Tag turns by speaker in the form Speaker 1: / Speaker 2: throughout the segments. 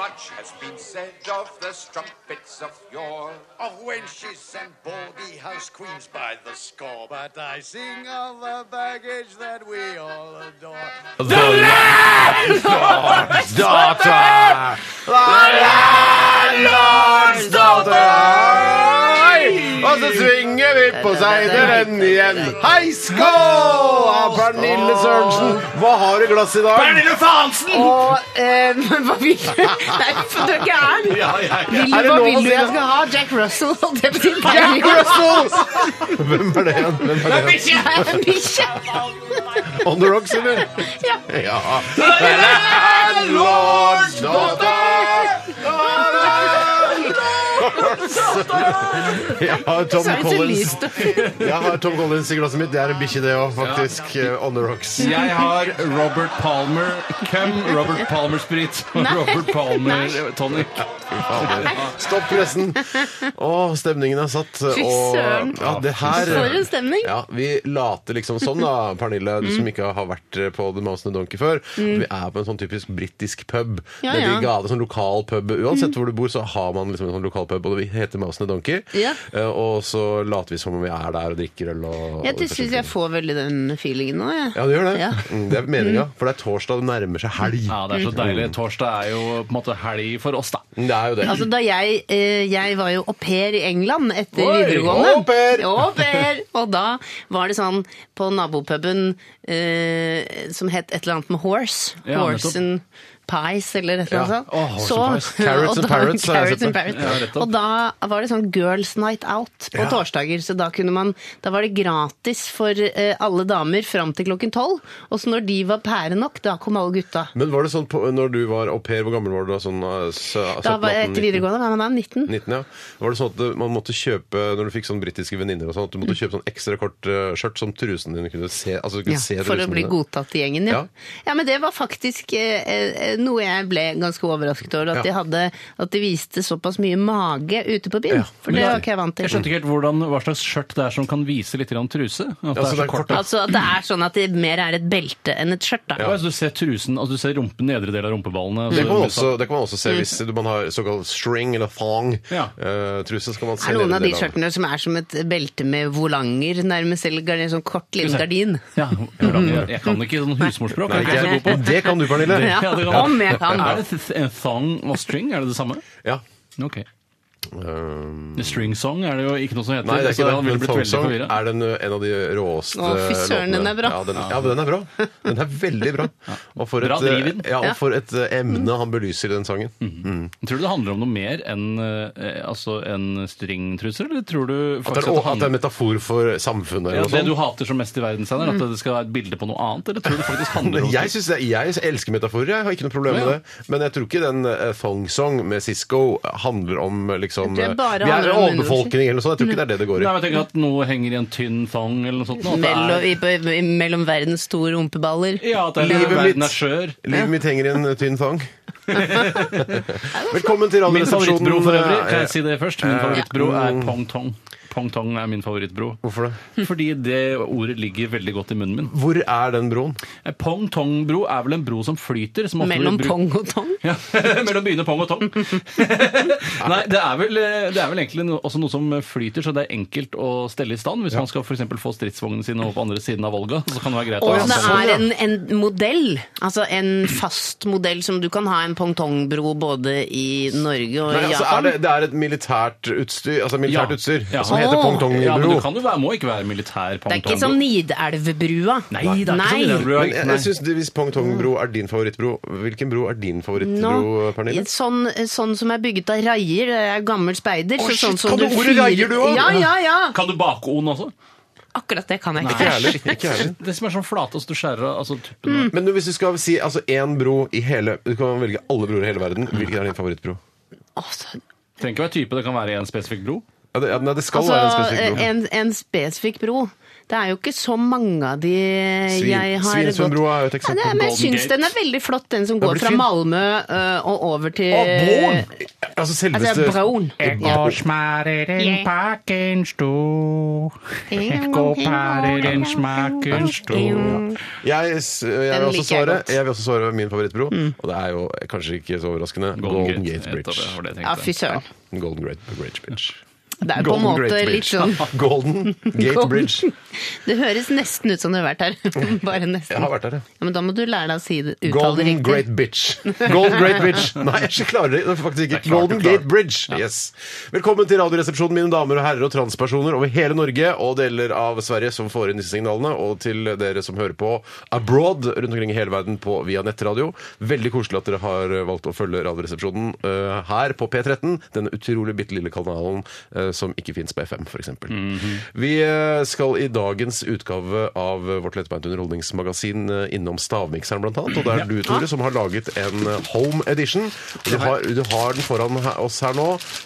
Speaker 1: Much has been said of the strumpets of yore, of wenches and baldy house queens by the score. But I sing of the baggage that we all adore.
Speaker 2: Og så svinger vi på seideren igjen. Hei, skål! av Pernille Sørensen. Hva har du i glasset i dag?
Speaker 3: Og eh, men hva vil du? Nei, for dere er Vil,
Speaker 2: Er det
Speaker 3: Hva
Speaker 2: lov å
Speaker 3: vil
Speaker 2: si
Speaker 3: du jeg
Speaker 2: det?
Speaker 3: skal ha? Jack Russell? og Det betyr bare
Speaker 2: Jack Russell! Hvem er det igjen? Hvem er det igjen?
Speaker 3: Bikkje!
Speaker 2: On the Rocks, eller?
Speaker 3: Ja.
Speaker 2: Ja. Landlordsdatter! Jeg har Tom
Speaker 3: Så er det så
Speaker 2: Collins
Speaker 3: lyst.
Speaker 2: Jeg har Tom Collins i glasset mitt. Det er en bikkje, det òg, faktisk. eh, On the Rocks.
Speaker 4: Jeg har Robert Palmer Cum, Robert Palmer Sprit og Robert
Speaker 2: eh,
Speaker 4: Palmer Tonic.
Speaker 2: Stopp pressen! Å, stemningen er satt.
Speaker 3: Fy
Speaker 2: og-
Speaker 3: søren.
Speaker 2: Ja, det her
Speaker 3: For en stemning. Mm.
Speaker 2: Ja, Vi later liksom sånn, da, Pernille, du som ikke har vært eh, på The Mouse and the Donkey før. Vi er på en sånn typisk britisk pub.
Speaker 3: Ja,
Speaker 2: nede
Speaker 3: ja.
Speaker 2: i
Speaker 3: Mm.
Speaker 2: gata, sånn lokal pub. Uansett hvor du bor, så har man liksom en sånn lokal pub, og det heter Mouse and the Donkey.
Speaker 3: Ja.
Speaker 2: Eh, Og så later vi som om vi er der og drikker øl og
Speaker 3: Jeg syns jeg får veldig den feelingen nå. Jeg.
Speaker 2: Ja, det gjør det.
Speaker 3: Ja.
Speaker 2: Mm, Det er meninga. For det er torsdag, det nærmer seg helg.
Speaker 4: Ja, det er så deilig. Torsdag er jo på en måte helg for oss, da.
Speaker 2: Mm, Det er jo det.
Speaker 3: Altså, da jeg, eh, jeg var jo au pair i England etter
Speaker 2: Oi,
Speaker 3: videregående.
Speaker 2: au pair!
Speaker 3: Au pair! Og da var det sånn på nabopuben eh, som het et eller annet med horse.
Speaker 4: Ja,
Speaker 3: horse
Speaker 4: nettopp.
Speaker 3: and pies eller et eller annet
Speaker 2: Ja.
Speaker 3: sånt.
Speaker 4: Å, horse
Speaker 3: Så-
Speaker 4: and pies.
Speaker 2: Carrots
Speaker 3: og
Speaker 2: and
Speaker 3: da-
Speaker 2: parrots har jeg
Speaker 3: carrots
Speaker 2: sett
Speaker 3: and
Speaker 2: det.
Speaker 3: parrots.
Speaker 4: Ja, nettopp.
Speaker 3: og da var det sånn girls night out på torsdager. Så da kunne man Da var det gratis for eh, alle damer fram til klokken tolv. Og så når de var pære nok, da kom alle gutta.
Speaker 2: Men var det sånn på, når du var au pair, hvor gammel var du da? Sånn, eh, sø-
Speaker 3: Da
Speaker 2: 17,
Speaker 3: var jeg
Speaker 2: 18,
Speaker 3: etter
Speaker 2: 19?
Speaker 3: videregående var man da 19.
Speaker 2: 19, ja. Var det sånn at man måtte kjøpe når du fikk sånn britiske venninner og sånn, at du måtte kjøpe sånn ekstra kort eh, skjørt som trusen din kunne se? Altså du kunne
Speaker 3: Mm. Ja,
Speaker 2: se
Speaker 3: for å
Speaker 2: trusene
Speaker 3: bli
Speaker 2: dine?
Speaker 3: godtatt i gjengen, ja.
Speaker 2: Ja.
Speaker 3: ja. men det var faktisk eh, eh, noe jeg ble ganske overrasket over.
Speaker 2: Ja.
Speaker 3: At, de hadde, at de viste såpass mye mage ute på byen.
Speaker 2: Ja,
Speaker 3: For det
Speaker 2: men-
Speaker 3: var ikke jeg vant
Speaker 4: Jeg
Speaker 3: til.
Speaker 4: skjønte ikke helt hvordan, hva slags skjørt det er som kan vise litt grann truse. At det
Speaker 2: så
Speaker 4: er
Speaker 2: det
Speaker 4: så
Speaker 2: er
Speaker 4: kort.
Speaker 2: kort,
Speaker 4: da.
Speaker 3: Altså at det er sånn at det mer er et belte enn et skjørt, da.
Speaker 4: Ja, altså, du ser trusen, altså, du ser rumpen, nedre del av rumpeballene.
Speaker 2: Det kan, man
Speaker 4: altså,
Speaker 2: også, det kan man også
Speaker 3: Mm.
Speaker 2: se hvis man har såkalt string eller
Speaker 4: Ja.
Speaker 2: thong-truse. så kan man
Speaker 3: Det
Speaker 2: se
Speaker 3: er noen
Speaker 2: nedre
Speaker 3: av de
Speaker 2: del av den.
Speaker 3: skjørtene som er som et belte med volanger, nærmest, eller gardin, sånn kort, liten gardin.
Speaker 4: ja, hvordan, jeg, jeg kan ikke sånn husmorspråk.
Speaker 2: Nei,
Speaker 4: Jeg er ikke så god
Speaker 2: det,
Speaker 4: på.
Speaker 2: det kan du, Pernille!
Speaker 3: Ja,
Speaker 4: Ja, det kan-
Speaker 3: om jeg kan.
Speaker 4: Er det th- en thong og string? Er det det samme?
Speaker 2: Ja.
Speaker 4: Ok.
Speaker 2: Um,
Speaker 4: String song er det jo ikke noe som heter.
Speaker 2: nei, det er
Speaker 4: så
Speaker 2: ikke det.
Speaker 4: han ville
Speaker 2: Men
Speaker 4: blitt
Speaker 2: thong
Speaker 4: veldig
Speaker 2: song
Speaker 4: forvirret.
Speaker 2: er den, uh, en av de råeste
Speaker 3: Å, fy søren, den er bra.
Speaker 2: Ja, den, ja, men den er bra. Den er veldig bra. Og for
Speaker 4: Bra
Speaker 2: et,
Speaker 4: driv i
Speaker 2: uh,
Speaker 4: den. Mm.
Speaker 2: ja, og for et uh, emne han belyser i den sangen.
Speaker 4: Tror du det handler om noe mer enn eh, altså en stringtrusser, eller tror du
Speaker 2: At det
Speaker 4: faktisk
Speaker 2: er, sånn? og, at det er
Speaker 4: det
Speaker 2: en
Speaker 4: handler
Speaker 2: metafor for samfunnet.
Speaker 4: ja,
Speaker 2: eller noe sånt.
Speaker 4: det du hater som mest i verden, Steinar, at det skal være et bilde på noe annet? Eller tror du det faktisk handler
Speaker 2: Men
Speaker 4: om
Speaker 2: Mm. jeg, synes det, jeg elsker metaforer, jeg har ikke noe problem med
Speaker 4: Ja, ja.
Speaker 2: det. Men jeg tror ikke den eh, Thong Song med Sisko handler om eh, liksom
Speaker 3: Jeg tror det bare
Speaker 2: eh, Vi er
Speaker 3: handler om
Speaker 2: overbefolkning eller noe sånt. Jeg tror ikke det er det det går i.
Speaker 4: Nei, men jeg tenker at noe henger i en tynn thong eller noe sånt. nå, at det er-
Speaker 3: Mellom, i, i, mellom verdens to rumpeballer.
Speaker 4: ja, at det er,
Speaker 2: Livet
Speaker 4: verden er
Speaker 2: mitt.
Speaker 4: skjør.
Speaker 2: Livet mitt henger i en eh, tynn thong. Velkommen til
Speaker 4: Min
Speaker 2: Radioresepsjonen.
Speaker 4: favorittbro for øvrig,
Speaker 2: eh,
Speaker 4: kan jeg si det først? Min
Speaker 2: eh,
Speaker 4: favorittbro er
Speaker 2: mm.
Speaker 4: pong tong. Pong tong er min favorittbro.
Speaker 2: Hvorfor det?
Speaker 4: Fordi det ordet ligger veldig godt i munnen min.
Speaker 2: Hvor er den broen?
Speaker 4: Eh, Pong tong-bro er vel en bro som flyter? Som ofte blir
Speaker 3: Mellom
Speaker 4: brukt-
Speaker 3: pong og tong.
Speaker 4: Ja, Mellom byene pong og tong. Nei, det er vel, eh, det er vel egentlig no, også noe som flyter, så det er enkelt å stelle i stand. Hvis man skal for eksempel få stridsvognene sine over på andre siden av Volga, så kan det være greit å
Speaker 3: Og
Speaker 4: ha
Speaker 3: det
Speaker 2: sånn,
Speaker 4: en-
Speaker 3: er en, en modell, altså en fast modell som du kan ha en pongtongbro både i Norge og
Speaker 2: Nei,
Speaker 3: i
Speaker 2: altså, er
Speaker 3: Japan.
Speaker 2: det, det er et militært utstyr, altså militært
Speaker 4: Ja.
Speaker 2: utstyr
Speaker 4: Ja.
Speaker 2: som heter
Speaker 3: Åh.
Speaker 2: pong tong
Speaker 4: Ja, men
Speaker 2: bro
Speaker 4: du kan jo være, må ikke være militær pong
Speaker 3: Det er ikke sånn som Nidelvbrua.
Speaker 4: Nei, det
Speaker 2: sånn
Speaker 4: er ikke som Nidelvbro.
Speaker 2: Men jeg, jeg synes det- Hvis pong tong bro er din favorittbro, hvilken bro er din favorittbro,
Speaker 3: Nå,
Speaker 2: Pernille?
Speaker 3: sånn, sånn som er bygget av raier, jeg er gammel speider. så
Speaker 2: shit,
Speaker 3: sånn som
Speaker 2: kan du ordet
Speaker 3: fyrer-
Speaker 2: reier, du også?
Speaker 3: Ja, ja, ja.
Speaker 4: Kan du bake on også?
Speaker 3: Akkurat det kan jeg
Speaker 2: Ikke
Speaker 3: ikke.
Speaker 2: jeg heller. Ikke jeg heller.
Speaker 4: Det som er sånn flate, altså du skjærer av altså,
Speaker 3: Mm.
Speaker 4: tuppen.
Speaker 2: Men du, hvis du skal si altså én bro i hele Du kan velge alle broer i hele verden.
Speaker 4: Mm.
Speaker 2: Hvilken er din favorittbro?
Speaker 3: Altså,
Speaker 4: Trenger ikke være type, det kan være i en spesifikk bro.
Speaker 2: Ja, det, ja, nei, det skal være en
Speaker 3: altså
Speaker 2: spesifikk bro.
Speaker 3: en, en Altså, spesifikk bro. Det er jo ikke så mange av de
Speaker 2: Svin-
Speaker 3: jeg har
Speaker 2: Svinesundsbroa er jo et
Speaker 3: Nei, det
Speaker 2: eksempel.
Speaker 3: er, men jeg
Speaker 4: Golden
Speaker 3: syns
Speaker 4: Gate.
Speaker 3: den er veldig flott, den som går
Speaker 2: blir
Speaker 3: fra
Speaker 2: fin.
Speaker 3: Malmö ø, og over til
Speaker 2: Å, broen! Altså selveste
Speaker 3: eh, Altså broen.
Speaker 5: Og smarer en pakken stor. Et gåpærer en smaken stor.
Speaker 2: Jeg, s- jeg, vil
Speaker 3: Den
Speaker 2: også
Speaker 3: liker jeg
Speaker 2: svare,
Speaker 3: godt. Mm.
Speaker 2: jeg vil også svare min favorittbro, og det er jo kanskje ikke så overraskende Golden Gate Bridge.
Speaker 4: Nettopp, det var det jeg
Speaker 3: Ja,
Speaker 4: tenkte.
Speaker 3: fy søren.
Speaker 2: Golden Great Bridge Bridge.
Speaker 3: Det er på en måte litt sånn
Speaker 2: Golden Gate Bridge.
Speaker 3: Det høres nesten ut som du har vært her. Bare nesten.
Speaker 2: Jeg har vært der, ja.
Speaker 3: Ja, men da må du lære deg å si det, uttale det
Speaker 2: Golden
Speaker 3: riktig.
Speaker 2: Great Bitch. Golden Great Bitch. Nei, jeg klarer det faktisk ikke.
Speaker 4: Det er klart du
Speaker 2: Golden
Speaker 4: klarer.
Speaker 2: Gate Bridge. Yes. Velkommen til Radioresepsjonen, mine damer og herrer og transpersoner over hele Norge og deler av Sverige som får inn disse signalene, og til dere som hører på abroad rundt omkring i hele verden på via nettradio. Veldig koselig at dere har valgt å følge Radioresepsjonen eh, her på P13, denne utrolig bitte lille kanalen eh, som ikke fins på FM, f.eks. eksempel.
Speaker 4: Mhm.
Speaker 2: Vi eh, skal i dagens utgave av vårt lettbeint underholdningsmagasin eh, innom stavmikseren, blant annet. Og det er du, Tore, som har laget en eh, home edition. Og Du har, du har den foran he- oss her nå.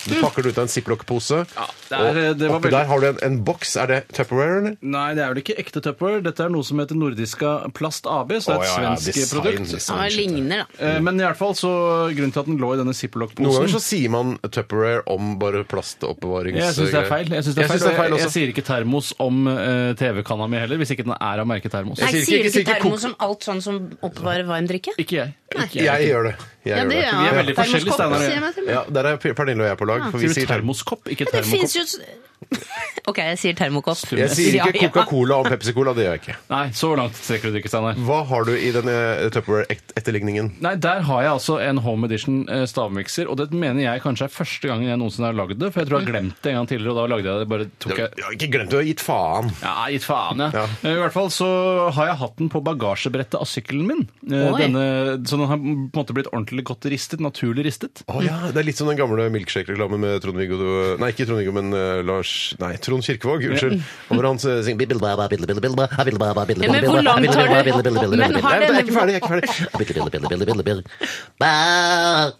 Speaker 2: Du pakker den ut av en ziplock-pose.
Speaker 4: Mm. Ja, det er-
Speaker 2: Og
Speaker 4: det var
Speaker 2: oppi
Speaker 4: veldig-
Speaker 2: der har du en, en boks. Er det Tupperware, eller?
Speaker 4: Nei, det er vel ikke ekte Tupperware. Dette er noe som heter Nordiska Plast AB, så det er et
Speaker 2: Å, ja, ja,
Speaker 4: svensk
Speaker 2: design,
Speaker 4: produkt.
Speaker 2: design,
Speaker 3: Ja, det
Speaker 2: shit.
Speaker 3: ligner, da.
Speaker 4: Eh, Men i alle fall så grunnen til at den lå i
Speaker 2: Noen
Speaker 4: denne
Speaker 2: ganger
Speaker 4: Ziploc-posen
Speaker 2: så sier man Tupperware om bare plastoppbevarings...
Speaker 4: jeg syns det er feil. Jeg synes det er feil,
Speaker 2: synes det er
Speaker 4: og
Speaker 2: feil
Speaker 4: jeg, jeg
Speaker 2: også.
Speaker 4: sier ikke termos om eh, TV-kanna mi heller, hvis ikke den er av merket termos.
Speaker 3: Nei,
Speaker 2: sier ikke-
Speaker 3: sier
Speaker 2: jeg
Speaker 3: du ikke
Speaker 2: sier ikke kok-
Speaker 3: termos som alt sånn som oppbevarer varm drikke?
Speaker 4: Ikke jeg. Ikke jeg.
Speaker 2: Jeg gjør det. Jeg
Speaker 3: Ja,
Speaker 2: gjør
Speaker 3: det gjør
Speaker 4: Vi er
Speaker 3: jeg.
Speaker 4: veldig forskjellige,
Speaker 3: Termoskopp,
Speaker 4: Steinar og jeg.
Speaker 3: sier jeg. til Ah. og med.
Speaker 2: Ja, der er Pernille og jeg på lag. For vi
Speaker 4: Sier du
Speaker 2: sier termos.
Speaker 4: termoskopp, ikke
Speaker 3: Det fins
Speaker 4: termokopp?
Speaker 3: jo s- OK, jeg sier termokopp.
Speaker 2: Jeg sier
Speaker 3: Ja,
Speaker 2: ikke
Speaker 3: ja.
Speaker 2: Coca-Cola om Pepsi-Cola. Det gjør jeg ikke.
Speaker 4: Nei, så langt strekker du det ikke, Steinar.
Speaker 2: Hva har du i eh, denne Tupperware-etterligningen?
Speaker 4: Nei, der har jeg altså en Home Edition eh, stavmikser, og det mener jeg kanskje er første gangen jeg noensinne har lagd det, for jeg tror jeg har
Speaker 3: Mm.
Speaker 4: glemt det en gang tidligere, og da lagde jeg det bare tok jeg
Speaker 2: Jeg har ikke glemt å ha gitt faen.
Speaker 4: Ja, gitt faen, ja.
Speaker 2: Ja.
Speaker 4: Eh, I hvert fall så har jeg hatt den på bagasjebrettet av sykkelen min. Eh,
Speaker 3: Oi.
Speaker 4: Denne, så den har på en måte blitt ordentlig godt ristet, naturlig ristet.
Speaker 2: Å ja, Det er litt som den gamle milkshake-reklamen med Trond-Viggo Nei, ikke Trond-Viggo, men eh, Lars Nei, Trond Kirkevåg. Unnskyld. Og Hvor han eh, synger
Speaker 6: Bilde, bilde, bilde, bilde, bilde, bilde, bilde, bilde,
Speaker 3: Ja, men hvor langt har du Men
Speaker 2: Nei,
Speaker 3: har
Speaker 2: jeg er ikke
Speaker 3: denne
Speaker 2: ferdig. jeg er ikke ferdig.
Speaker 6: bilde, bilde, bilde, bilde, bilde. Ba,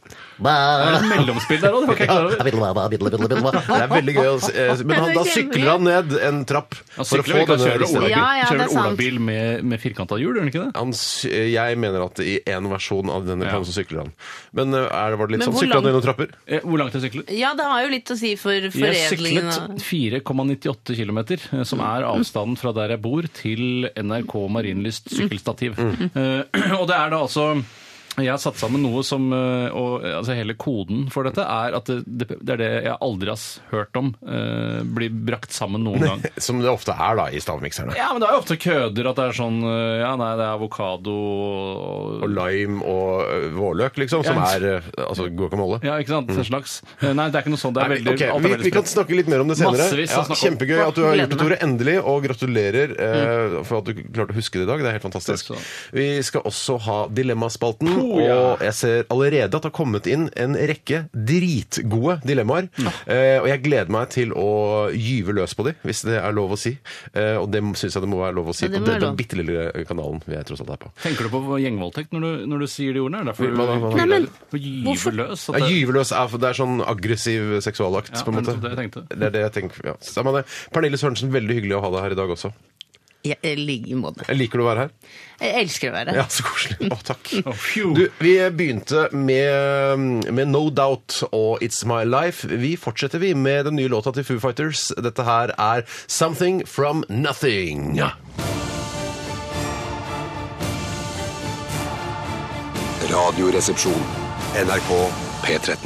Speaker 6: ba,
Speaker 4: Det er et mellomspill der òg, det var ikke jeg klar over.
Speaker 6: bilde, ba, bilde, bilde, bilde, ba.
Speaker 2: Det er veldig gøy. å se- eh, Men han, da
Speaker 3: Det er kjempegøy.
Speaker 2: sykler han ned en trapp for
Speaker 4: Han
Speaker 2: å
Speaker 4: sykler vel
Speaker 2: få
Speaker 4: ikke, han
Speaker 2: denne
Speaker 4: kjører
Speaker 2: listen.
Speaker 4: olabil
Speaker 3: Ja, ja, det er
Speaker 4: Kjører
Speaker 3: sant.
Speaker 4: olabil med, med firkanta hjul, gjør han ikke det?
Speaker 2: Han, sy- jeg mener at i én versjon av denne reklamen så sykler han. Men eh, er det, var det litt
Speaker 3: Men
Speaker 2: sånn
Speaker 3: hvor
Speaker 2: Sykler han
Speaker 3: langt-
Speaker 2: gjennom trapper?
Speaker 4: Eh, Hvor langt har jeg syklet?
Speaker 3: Ja, det har jo litt å si for
Speaker 4: Jeg
Speaker 3: foredlingen.
Speaker 4: syklet
Speaker 3: av-
Speaker 4: 4,98 km, eh, som er avstanden fra der jeg bor til NRK Marienlyst
Speaker 3: Mm.
Speaker 4: sykkelstativ.
Speaker 2: Mm.
Speaker 4: Eh, og det er da altså jeg har satt sammen noe som eh, og, eh, altså Hele koden for dette er at det, det det er det jeg aldri har s- hørt om eh, blir brakt sammen noen gang.
Speaker 2: Som det ofte er, da, i stavmikserne.
Speaker 4: Ja, men det er jo ofte køder at det er sånn eh, Ja, nei, det er avokado og
Speaker 2: Og lime og eh, vårløk, liksom, som
Speaker 4: Ja.
Speaker 2: er eh, altså guacamole.
Speaker 4: Ja, ikke sant? Den slags. Eh, Nei, det er ikke noe sånt. Det er
Speaker 2: Mm. Nei,
Speaker 4: veldig
Speaker 2: ok,
Speaker 4: alt er
Speaker 2: vi,
Speaker 4: veldig
Speaker 2: vi kan
Speaker 4: spredt.
Speaker 2: snakke litt mer om det senere.
Speaker 4: Massevis
Speaker 2: Ja,
Speaker 4: å snakke om.
Speaker 2: kjempegøy at du har
Speaker 3: Gleder
Speaker 2: gjort det,
Speaker 3: meg.
Speaker 2: Tore. Endelig. Og gratulerer eh, for at du klarte å huske det i dag. Det er helt fantastisk.
Speaker 4: Takk
Speaker 2: Vi skal også ha Dilemmaspalten.
Speaker 4: Oh, ja.
Speaker 2: Og jeg ser allerede at det har kommet inn en rekke dritgode dilemmaer. Eh, og jeg gleder meg til å gyve løs på de, hvis det er lov å si. Eh, og det syns jeg det må være lov å si
Speaker 3: Ja, det
Speaker 2: på
Speaker 3: må være
Speaker 2: den
Speaker 3: lov.
Speaker 2: bitte lille kanalen vi er tross alt her på.
Speaker 4: Tenker du på gjengvoldtekt når du, når du sier de ordene? Er det derfor du
Speaker 2: Hva da, hva da?
Speaker 3: Nei, men-
Speaker 4: du gyver
Speaker 3: hvorfor-
Speaker 4: løs? at
Speaker 2: Ja,
Speaker 4: det-
Speaker 2: gyve løs er, det er sånn aggressiv seksualakt,
Speaker 4: Ja,
Speaker 2: på en måte.
Speaker 4: nettopp det jeg tenkte.
Speaker 2: Det er det jeg tenker. Ja. Samme det. Pernille Sørensen, veldig hyggelig å ha deg her i dag også.
Speaker 3: Ja, I like måte.
Speaker 2: Liker du å være her?
Speaker 3: Jeg elsker å være her.
Speaker 2: Ja, så koselig. Å, takk.
Speaker 4: Oh, phew.
Speaker 2: Du, vi begynte med, med No Doubt og It's My Life. Vi fortsetter vi med den nye låta til Foo Fighters. Dette her er Something From Nothing.
Speaker 7: Radioresepsjon. NRK P13.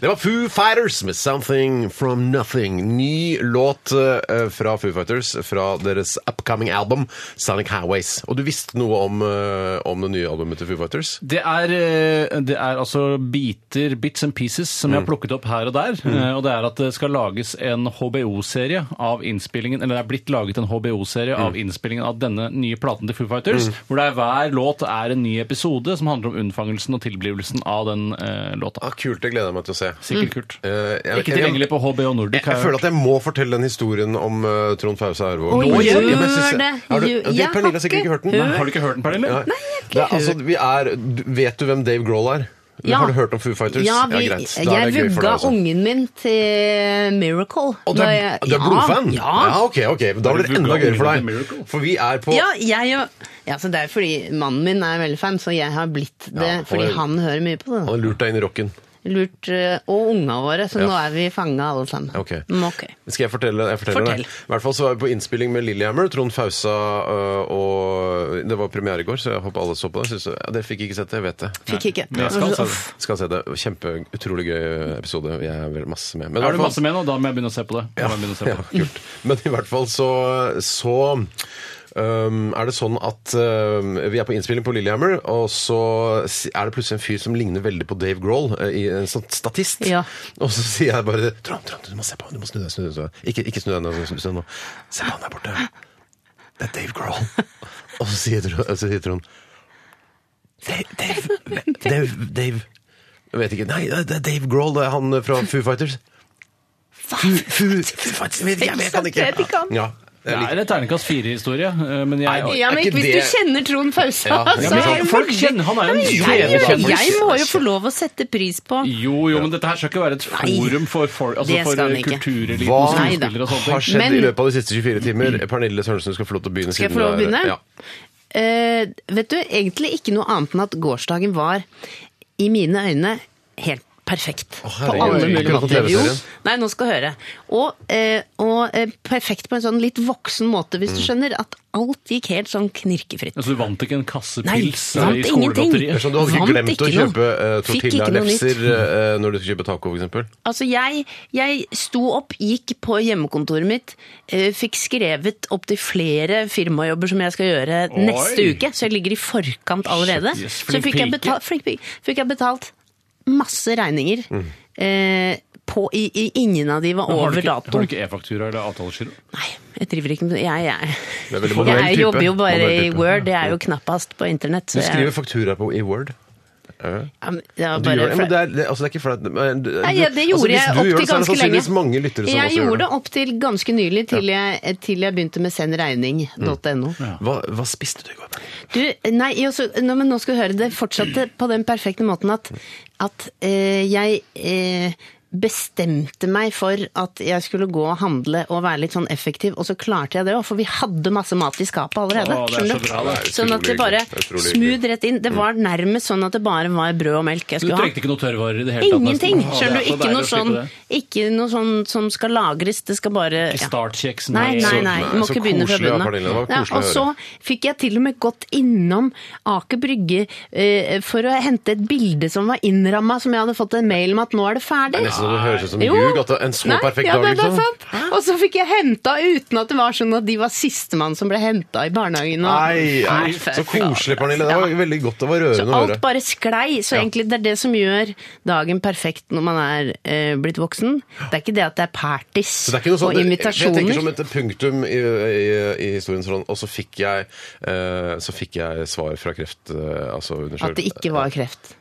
Speaker 2: Det var Foo Fighters med Something From Nothing. Ny låt eh, fra Foo Fighters fra deres upcoming album Sonic Highways. Og du visste noe om, eh, om det nye albumet til Foo Fighters?
Speaker 4: Det er, eh, det er altså biter, bits and pieces, som
Speaker 2: Mm.
Speaker 4: jeg har plukket opp her og der. Eh, Og det er at det skal lages en HBO-serie av innspillingen Eller det er blitt laget en HBO-serie av
Speaker 2: Mm.
Speaker 4: innspillingen av denne nye platen til Foo Fighters. Hvor det er hver låt er en ny episode som handler om unnfangelsen og tilblivelsen av den eh, låta.
Speaker 2: Ah, kult, det gleder jeg meg til å se.
Speaker 4: Sikkert kult.
Speaker 2: Eh, jeg-
Speaker 4: Ikke tilgjengelig på HBO Nordic.
Speaker 2: Jeg, jeg føler at jeg må fortelle den historien om eh, Trond Fause Ervåg.
Speaker 3: Oi,
Speaker 2: Nå, jeg-
Speaker 3: gjør
Speaker 2: jeg- jeg synes-
Speaker 3: det.
Speaker 2: Har du-
Speaker 3: Gjør-
Speaker 2: det-
Speaker 3: jeg har
Speaker 2: Pernille har sikkert ikke
Speaker 3: ikke
Speaker 2: hørt den.
Speaker 4: Har du ikke hørt den, Pernille?
Speaker 2: Nei, det er, altså, vi er, du- vet du hvem Dave Grohl er? Men Har du hørt om Foo Fighters?
Speaker 3: Ja,
Speaker 2: greit.
Speaker 3: vi,
Speaker 2: Da er
Speaker 3: jeg
Speaker 2: det gøy for deg,
Speaker 3: vugga
Speaker 2: altså.
Speaker 3: ungen min til Miracle.
Speaker 2: Og du
Speaker 3: da
Speaker 2: er,
Speaker 3: jeg-
Speaker 2: du er blodfan?
Speaker 3: Ja. ja.
Speaker 2: ok, ok. Men Da
Speaker 4: Har du
Speaker 2: blir det enda
Speaker 4: vugga
Speaker 2: gøyere for
Speaker 4: ungen
Speaker 2: deg.
Speaker 4: til Miracle?
Speaker 2: For vi er på
Speaker 3: Ja, jeg og ja, så Det er fordi mannen min er veldig fan, så jeg har blitt det
Speaker 2: Ja,
Speaker 3: fordi
Speaker 2: og-
Speaker 3: han hører mye på det.
Speaker 2: Han har lurt deg inn i rocken.
Speaker 3: Lurt, eh, Og unga våre, så
Speaker 2: Ja.
Speaker 3: nå er vi fanga alle sammen.
Speaker 2: Ok.
Speaker 3: Mm, ok.
Speaker 2: Skal jeg fortelle? Jeg forteller
Speaker 3: Fortell.
Speaker 2: det. I hvert fall så var vi på innspilling med Lillehammer, Trond Fausa øh, og Det var premiere i går, så jeg håper alle så på det. Synes, jeg- ja, dere fikk ikke sett det, jeg vet det.
Speaker 3: Fikk ikke.
Speaker 4: Men jeg skal se det.
Speaker 3: Uff.
Speaker 2: Skal se det. Kjempe, utrolig gøy episode. Jeg er vel masse med. Men i
Speaker 4: Er
Speaker 2: hvert
Speaker 4: du
Speaker 2: fall-
Speaker 4: masse med nå? Da må jeg begynne å se på det. Da må jeg begynne å se på
Speaker 2: Ja,
Speaker 4: det.
Speaker 2: kult. Men i hvert fall så, så øhm, er det sånn at øhm, vi er på innspilling på Lillehammer, og så si- er det plutselig en fyr som ligner veldig på Dave Grohl, eh, i en sånn statist.
Speaker 3: Ja.
Speaker 2: Og så sier jeg bare Trond, Trond, du må se på han, du må snu deg, snu deg. snu deg. Ikke, ikke snu deg nå, snu deg nå. Se på han der borte. Det er Dave Grohl. Og så sier Trond, så sier Trond Dave, Dave, Dave, Dave. Jeg vet ikke. Nei, det er Dave Grohl, det er han fra Foo Fighters. Foo, Foo, Foo Fighters, jeg vet ikke, jeg kan
Speaker 3: Jeg vet ikke
Speaker 2: ikke.
Speaker 3: han.
Speaker 2: Ja,
Speaker 4: Det
Speaker 2: jeg liker-
Speaker 4: er en terningkast fire-historie, eh, men jeg
Speaker 3: Ja, men
Speaker 2: Er ikke
Speaker 3: Hvis du
Speaker 2: det-
Speaker 3: kjenner Trond Fausa,
Speaker 2: Ja, ja,
Speaker 3: så
Speaker 2: men
Speaker 3: er det
Speaker 4: folk
Speaker 3: veldig-
Speaker 4: kjenner- han er jo en
Speaker 3: Ja, men jeg-
Speaker 4: TV-kjendis.
Speaker 3: Jeg må jo få lov å sette pris på
Speaker 4: Jo, jo, men dette her skal ikke være et forum for, for, altså
Speaker 3: det
Speaker 4: for
Speaker 3: skal den ikke.
Speaker 4: kultureliten
Speaker 2: Hva
Speaker 4: og
Speaker 3: Nei da.
Speaker 4: skuespillere og sånne
Speaker 2: har skjedd
Speaker 4: ting.
Speaker 2: i
Speaker 3: Men-
Speaker 2: løpet av de siste 24 timer? Pernille Sørensen skal få lov til å begynne.
Speaker 3: Skal jeg
Speaker 2: siden
Speaker 3: få lov å
Speaker 2: det er-
Speaker 3: begynne?
Speaker 2: Ja.
Speaker 3: Eh, vet du, egentlig ikke noe annet enn at gårsdagen var, i mine øyne, helt perfekt. på
Speaker 2: herregud.
Speaker 3: alle
Speaker 2: Akkurat
Speaker 3: mulige
Speaker 2: på
Speaker 3: måter. Jo,
Speaker 2: TV-serien.
Speaker 3: nei, nå skal du høre. Og, eh, og eh, perfekt på en sånn litt voksen måte, hvis du
Speaker 2: Mm.
Speaker 3: skjønner. At alt gikk helt sånn knirkefritt.
Speaker 4: Altså, du vant ikke en kasse
Speaker 3: Nei,
Speaker 4: pils eh,
Speaker 3: vant
Speaker 4: i
Speaker 3: ingenting.
Speaker 2: Det er sånn,
Speaker 4: skolegodteriet?
Speaker 2: du hadde ikke
Speaker 3: Vant
Speaker 2: glemt å
Speaker 3: ikke noe.
Speaker 2: kjøpe uh,
Speaker 3: Fikk ikke noe nytt.
Speaker 2: tortillalefser eh, når du skal kjøpe taco, f.eks.?
Speaker 3: Altså, jeg, jeg sto opp, gikk på hjemmekontoret mitt, eh, fikk skrevet opp til flere firmajobber som jeg skal gjøre neste uke, så jeg ligger i forkant allerede.
Speaker 4: Shit, yes,
Speaker 3: så
Speaker 4: flink
Speaker 3: fikk jeg,
Speaker 4: pike.
Speaker 3: betalt, flink pike. fikk jeg betalt masse regninger. Eh, på, i, i, ingen av de var
Speaker 4: Har du
Speaker 3: over
Speaker 4: ikke- Har
Speaker 3: datoen.
Speaker 4: du ikke e-faktura eller avtalegiro?
Speaker 3: Nei, jeg driver ikke med jeg, jeg,
Speaker 2: Det er veldig
Speaker 3: jeg,
Speaker 2: manuell type.
Speaker 3: jobber jo bare
Speaker 2: Manuell
Speaker 3: i
Speaker 2: type.
Speaker 3: Word, det er jo knappast på internett.
Speaker 2: Du
Speaker 3: Så
Speaker 2: skriver
Speaker 3: jeg,
Speaker 2: fakturaer på i Word.
Speaker 3: ja, men det var
Speaker 2: Du gjør
Speaker 3: bare
Speaker 2: det, men det er, det, altså, det er ikke flaut. men du-
Speaker 3: Nei, ja, det
Speaker 2: altså, hvis
Speaker 3: gjorde jeg
Speaker 2: du
Speaker 3: opp
Speaker 2: gjør
Speaker 3: til
Speaker 2: det, så er det
Speaker 3: ganske lenge.
Speaker 2: sannsynligvis mange lyttere som
Speaker 3: jeg
Speaker 2: også gjør det.
Speaker 3: gjorde det opp til ganske nylig, til, jeg, til jeg begynte med
Speaker 2: Mm.
Speaker 3: sendregning.no.
Speaker 2: Hva, hva spiste du i går?
Speaker 3: Du, nei, jo, så- nå, men nå skal du høre, det fortsatte på den perfekte måten at, at eh, jeg eh, bestemte meg for at jeg skulle gå og handle og være litt sånn effektiv, og så klarte jeg det òg, for vi hadde masse mat i skapet allerede.
Speaker 4: Å, det er så
Speaker 3: skjønner du?
Speaker 4: bra, det.
Speaker 3: Sånn at det bare
Speaker 2: Det er utrolig hyggelig.
Speaker 3: smooth rett inn. Det var nærmest sånn at det bare var brød og melk jeg
Speaker 4: Du
Speaker 3: skulle ha.
Speaker 4: trengte ikke noe tørrvarer i det hele tatt? nesten.
Speaker 3: Ingenting!
Speaker 4: Å, det
Speaker 3: Skjønner
Speaker 4: er
Speaker 3: du?
Speaker 4: så
Speaker 3: Ikke
Speaker 4: deilig
Speaker 3: noe
Speaker 4: å slippe
Speaker 3: sånn,
Speaker 4: det.
Speaker 3: ikke noe sånn som skal lagres, det skal bare ja.
Speaker 4: Startkjeks?
Speaker 3: Nei, nei,
Speaker 4: så-
Speaker 3: nei.
Speaker 2: nei,
Speaker 3: Du må
Speaker 2: så
Speaker 3: ikke begynne fra
Speaker 2: koselig av
Speaker 3: bunnen av.
Speaker 2: Pernille, det var
Speaker 3: Ja,
Speaker 2: koselig å
Speaker 3: og så fikk jeg til og med gått innom Aker Brygge eh, for å hente et bilde som var innramma, som jeg hadde fått en mail om at nå er det
Speaker 2: Det
Speaker 3: ferdig.
Speaker 2: er nesten så det høres ut som
Speaker 3: Jo.
Speaker 2: ljug at det er en så
Speaker 3: Nei,
Speaker 2: perfekt
Speaker 3: ja,
Speaker 2: dag.
Speaker 3: men det er
Speaker 2: liksom.
Speaker 3: sant. Og så fikk jeg henta uten at det var sånn at de var sistemann som ble henta i barnehagen. Og...
Speaker 2: Nei,
Speaker 3: Nei,
Speaker 2: ja. Så koselig, Pernille. Det var veldig godt. Det var
Speaker 3: Så
Speaker 2: rørende å
Speaker 3: alt
Speaker 2: høre.
Speaker 3: bare sklei. Så egentlig det er det som gjør dagen perfekt når man er eh, blitt voksen. Det er ikke det at det er parties
Speaker 2: Så det er ikke noe sånn,
Speaker 3: og
Speaker 2: Jeg
Speaker 3: invitasjoner.
Speaker 2: tenker som et punktum i, i, i historien sånn, og så fikk jeg, eh, så fikk jeg svar fra kreft, eh, altså undersøkelse.
Speaker 3: At det ikke var kreft.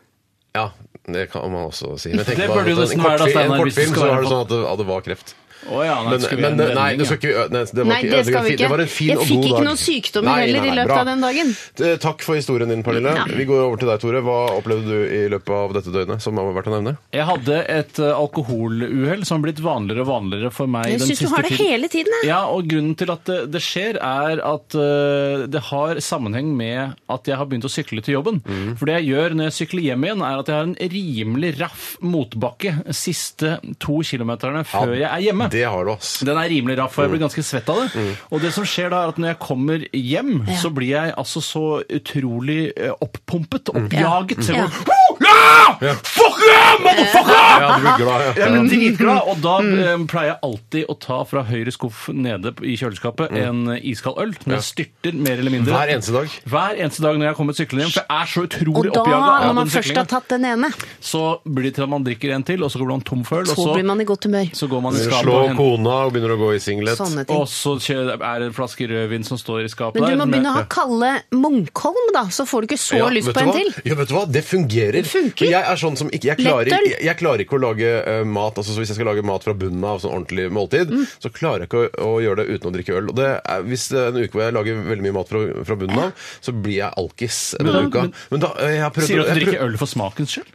Speaker 2: Ja, det kan man også si. Men jeg tenker
Speaker 4: Det
Speaker 2: bare
Speaker 4: burde jo
Speaker 2: at en
Speaker 4: nesten være da,
Speaker 2: kortfilm-
Speaker 4: Steinar,
Speaker 2: En
Speaker 4: hvis det
Speaker 2: kortfilm,
Speaker 4: skal
Speaker 2: så
Speaker 4: være
Speaker 2: er det
Speaker 4: på-
Speaker 2: sånn at det, at det var kreft.
Speaker 4: Å ja, nei,
Speaker 2: Men,
Speaker 4: skal vi
Speaker 2: men
Speaker 4: gjøre en
Speaker 2: nei,
Speaker 4: vending,
Speaker 2: du
Speaker 4: ja.
Speaker 2: skal ikke ø- nei, det var ikke
Speaker 3: Nei, det skal vi
Speaker 2: ødeleggende.
Speaker 3: ikke.
Speaker 2: Det var en fin
Speaker 3: Jeg
Speaker 2: og
Speaker 3: fikk
Speaker 2: god
Speaker 3: ikke
Speaker 2: dag.
Speaker 3: noen sykdommer
Speaker 2: Nei, nei,
Speaker 3: heller i
Speaker 2: nei,
Speaker 3: løpet
Speaker 2: bra.
Speaker 3: av den dagen.
Speaker 2: T- Takk for historien din, Pernille.
Speaker 3: Ja.
Speaker 2: Vi går over til deg, Tore. Hva opplevde du i løpet av dette døgnet som har vært å nevne?
Speaker 4: Jeg hadde et eh, alkoholuhell som har blitt vanligere og vanligere for meg
Speaker 3: Jeg
Speaker 4: den
Speaker 3: syns du
Speaker 4: siste
Speaker 3: har det
Speaker 4: tiden.
Speaker 3: hele tiden, jeg.
Speaker 4: Ja, og grunnen til at det, det skjer er at eh, det har sammenheng med at jeg har begynt å sykle til jobben. For det jeg gjør når jeg sykler hjem igjen, er at jeg har en rimelig raff motbakke siste to kilometerne før jeg er hjemme.
Speaker 2: Det har du, ass.
Speaker 4: Den er rimelig raff, og jeg blir ganske svett av det. Og det som skjer da, er at når jeg kommer hjem, så blir jeg altså så utrolig eh, opppumpet, oppjaget. Så jeg
Speaker 3: Ja.
Speaker 4: går, «Woo! Ja! Fuck yeah, motherfucker!
Speaker 2: Ja, du blir glad, ja.
Speaker 4: Jeg blir dritglad, og da
Speaker 2: Mm.
Speaker 4: eh, pleier jeg alltid å ta fra høyre skuff nede i kjøleskapet en eh, iskald øl. Når jeg styrter, mer eller mindre.
Speaker 2: Mm. Hver eneste dag.
Speaker 4: Hver eneste dag når jeg kommer syklende hjem, for jeg er så
Speaker 3: Og
Speaker 4: utrolig
Speaker 3: da,
Speaker 4: oppjaga
Speaker 3: når man
Speaker 4: av den
Speaker 3: først har
Speaker 4: syklingen,
Speaker 3: tatt den ene,
Speaker 4: så blir det til at man drikker en til, og så går man tom for øl, og
Speaker 3: så blir
Speaker 4: så,
Speaker 3: man i godt humør.
Speaker 4: så går man i skapet
Speaker 2: Slå
Speaker 4: og henter
Speaker 2: kona og begynner å gå i singlet.
Speaker 3: Sånne ting.
Speaker 4: og så kjø- er det en flaske rødvin som står i skapet
Speaker 3: Men du
Speaker 4: der.
Speaker 3: må begynne å ha Kalle Munkholm, da, så får du ikke så
Speaker 2: Ja,
Speaker 3: lyst
Speaker 2: vet
Speaker 3: på
Speaker 2: du
Speaker 3: en
Speaker 2: hva?
Speaker 3: til.
Speaker 2: Ja, vet du hva? Det fungerer.
Speaker 3: Det funker.
Speaker 2: Men Jeg er sånn som ikke, jeg klarer,
Speaker 3: Lettøl.
Speaker 2: jeg, jeg klarer ikke å lage eh, mat, altså så hvis jeg skal lage mat fra bunnen av, sånn ordentlig måltid,
Speaker 3: Mm.
Speaker 2: så klarer jeg ikke å, å gjøre det uten å drikke øl. Og det er, hvis det er en uke hvor jeg lager veldig mye mat fra, fra bunnen av, så blir jeg alkis denne
Speaker 4: da-
Speaker 2: uka.
Speaker 4: men-
Speaker 2: Men da, eh, jeg har prøvd...
Speaker 4: Sier du at
Speaker 2: jeg
Speaker 4: du
Speaker 2: prøv-
Speaker 4: drikker øl for smakens skyld?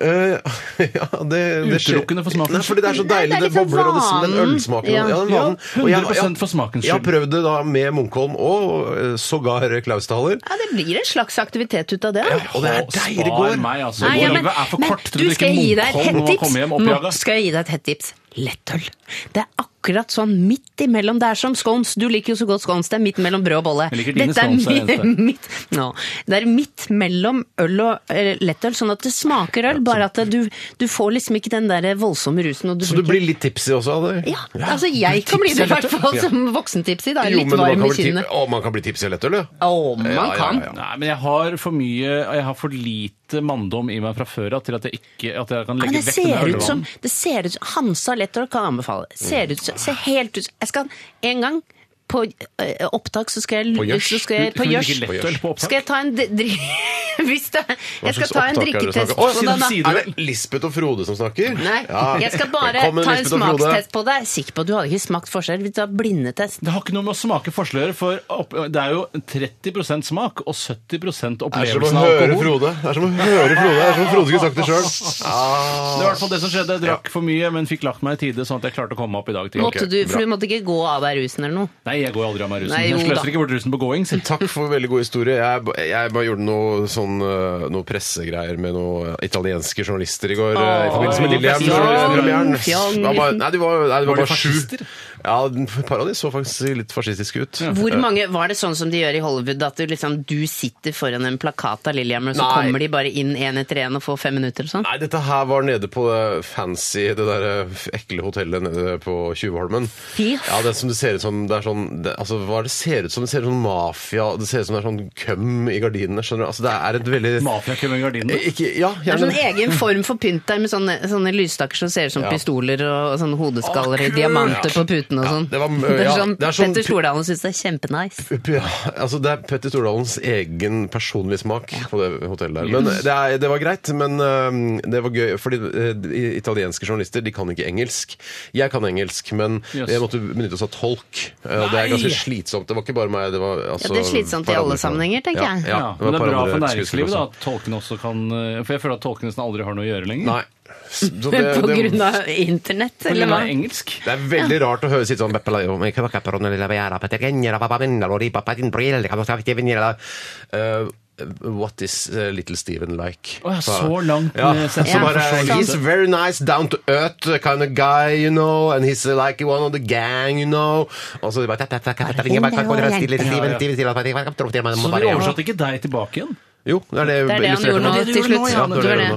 Speaker 2: Eh, ja, det, det skjer.
Speaker 4: Utelukkende for smakens
Speaker 2: Nei, fordi det er så
Speaker 3: Nei,
Speaker 2: deilig,
Speaker 3: det er
Speaker 2: det,
Speaker 3: liksom
Speaker 2: bobler og det, den
Speaker 3: vanen.
Speaker 2: ølsmaken.
Speaker 3: Ja.
Speaker 2: den
Speaker 4: Ja,
Speaker 2: vanen. Og jeg-
Speaker 4: 100% for smakens
Speaker 2: Jeg har
Speaker 4: skyld.
Speaker 2: prøvd det da med Munkholm og eh, sågar Klausthaler.
Speaker 3: Ja, det blir en slags aktivitet ut av det. da.
Speaker 2: Og det er
Speaker 4: Å,
Speaker 2: deilig det
Speaker 4: spar
Speaker 2: går.
Speaker 4: meg, altså.
Speaker 3: Nei, ja, men-
Speaker 4: Livet er for
Speaker 3: men
Speaker 4: kort til
Speaker 3: du,
Speaker 4: å drikke
Speaker 3: skal jeg gi deg et
Speaker 4: Munkholm og
Speaker 3: hett tips?
Speaker 4: komme hjem
Speaker 3: Nå
Speaker 4: oppjaga.
Speaker 3: skal jeg gi deg et hett tips. Lettøl. Det er akkurat sånn midt imellom. Det er som scones. Du liker jo så godt scones. Det er midt mellom brød og bolle.
Speaker 4: Jeg liker dine scones, det er det
Speaker 3: mi- midt, nå, det er midt mellom øl og eh, lettøl, sånn at det smaker øl, bare at du, du får liksom ikke den der voldsomme rusen. Og du
Speaker 2: Så du blir litt tipsy også av det?
Speaker 3: Ja, altså jeg kan bli det i hvert fall som voksentipsy. Da.
Speaker 2: Jo,
Speaker 3: Litt
Speaker 2: men man
Speaker 3: varm
Speaker 2: kan,
Speaker 3: i
Speaker 2: bli tip-
Speaker 3: kinnet.
Speaker 2: å, man kan bli tipsy av lettøl, ja.
Speaker 3: Å, man
Speaker 2: ja,
Speaker 3: kan.
Speaker 2: ja.
Speaker 4: Nei, men jeg har for mye Jeg har for lite manndom i meg fra før av til at jeg ikke at jeg kan
Speaker 3: Men
Speaker 4: legge
Speaker 3: det
Speaker 4: vekk den
Speaker 3: ser ut som
Speaker 4: ølvanen.
Speaker 3: det ser ut som, Hansa Lettøl kan jeg anbefale. Ser ut som, ser helt ut som Jeg skal en gang på eh, opptak, så skal jeg
Speaker 2: På gjørs?
Speaker 3: så skal jeg, på
Speaker 4: Skal vi
Speaker 3: gjørs.
Speaker 4: drikke lettøl på opptak?
Speaker 3: Skal jeg ta en d- dri... Hvis det Jeg skal ta en drikketest
Speaker 2: på
Speaker 3: på deg, da.
Speaker 2: Er det Lisbeth og Frode som snakker?
Speaker 3: Nei,
Speaker 2: Ja.
Speaker 3: jeg skal bare
Speaker 2: Velkommen,
Speaker 3: ta en
Speaker 2: Lisbeth og Frode.
Speaker 3: smakstest på deg. Sikker på at du hadde ikke smakt forskjell. Vi tar blindetest.
Speaker 4: Det har ikke noe med å smake forskjell å gjøre, for opp, det er jo 30 smak og 70
Speaker 2: Det er som
Speaker 4: opplevelsen
Speaker 2: å
Speaker 4: av
Speaker 2: høre
Speaker 4: alkohol.
Speaker 2: Frode. Det er som å høre Frode. Det er som Frode skulle sagt det sjøl.
Speaker 4: Det var i hvert fall det som skjedde. Jeg drakk for mye, men fikk lagt meg i tide, sånn at jeg klarte å komme meg opp i dag. Til.
Speaker 3: Måtte du, for du måtte ikke gå av deg rusen eller noe.
Speaker 4: Nei, jeg går aldri av meg rusen.
Speaker 3: Nei, jo
Speaker 4: jeg
Speaker 3: da.
Speaker 4: sløser ikke bort rusen på going. sier jeg.
Speaker 2: Takk for veldig god historie. Jeg, ba- jeg bare gjorde noe, sånn, eh, noe pressegreier med noen italienske journalister i går eh, i forbindelse med
Speaker 3: fjong,
Speaker 2: Lillehammer-premieren.
Speaker 3: fjong.
Speaker 2: Det var bare- Nei, de var, nei, de
Speaker 4: Var
Speaker 2: var
Speaker 4: de
Speaker 2: bare sju.
Speaker 4: fascister?
Speaker 2: Ja, et par av de så faktisk litt fascistiske ut.
Speaker 3: Hvor mange, Var det sånn som de gjør i Hollywood, at du, liksom, du sitter foran en plakat av Lillehammer, og så
Speaker 2: Nei.
Speaker 3: kommer de bare inn én etter én og får fem minutter og sånn?
Speaker 2: Nei, dette her var nede på det fancy, det der eh, ekle hotellet nede på Tjuvholmen.
Speaker 3: Fy.
Speaker 2: Ja, det som det ser ut som det er sånn det, Altså, hva er det ser ut som? Det ser ut som mafia, det ser ut som det er sånn køm i gardinene, skjønner du? Altså, det er et veldig Eh,
Speaker 4: Mafiakøm i gardinene.
Speaker 2: Ikke Ja,
Speaker 3: Det er
Speaker 2: gjerne.
Speaker 3: sånn egen form for pynt der, med sånne, sånne lysstakker som ser ut som pistoler og sånne hodeskaller i
Speaker 2: Å, kult!
Speaker 3: diamanter på putene og
Speaker 2: Ja,
Speaker 3: sånn.
Speaker 2: det var-
Speaker 3: det er
Speaker 2: ja,
Speaker 3: sånn
Speaker 2: det er sånn-
Speaker 3: Petter Stordalen syns det er kjempenice.
Speaker 2: Ja, altså Det er Petter Stordalens egen personlige smak på det hotellet der. Men eh, det, er, det var greit, men øhm, det var gøy, fordi øh, de italienske journalister de kan ikke engelsk. Jeg kan engelsk, men
Speaker 4: Jøs.
Speaker 2: jeg måtte benytte oss av tolk. Eh, og Det er ganske slitsomt. Det var ikke bare meg. Det, var, altså,
Speaker 3: Ja, det er slitsomt i
Speaker 2: par
Speaker 3: alle
Speaker 2: andre-
Speaker 3: sammenhenger, tenker jeg.
Speaker 2: Ja,
Speaker 4: Ja,
Speaker 2: ja,
Speaker 4: men det
Speaker 2: var et par
Speaker 4: er bra for
Speaker 2: andre
Speaker 4: næringslivet
Speaker 2: skuespillere
Speaker 4: da,
Speaker 2: også.
Speaker 4: at tolkene også kan eh, For jeg føler at tolkene nesten aldri har noe å gjøre lenger.
Speaker 2: Nei. Så det,
Speaker 3: På
Speaker 2: det,
Speaker 3: grunn av internett,
Speaker 4: På
Speaker 3: eller
Speaker 4: grunn
Speaker 3: hva?
Speaker 4: av engelsk.
Speaker 2: det er veldig rart å høre sitt sånn Eh, What is eh, Little Steven like?
Speaker 4: Å ja, så langt
Speaker 2: Ja.
Speaker 4: med
Speaker 2: Så
Speaker 4: sensor.
Speaker 2: bare,
Speaker 4: Forstår
Speaker 2: he's
Speaker 4: litt.
Speaker 2: very nice, down to earth kind of guy, you know, and he's like one of the gang, you know. Og så bare
Speaker 4: Så de oversatte ikke deg tilbake igjen?
Speaker 2: Jo, det er det,
Speaker 3: Det er det han
Speaker 2: illustrerte
Speaker 3: gjorde nå
Speaker 2: meg.
Speaker 3: til slutt.
Speaker 2: Ja, det var det jeg gjorde nå.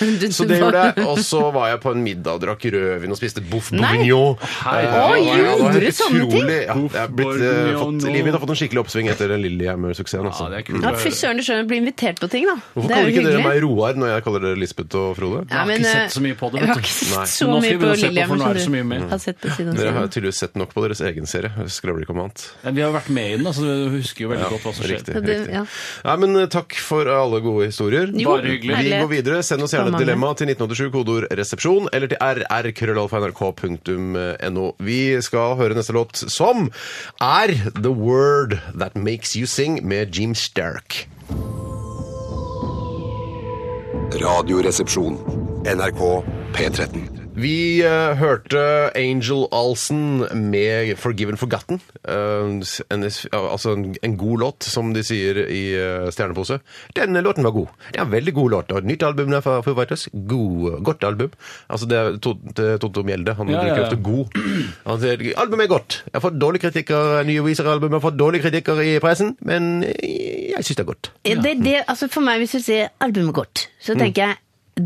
Speaker 3: Du-
Speaker 2: Så det gjorde jeg, og så var jeg på en middag og drakk rødvin og spiste boff
Speaker 3: Nei.
Speaker 2: bourguignon.
Speaker 4: Hei.
Speaker 2: Eh,
Speaker 4: Oi,
Speaker 2: ja, det var
Speaker 3: gjorde
Speaker 2: helt
Speaker 3: du sånne ting?
Speaker 2: utrolig. Ja,
Speaker 4: Bouffe
Speaker 2: jeg har blitt, eh, fått,
Speaker 4: bourguignon.
Speaker 2: livet mitt har fått en skikkelig oppsving etter den Lillehammer-suksessen.
Speaker 4: Ja,
Speaker 2: Altså.
Speaker 4: det er kult.
Speaker 3: Ja, Fy søren, du skjønner, blir invitert på ting, da.
Speaker 2: Hvorfor
Speaker 3: Det er
Speaker 2: kaller
Speaker 3: jo
Speaker 2: ikke dere
Speaker 3: hyggelig.
Speaker 2: meg Roar når jeg kaller dere Lisbeth og Frode?
Speaker 4: har ikke
Speaker 3: eh,
Speaker 4: sett så mye på det,
Speaker 3: Jeg
Speaker 4: vet
Speaker 3: har
Speaker 4: du.
Speaker 3: ikke sett
Speaker 2: Nei.
Speaker 3: så
Speaker 4: Nå skal
Speaker 3: mye på
Speaker 4: vi begynne å se på, for nå
Speaker 3: Lillehammer
Speaker 4: er det så
Speaker 3: som
Speaker 4: mye mer.
Speaker 3: du har sett på siden
Speaker 2: Dere har
Speaker 3: siden.
Speaker 2: tydeligvis sett nok på deres egen serie. Skravlekommand.
Speaker 4: Ja, vi har jo vært med i den, da, så du husker jo veldig godt hva som
Speaker 2: Riktig.
Speaker 4: skjer.
Speaker 3: Så det-
Speaker 2: riktig.
Speaker 3: ja.
Speaker 2: Nei, men eh, Takk for alle gode historier.
Speaker 3: Jo,
Speaker 4: Bare hyggelig.
Speaker 2: Vi
Speaker 3: herlighet.
Speaker 2: går videre. Send oss gjerne et
Speaker 3: Så mange.
Speaker 2: dilemma til 1987, kodeord 'resepsjon', eller til rr.krøllalfa.nrk.no. Vi skal høre neste låt, som er 'The Word That Makes You Sing' med Jim Sterk.
Speaker 7: Radioresepsjon. NRK P13.
Speaker 2: Vi eh, hørte Angel Alsen med 'Forgiven Forgotten'. Eh, en, altså en, en god låt, som de sier i eh, Stjernepose. Denne låten var god. Det er en veldig god låt. Og et nytt album der fra Foo Fighters. God, eh, godt album. Altså det er Tot- eh, Totto Mjelde. Han
Speaker 4: Ja, ja,
Speaker 2: bruker
Speaker 4: ja.
Speaker 2: ofte 'god'. Han sier 'albumet er godt'. Jeg har fått dårlige kritikker, nye viseralbum, jeg har fått dårlige kritikker i pressen, men eh, jeg syns det er godt.
Speaker 3: Ja, Det, det, altså for meg, hvis du sier albumet godt, så
Speaker 2: Mm.
Speaker 3: tenker jeg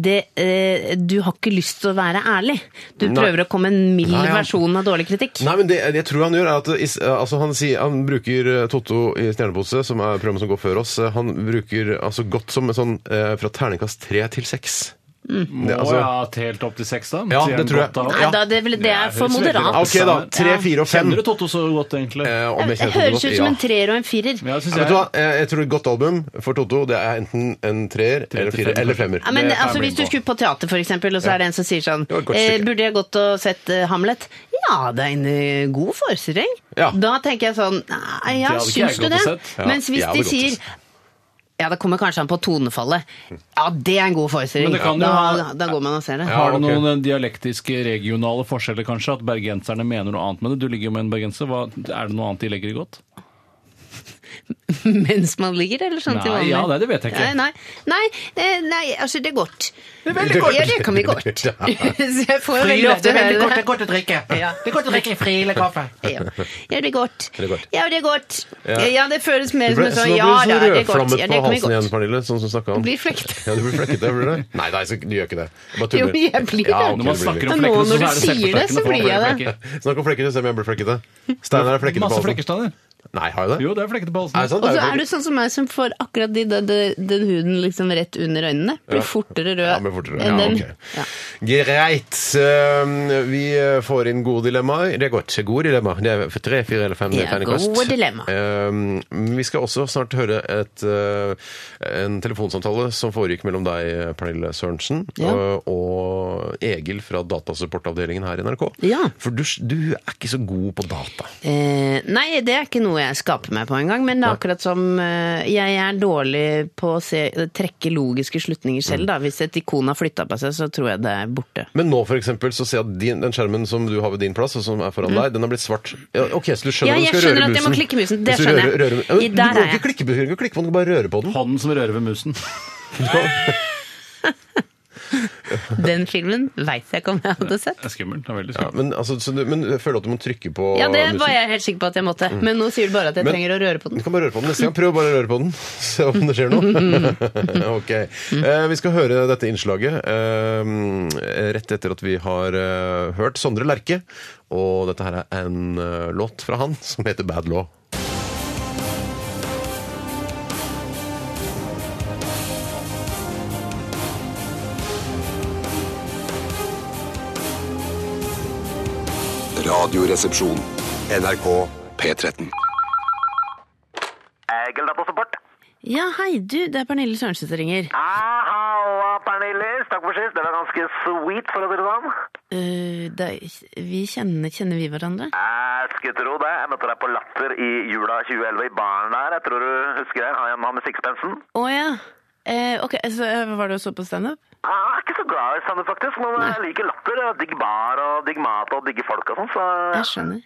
Speaker 3: det, eh, du har ikke lyst til å være ærlig. Du
Speaker 2: Nei.
Speaker 3: prøver å komme en mild
Speaker 2: Nei, han-
Speaker 3: versjon av dårlig kritikk.
Speaker 2: Nei, men det, det jeg tror han gjør er at is- altså han, sier, han bruker eh, Totto i Stjernepose, som er programmet som går før oss, eh, han bruker altså godt som en sånn eh, fra terningkast tre til seks. Det,
Speaker 4: Må
Speaker 2: altså-
Speaker 4: jeg ha telt opp til seks, da?
Speaker 2: Ja,
Speaker 4: Sier
Speaker 2: det
Speaker 4: han
Speaker 2: tror jeg.
Speaker 4: godt, da?
Speaker 3: Nei,
Speaker 2: Ja.
Speaker 3: da, det, vil- det er for
Speaker 4: høres veldig
Speaker 3: moderat.
Speaker 4: rart ut.
Speaker 2: Ok, da. Tre,
Speaker 3: Ja.
Speaker 2: fire og fem.
Speaker 4: Kjenner du Totto så godt, egentlig?
Speaker 2: Eh, om jeg
Speaker 3: Det
Speaker 2: kjenner Totto
Speaker 3: høres
Speaker 2: godt?
Speaker 3: ut som
Speaker 2: Ja.
Speaker 3: en treer og en firer.
Speaker 4: Ja, det
Speaker 2: Ja,
Speaker 4: synes
Speaker 2: vet du hva?
Speaker 4: jeg.
Speaker 2: Eh, Jeg tror et godt album for Totto det er enten en treer,
Speaker 4: Tre til
Speaker 2: eller en firer,
Speaker 4: fem.
Speaker 2: eller femmer.
Speaker 3: Ja, men
Speaker 4: Det er
Speaker 3: altså,
Speaker 4: jeg
Speaker 3: Hvis
Speaker 4: med
Speaker 3: du
Speaker 4: på.
Speaker 3: skulle på teater, for eksempel, og så er det en som sier sånn
Speaker 2: var et godt
Speaker 3: eh,
Speaker 2: stykke.
Speaker 3: Burde jeg gått og sett eh, Hamlet? Ja, det er en eh, god forestilling.
Speaker 2: Ja.
Speaker 3: Da tenker jeg sånn Nei, ja,
Speaker 4: hadde ikke jeg
Speaker 3: syns du det?
Speaker 4: gått og sett.
Speaker 2: Ja,
Speaker 3: Mens hvis
Speaker 2: jeg hadde gått
Speaker 3: de
Speaker 2: og
Speaker 3: sier
Speaker 2: sett.
Speaker 3: ja, Ja, det kommer kanskje an på tonefallet. Ja, det er en god
Speaker 4: Men
Speaker 3: forestilling.
Speaker 4: det kan jo
Speaker 3: Da,
Speaker 4: ha-
Speaker 3: da går man og ser det.
Speaker 2: Ja.
Speaker 4: Har du
Speaker 2: ok.
Speaker 4: noen eh, dialektiske, regionale forskjeller, kanskje? At bergenserne mener noe annet med det? Du ligger jo med en bergenser. Hva, er det noe annet de legger i godt?
Speaker 3: Mens man ligger, eller sånn til
Speaker 4: Nei,
Speaker 3: vanlig.
Speaker 4: ja, nei, det vet jeg ikke.
Speaker 3: Nei, nei, nei, eh, nei altså, det er godt. Det er
Speaker 2: veldig godt.
Speaker 3: Ja, det kan bli godt.
Speaker 2: Ja.
Speaker 3: Så jeg får
Speaker 5: Friluft,
Speaker 3: veldig
Speaker 5: det
Speaker 3: ofte
Speaker 5: er veldig
Speaker 3: høre
Speaker 5: godt, det
Speaker 3: det.
Speaker 5: er godt å drikke.
Speaker 3: Ja.
Speaker 5: Det er godt å drikke i frile kaffe.
Speaker 3: Ja, ja, det er godt.
Speaker 2: Det er godt.
Speaker 3: Ja, det er godt. Ja, det føles mer
Speaker 2: Du
Speaker 3: som
Speaker 2: ble
Speaker 3: en
Speaker 2: så
Speaker 3: sånn ja da, det er godt.
Speaker 2: rødflammet på
Speaker 3: Ja, det kan bli
Speaker 2: halsen igjen,
Speaker 3: godt.
Speaker 2: Pernille. Sånn som du snakket om.
Speaker 3: Blir flekket.
Speaker 2: Ja, du blir flekket, det blir det. Nei, nei, så, du gjør ikke det. Jeg Bare
Speaker 3: Jo,
Speaker 2: tuller.
Speaker 3: jeg blir
Speaker 2: Ja,
Speaker 3: det.
Speaker 2: ok,
Speaker 4: Når man
Speaker 2: du blir
Speaker 4: snakker
Speaker 3: det.
Speaker 4: om
Speaker 3: Nå
Speaker 4: flekkene,
Speaker 3: når
Speaker 4: så er
Speaker 3: du
Speaker 4: det
Speaker 3: sier det, så
Speaker 4: selvforsterkende.
Speaker 3: blir jeg
Speaker 4: flekker.
Speaker 2: Snakk om flekkete, se om jeg blir flekkete. Steinar er flekkete på
Speaker 4: Masse
Speaker 2: halsen.
Speaker 4: flekkestander.
Speaker 2: Nei, har jeg det?
Speaker 4: Jo, det er flekkete på
Speaker 2: Er det
Speaker 4: halsen.
Speaker 2: sant?
Speaker 3: Og så
Speaker 2: jo
Speaker 3: er du
Speaker 2: flekkete.
Speaker 3: sånn som meg som får akkurat de, de, de, den huden liksom rett under øynene. Blir fortere rød
Speaker 2: Ja, men fortere. Ja,
Speaker 3: enn den.
Speaker 2: ok.
Speaker 3: Ja.
Speaker 2: Greit. Um, Vi eh, får inn gode dilemmaer. Det er godt. Gode dilemmaer. Det er tre, fire eller fem. det
Speaker 3: Ja,
Speaker 2: er terningkast.
Speaker 3: gode dilemmaer.
Speaker 2: Um, Vi skal også snart høre et, eh, en telefonsamtale som foregikk mellom deg, Pernille Sørensen,
Speaker 3: Ja.
Speaker 2: og- og Egil fra datasupportavdelingen her i NRK.
Speaker 3: Ja.
Speaker 2: For du, du er ikke så god på data.
Speaker 3: Eh, nei, det er ikke noe jeg skaper meg på engang, men det er akkurat som eh, jeg er dårlig på å se, trekke logiske slutninger selv, da. Hvis et ikon har flytta på seg, så tror jeg det er borte.
Speaker 2: Men nå for eksempel, så ser jeg at din, den skjermen som du har ved din plass, og som er foran deg, den har blitt svart. Ja, ok, så du skjønner at
Speaker 3: Mm. Ja, jeg
Speaker 2: du skal
Speaker 3: skjønner
Speaker 2: røre
Speaker 3: at
Speaker 2: musen.
Speaker 3: jeg må klikke musen. Det
Speaker 2: Hvis du
Speaker 3: skjønner jeg.
Speaker 2: rører- rører- Ja, men
Speaker 3: I-
Speaker 2: du
Speaker 3: der
Speaker 2: kan
Speaker 3: er
Speaker 2: ikke
Speaker 3: jeg.
Speaker 2: klikke, du kan ikke klikke på den, du kan bare røre på den.
Speaker 4: Hånden som rører ved musen.
Speaker 3: Den filmen veit jeg ikke om jeg hadde sett.
Speaker 4: Det er skummelt. Det er veldig
Speaker 2: Ja,
Speaker 4: skummelt.
Speaker 2: men, altså, så du, men jeg føler at du må trykke på
Speaker 3: Ja, det
Speaker 2: musen.
Speaker 3: var jeg helt sikker på at jeg måtte, men nå sier du bare at jeg
Speaker 2: Men-
Speaker 3: trenger å røre på
Speaker 2: Du
Speaker 3: den.
Speaker 2: kan bare røre på den neste gang. Prøv bare å røre på den. Se om det skjer noe. ok. Eh, vi skal høre dette innslaget eh, rett etter at vi har eh, hørt Sondre Lerche. Og dette her er en eh, låt fra han som heter Bad Law.
Speaker 7: Radioresepsjon. NRK P13.
Speaker 8: Egil-datasupport.
Speaker 3: Ja, hei du, det er Pernille Sørensen som ringer.
Speaker 8: Halla, Pernillis. Takk for sist. Det var ganske sweet, for å si det sånn.
Speaker 3: Eh, det, er- vi kjenner, kjenner vi hverandre?
Speaker 8: Jeg skulle tro det. Jeg møtte deg på Latter i jula 2011 i baren der. Jeg tror du husker det. Han jeg med sixpensen.
Speaker 3: Å ja. Eh, ok, så eh, var det å så på standup?
Speaker 8: Jeg er ikke så glad i standup, faktisk, men jeg liker Latter. og Digg bar og digg mat og digge folk og sånn, så
Speaker 3: Jeg skjønner.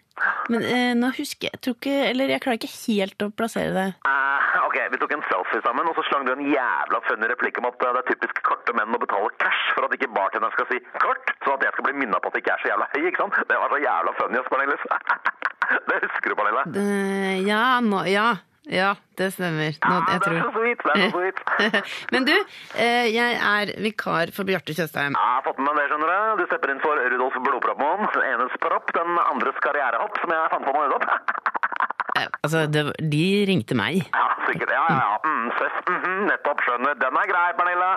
Speaker 3: Men eh, nå husker jeg jeg tror ikke, Eller jeg klarer ikke helt å plassere deg.
Speaker 8: Eh, ok, vi tok en selfie sammen, og så slang du en jævla funny replikk om at eh, det er typisk korte menn å betale cash for at ikke bartenderen skal si kort, sånn at jeg skal bli minnet på at jeg ikke er så jævla høy, ikke sant? Det var så jævla funny, ass, Pernille. Det husker du, Pernille.
Speaker 3: Eh, ja, nå Ja. Ja, det stemmer. Nå,
Speaker 8: Ah,
Speaker 3: jeg
Speaker 8: det er så
Speaker 3: tror.
Speaker 8: sweet, det er så sweet.
Speaker 3: Men du, eh, jeg er vikar for Bjarte Tjøstheim.
Speaker 8: Jeg har fått med meg det, skjønner du. Du stepper inn for Rudolf Blodproppmån. Den enes propp, den andres karrierehopp, som jeg fant på nå nettopp.
Speaker 3: Eh, altså, det, var- de ringte meg.
Speaker 8: Ja, sikkert. Ja, ja, ja. Mm, søs. Mhm, nettopp, skjønner. Den er grei, Pernille.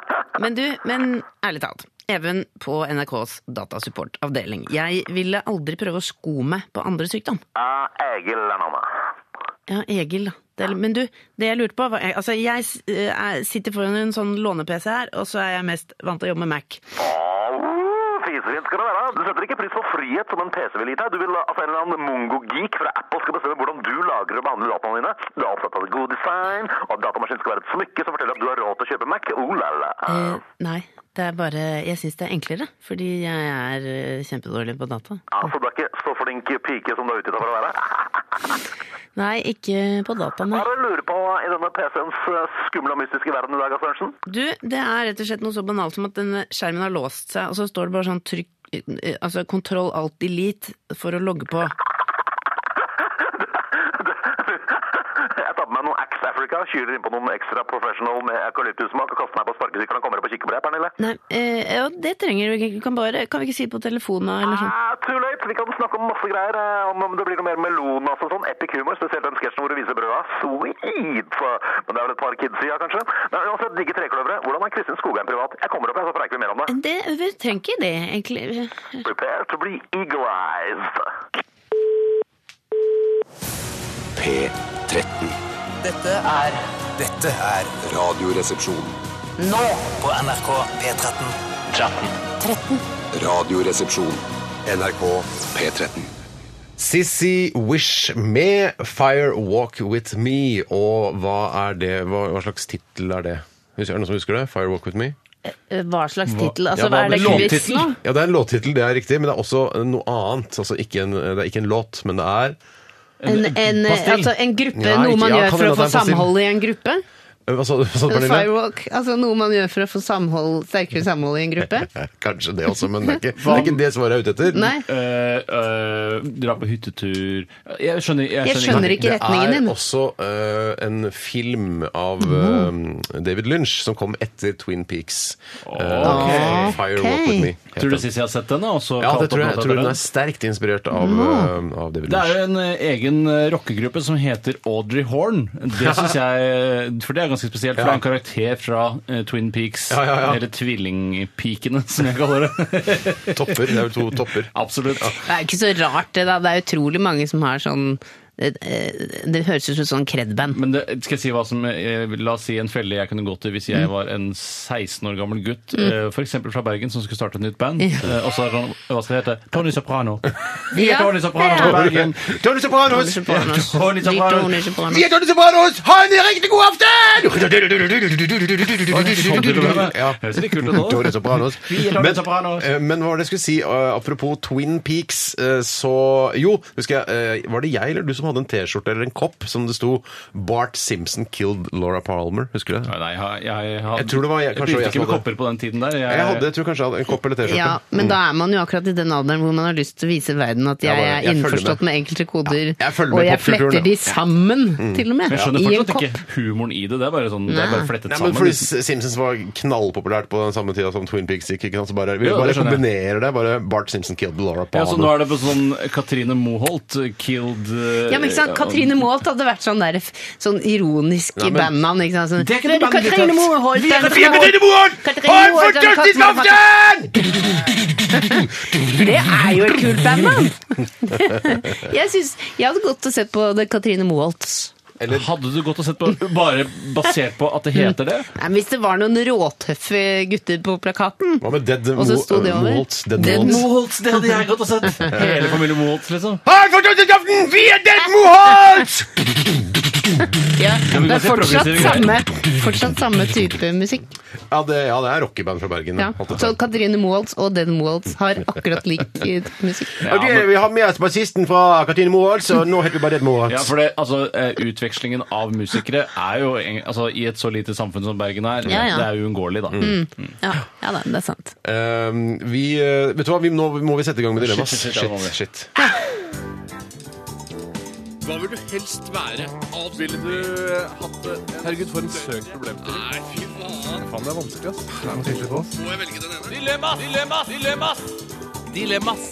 Speaker 3: Men du, men ærlig talt. Even på NRKs datasupportavdeling. Jeg ville aldri prøve å sko meg på andres sykdom.
Speaker 8: Ja, Egil er navnet.
Speaker 3: Ja, Egil, da. Det er, men du, det jeg lurte på var Altså, jeg s- eh, er- sitter foran en sånn låne-PC her, og så er jeg mest vant til å jobbe med Mac.
Speaker 8: Åh, Fisefint skal det være. Du setter ikke pris på frihet som en PC vil gi deg. Du vil at en eller annen mongo-geek fra Apple skal bestemme hvordan du lager og behandler dataene dine. Du er opptatt av god design, og at datamaskinen skal være et smykke som forteller at du har råd til å kjøpe Mac. Oh, la, la.
Speaker 3: Eh, nei, det er bare Jeg syns det er enklere, fordi jeg er eh, kjempedårlig på data.
Speaker 8: Altså, du er ikke så flink pike som du er ute etter å være.
Speaker 3: Nei, ikke på data,
Speaker 8: Hva
Speaker 3: nei.
Speaker 8: er det du lurer på i denne PC-ens eh, skumle og mystiske verden i dag, Sørensen?
Speaker 3: Du, det er rett og slett noe så banalt som at denne skjermen har låst seg, og så står det bare sånn trykk eh, Altså kontroll alt delete for å logge på.
Speaker 8: Jeg tar på meg noen Axe Africa, kyler innpå noen ekstra professional med eukalyptussmak og kaster meg på sparkesykkelen og kommer opp og kikker på deg, Pernille.
Speaker 3: Nei, eh, ja, det trenger du ikke. Du Kan, bare, kan vi ikke si det på telefonen eller sånn?
Speaker 8: Ah, too late! Vi kan snakke om masse greier. eh, Om om det blir noe mer melon og sånn. Epic humor, spesielt den sketsjen hvor du viser brøda. Sweet! Så, Men det er vel et par kids i, ja, kanskje? Men uansett, digge trekløvere. Hvordan er Kristin Skogheim privat? Jeg kommer opp, jeg, så preiker vi mer om det.
Speaker 3: Det, vi trenger ikke det, egentlig.
Speaker 2: Mm.
Speaker 8: Prepare to be eagle-eyed.
Speaker 7: P13.
Speaker 9: Dette er
Speaker 10: Dette er
Speaker 7: Radioresepsjon.
Speaker 9: nå på NRK P13.
Speaker 7: Radioresepsjon. NRK P13.
Speaker 2: Sissy Wish med 'Fire Walk With Me'. Og hva er det? Hva, hva slags tittel er det? Husker, er det noen som husker det? 'Fire Walk With Me'?
Speaker 3: Eh, Hva slags tittel?
Speaker 2: Ja,
Speaker 3: Altså, hva er det
Speaker 2: med
Speaker 3: quiz
Speaker 2: låttittel?
Speaker 3: nå?
Speaker 2: Ja, det er en låttittel, det er riktig. Men det er også noe annet. Altså, ikke en, det er ikke en låt, men det er
Speaker 3: En, en,
Speaker 4: Pastill.
Speaker 3: altså, en gruppe,
Speaker 2: Ja,
Speaker 3: noe
Speaker 2: riktig.
Speaker 3: man
Speaker 2: Ja,
Speaker 3: gjør
Speaker 2: kan
Speaker 3: for
Speaker 2: hende
Speaker 3: å
Speaker 2: at det
Speaker 3: få
Speaker 2: er pastill.
Speaker 3: samhold i en gruppe?
Speaker 2: Eh, Hva sa hva sa du,
Speaker 3: En
Speaker 2: Pernille?
Speaker 3: Firewalk, altså noe man gjør for å få samhold, sterkere samhold i en gruppe?
Speaker 2: Kanskje det også, men det er ikke det, er ikke det svaret jeg er ute etter.
Speaker 3: Nei,
Speaker 4: Eh, eh, dra på hyttetur Jeg skjønner,
Speaker 3: jeg skjønner ikke retningen
Speaker 2: Det
Speaker 3: din.
Speaker 2: er også eh, en film av eh, David Lynch som kom etter Twin Peaks. Eh, Fire Walk With Me. het
Speaker 4: Tror du
Speaker 2: den.
Speaker 4: Sissy har sett den? da, og så
Speaker 2: Ja,
Speaker 4: kalt
Speaker 2: det tror jeg.
Speaker 4: opp noe
Speaker 2: Jeg tror
Speaker 4: etter
Speaker 2: den
Speaker 4: den?
Speaker 2: er sterkt inspirert av, eh, av David
Speaker 4: Det er
Speaker 2: Lynch.
Speaker 4: jo en eh, egen eh, rockegruppe som heter Audrey Horn. Det synes jeg eh, For det er ganske spesielt, for det er en karakter fra eh, Twin Peaks.
Speaker 2: Ja, ja, ja.
Speaker 4: Eller Tvillingpikene, som jeg kaller det.
Speaker 2: Topper. Det er jo to topper.
Speaker 4: Absolutt.
Speaker 3: Det er ikke så rart det, da. Det er utrolig mange som har sånn eh, eh, Det høres ut som et sånn cred-band.
Speaker 4: Men det, skal jeg si hva som eh, La oss si en felle jeg kunne gått i hvis
Speaker 2: Mm.
Speaker 4: jeg var en 16 år gammel gutt, eh, for f.eks. fra Bergen, som skulle starte et nytt band. Eh, Og så er det sånn Hva skal det hete? Tony Soprano. Vi er
Speaker 3: Ja.
Speaker 4: Tony Soprano fra Bergen.
Speaker 2: Tony Sopranos!
Speaker 3: Tony Sopranos.
Speaker 4: Ja, Tony
Speaker 3: De
Speaker 4: Sopranos.
Speaker 3: Tony Sopranos.
Speaker 2: Vi er Tony Sopranos! Ha en riktig god aften!
Speaker 4: Sånn til og med.
Speaker 2: Ja.
Speaker 4: Høres litt kult ut nå.
Speaker 2: Tony Sopranos.
Speaker 4: Vi er Tony
Speaker 2: Men,
Speaker 4: Sopranos.
Speaker 2: eh, men hva var det jeg skulle si? eh, Apropos Twin Peaks, eh, så Jo, husker jeg eh, Var det jeg eller du som hadde en T-skjorte eller en kopp som det sto 'Bart Simpson killed Laura Palmer'? Husker du det?
Speaker 4: Nei, jeg, jeg, jeg,
Speaker 2: Jeg tror det var jeg- kanskje det var jeg som
Speaker 4: brukte ikke med
Speaker 2: hadde-
Speaker 4: kopper på den tiden der.
Speaker 2: Jeg hadde, jeg tror kanskje jeg hadde en kopp eller T-skjorte.
Speaker 3: Ja, men da er man jo akkurat i den alderen hvor man har lyst til å vise verden at jeg,
Speaker 2: Jeg Mm. bare- jeg
Speaker 3: er
Speaker 2: følger med.
Speaker 3: innforstått med enkelte koder,
Speaker 2: jeg følger
Speaker 3: og
Speaker 2: med
Speaker 3: jeg
Speaker 2: popkulturen,
Speaker 3: fletter
Speaker 2: ja. Mm.
Speaker 3: de sammen, til og med.
Speaker 4: Men jeg skjønner
Speaker 3: I en
Speaker 4: fortsatt
Speaker 3: kopp.
Speaker 4: ikke humoren i det. Det er bare, sånn, det er bare flettet
Speaker 2: Nei, men
Speaker 4: sammen. liksom.
Speaker 2: fordi Simpsons var knallpopulært på den samme tida som Twin Peaks gikk. ikke sant? Så bare, vi
Speaker 4: Jo,
Speaker 2: bare
Speaker 4: det skjønner jeg.
Speaker 2: kombinerer det. bare Bart Simpson killed Laura
Speaker 4: ja,
Speaker 2: Palmer.
Speaker 4: så nå er det på sånn Katrine Moholt eh, killed eh,
Speaker 3: Ja, men ikke sant? Katrine Moholt hadde vært sånn, der, sånn ironisk
Speaker 2: Nei,
Speaker 3: i
Speaker 2: men-
Speaker 3: bandnavn. ikke sant? Sånn,
Speaker 4: Det er ikke noe
Speaker 3: «Vet du,
Speaker 4: band i det
Speaker 3: Katrine
Speaker 4: tatt.
Speaker 3: Moholt!
Speaker 2: Vi er fire
Speaker 3: den som har-
Speaker 2: Katrine Moholt!
Speaker 3: Katrine
Speaker 2: Ha en
Speaker 3: Moholt, den
Speaker 2: fortørket
Speaker 3: katten har-
Speaker 2: aften!
Speaker 3: Det er jo et kult bandnavn! jeg, synes, jeg hadde godt å se på det Katrine Moholts.
Speaker 4: eh, Hadde du gått og sett på bare basert på at det heter det?
Speaker 3: Nei, men hvis det var noen råtøffe gutter på plakaten
Speaker 2: Hva med Dead
Speaker 3: Og så sto de over.
Speaker 2: Moholts? Dead
Speaker 3: Dead
Speaker 2: Moholts.
Speaker 4: Moholts, det hadde jeg gått og sett! Hele familien Moholts, liksom.
Speaker 2: Ha en fortørket aften! Vi er Dead Moholts!
Speaker 3: ja, Det er
Speaker 4: men det er
Speaker 3: fortsatt
Speaker 4: progressive
Speaker 3: samme, fortsatt samme type musikk.
Speaker 2: Ja, det, ja, det er rockeband fra Bergen.
Speaker 3: Ja.
Speaker 2: holdt jeg på.
Speaker 3: Så Katrine Moholts og Den Moholts har akkurat lik eh, musikk.
Speaker 2: Ok, Vi har med oss bassisten fra Katrine Moholts, og nå heter vi bare Dead Moholts.
Speaker 4: Ja, for det, altså, eh, Utvekslingen av musikere er jo en- altså, I et så lite samfunn som Bergen er,
Speaker 3: Ja, ja. Mm.
Speaker 4: det er uunngåelig, da.
Speaker 3: Ja, ja da, det er sant.
Speaker 2: Ehm, vi, eh, vet du hva, vi, nå må vi sette i gang med dilemmas.
Speaker 4: Shit, shit, shit, ja, nå må vi.
Speaker 2: shit.
Speaker 1: Hva vil du helst være? Ville du hatt det? Herregud, for en søk problemstilling. Nei, fy faen. Faen, det er vanskelig, ass. Må jeg velge den ene?
Speaker 9: Dilemmas! Dilemmas! Dilemmas! Dilemmas!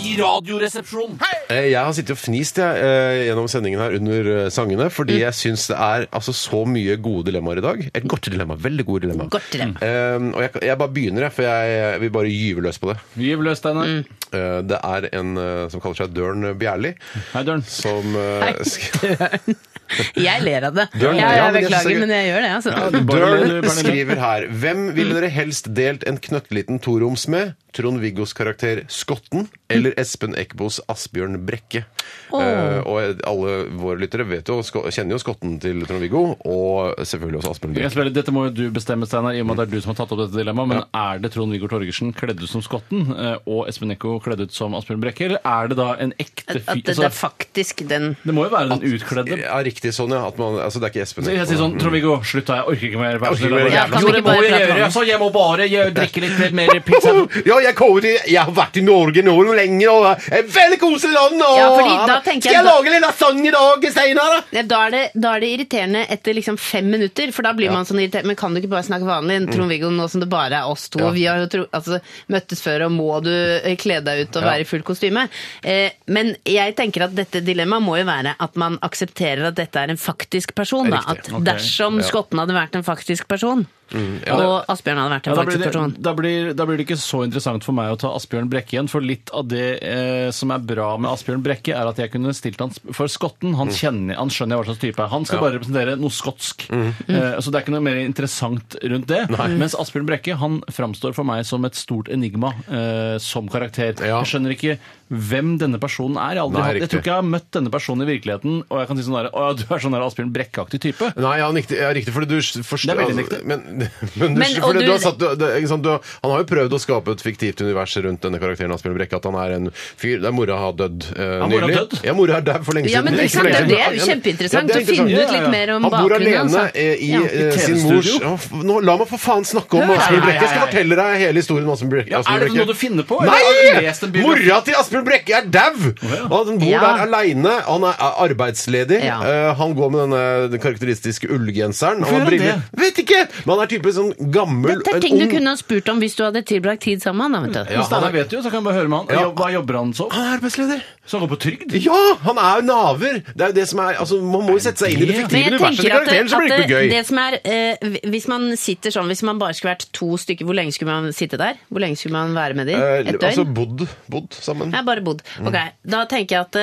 Speaker 9: I radioresepsjonen.
Speaker 2: Eh, Jeg har sittet og fnist jeg, eh, gjennom sendingen her under eh, sangene, fordi
Speaker 3: Mm.
Speaker 2: jeg syns det er altså, så mye gode dilemmaer i dag. Et godt dilemma. Veldig gode dilemma.
Speaker 3: Godt dilemma.
Speaker 2: Eh, og jeg, jeg bare begynner, jeg, for jeg vil bare gyve løs på det.
Speaker 4: Gyv løs, Steinar.
Speaker 3: Mm.
Speaker 2: Eh, det er en eh, som kaller seg Dørn Bjerli,
Speaker 4: Hei, Dørn.
Speaker 2: som eh, sk-
Speaker 3: Jeg ler av det.
Speaker 2: Bjørn,
Speaker 3: ja,
Speaker 2: ja, men
Speaker 3: jeg
Speaker 2: jeg synes
Speaker 3: beklager,
Speaker 2: ikke-
Speaker 3: men jeg gjør det. Altså.
Speaker 4: Bare ler du,
Speaker 2: Dørn
Speaker 4: Pernille.
Speaker 2: skriver her Hvem ville dere helst delt en knøttliten toroms med? Trond-Viggos karakter Skotten eller Espen Eckbos Asbjørn Brekke? Eh, og alle våre lyttere vet jo, sko- kjenner jo Skotten til Trond-Viggo, og selvfølgelig også Asbjørn
Speaker 4: Jeg
Speaker 2: Brekke.
Speaker 4: spiller, dette må jo du bestemme, Steinar, i og med at det er du som har tatt opp dette dilemmaet. Men er det Trond-Viggo Torgersen kledd ut som Skotten eh, og Espen Eckbo kledd ut som Asbjørn Brekke, eller er det da en ekte
Speaker 3: At, at
Speaker 4: fyr? Altså,
Speaker 3: det, det er altså. faktisk den
Speaker 4: det må jo være den utkledde.
Speaker 2: Ja, riktig sånn, ja. At man, altså, det er ikke Espen
Speaker 4: Så jeg sier sånn, Trond-Viggo, slutt da, jeg orker ikke mer. Vær
Speaker 2: Jeg
Speaker 4: så
Speaker 2: orker ikke mer,
Speaker 4: snill.
Speaker 2: Ja,
Speaker 3: kan
Speaker 4: Jo,
Speaker 3: vi
Speaker 4: det
Speaker 3: ikke
Speaker 4: må
Speaker 3: bare prate
Speaker 4: jeg
Speaker 3: om
Speaker 4: gjøre.
Speaker 3: det?
Speaker 4: Så jeg må bare gjøre- drikke litt mer pizza.
Speaker 2: Ja, jeg, kommer til, jeg har vært i Norge nå noe lenge, og det er veldig koselig land! Og,
Speaker 3: Ja, fordi da tenker
Speaker 2: skal jeg
Speaker 3: jeg-
Speaker 2: lage litt lasagne i dag, Steinar?
Speaker 3: Nei, da, er det, da er det irriterende etter liksom fem minutter, for da blir man sånn irritert. Men kan du ikke bare snakke vanlig?
Speaker 2: Mm.
Speaker 3: Trond-Viggo, nå som det bare er oss to, og vi har jo tro, altså, møttes før, og må du eh, kle deg ut og være i fullt kostyme? Eh, men jeg tenker at dette dilemmaet må jo være at man aksepterer at dette er en faktisk person. Da. At
Speaker 2: Riktig.
Speaker 3: dersom Skotten hadde vært en faktisk person,
Speaker 2: Mm,
Speaker 3: og Asbjørn hadde vært en
Speaker 4: Ja, da, blir
Speaker 3: faktisk
Speaker 4: det,
Speaker 3: person
Speaker 4: da, blir, da blir det ikke så interessant for meg å ta Asbjørn Brekke igjen. For litt av det eh, som er bra med Asbjørn Brekke, er at jeg kunne stilt han sp- for skotten.
Speaker 2: Mm.
Speaker 4: Han, kjenner, han skjønner jeg hva slags type er. Han skal bare representere noe skotsk.
Speaker 2: Mm.
Speaker 4: Eh, så det er ikke noe mer interessant rundt det. Mm. Mens Asbjørn Brekke han framstår for meg som et stort enigma eh, som karakter.
Speaker 2: Ja.
Speaker 4: Jeg skjønner ikke hvem denne personen er. Jeg, har aldri,
Speaker 2: Nei,
Speaker 4: hatt- jeg tror
Speaker 2: riktig.
Speaker 4: ikke jeg har møtt denne personen i virkeligheten, og jeg kan si sånn der, å ja, du er sånn der Asbjørn Brekke-aktig type.
Speaker 2: Nei, ja, riktig, ja, riktig fordi du forstår
Speaker 4: Det er veldig riktig.
Speaker 2: Men, men, du,
Speaker 3: Men, og
Speaker 2: fordi du,
Speaker 3: du-
Speaker 2: har satt, du, det, ikke sant, du, har- han har jo prøvd å skape et fiktivt univers rundt denne karakteren Asbjørn Brekke. At han er en fyr der mora har dødd eh,
Speaker 4: Ja, mora
Speaker 2: nylig.
Speaker 4: er dødd.
Speaker 2: Ja, mora er dødd for lenge
Speaker 3: Ja, men
Speaker 2: siden.
Speaker 3: det er
Speaker 2: Ikke for
Speaker 3: sant,
Speaker 2: lenge
Speaker 3: det er
Speaker 2: siden.
Speaker 3: jo kjempeinteressant
Speaker 2: Ja, det
Speaker 3: å
Speaker 2: er
Speaker 3: finne ut
Speaker 2: interessant.
Speaker 3: litt mer om
Speaker 2: Han bor
Speaker 3: bakgrunnen.
Speaker 2: alene
Speaker 3: altså.
Speaker 2: eh, i
Speaker 3: Ja.
Speaker 2: eh,
Speaker 4: I
Speaker 2: sin mors
Speaker 4: TV-studio.
Speaker 2: Ja, f- Nå, La meg for faen snakke om
Speaker 3: Hør,
Speaker 2: Asbjørn
Speaker 4: nei,
Speaker 2: Brekke! Jeg skal
Speaker 4: nei, nei.
Speaker 2: fortelle deg hele historien om Asbjørn Brekke.
Speaker 4: Ja, er det
Speaker 2: Asbjørn
Speaker 4: noe
Speaker 2: Brekke.
Speaker 4: du finner på? eller har du lest en
Speaker 2: Nei!
Speaker 4: biografi?
Speaker 2: Mora til Asbjørn Brekke er dau! Og Han bor
Speaker 3: Ja.
Speaker 2: der aleine. Han er er arbeidsledig.
Speaker 3: Ja.
Speaker 2: Eh, Han går med denne den karakteristiske ullgenseren. og
Speaker 4: Hvorfor
Speaker 2: han
Speaker 4: gjør han
Speaker 2: briller- Vet ikke! Men han er type sånn gammel
Speaker 3: Dette er
Speaker 2: en
Speaker 3: ting du
Speaker 2: ung-
Speaker 3: kunne ha spurt om hvis du hadde tilbrakt tid sammen med han. da, vet du.
Speaker 2: Ja, han
Speaker 4: Steinar
Speaker 2: er,
Speaker 4: vet jo, så kan jeg bare høre med han.
Speaker 2: Ja.
Speaker 4: Jobb- Hva jobber han som?
Speaker 2: han er arbeidsleder.
Speaker 4: Så han går på trygd?
Speaker 2: Ja! Han er jo naver! Det er jo det som er altså, Man må jo sette seg inn i det
Speaker 4: Ja.
Speaker 2: fiktive
Speaker 3: Men jeg
Speaker 2: universet til
Speaker 3: tenker at, det,
Speaker 2: karakteren, så blir det
Speaker 3: at
Speaker 2: ikke
Speaker 3: det,
Speaker 2: noe
Speaker 3: det
Speaker 2: gøy.
Speaker 3: som er eh, Hvis man sitter sånn, hvis man bare skulle vært to stykker, hvor lenge skulle man sitte der? Hvor lenge skulle man være med de?
Speaker 2: Eh,
Speaker 3: Et døgn?
Speaker 2: altså bodd, bodd sammen.
Speaker 3: Jeg har bare bodd. Ok, Da tenker jeg at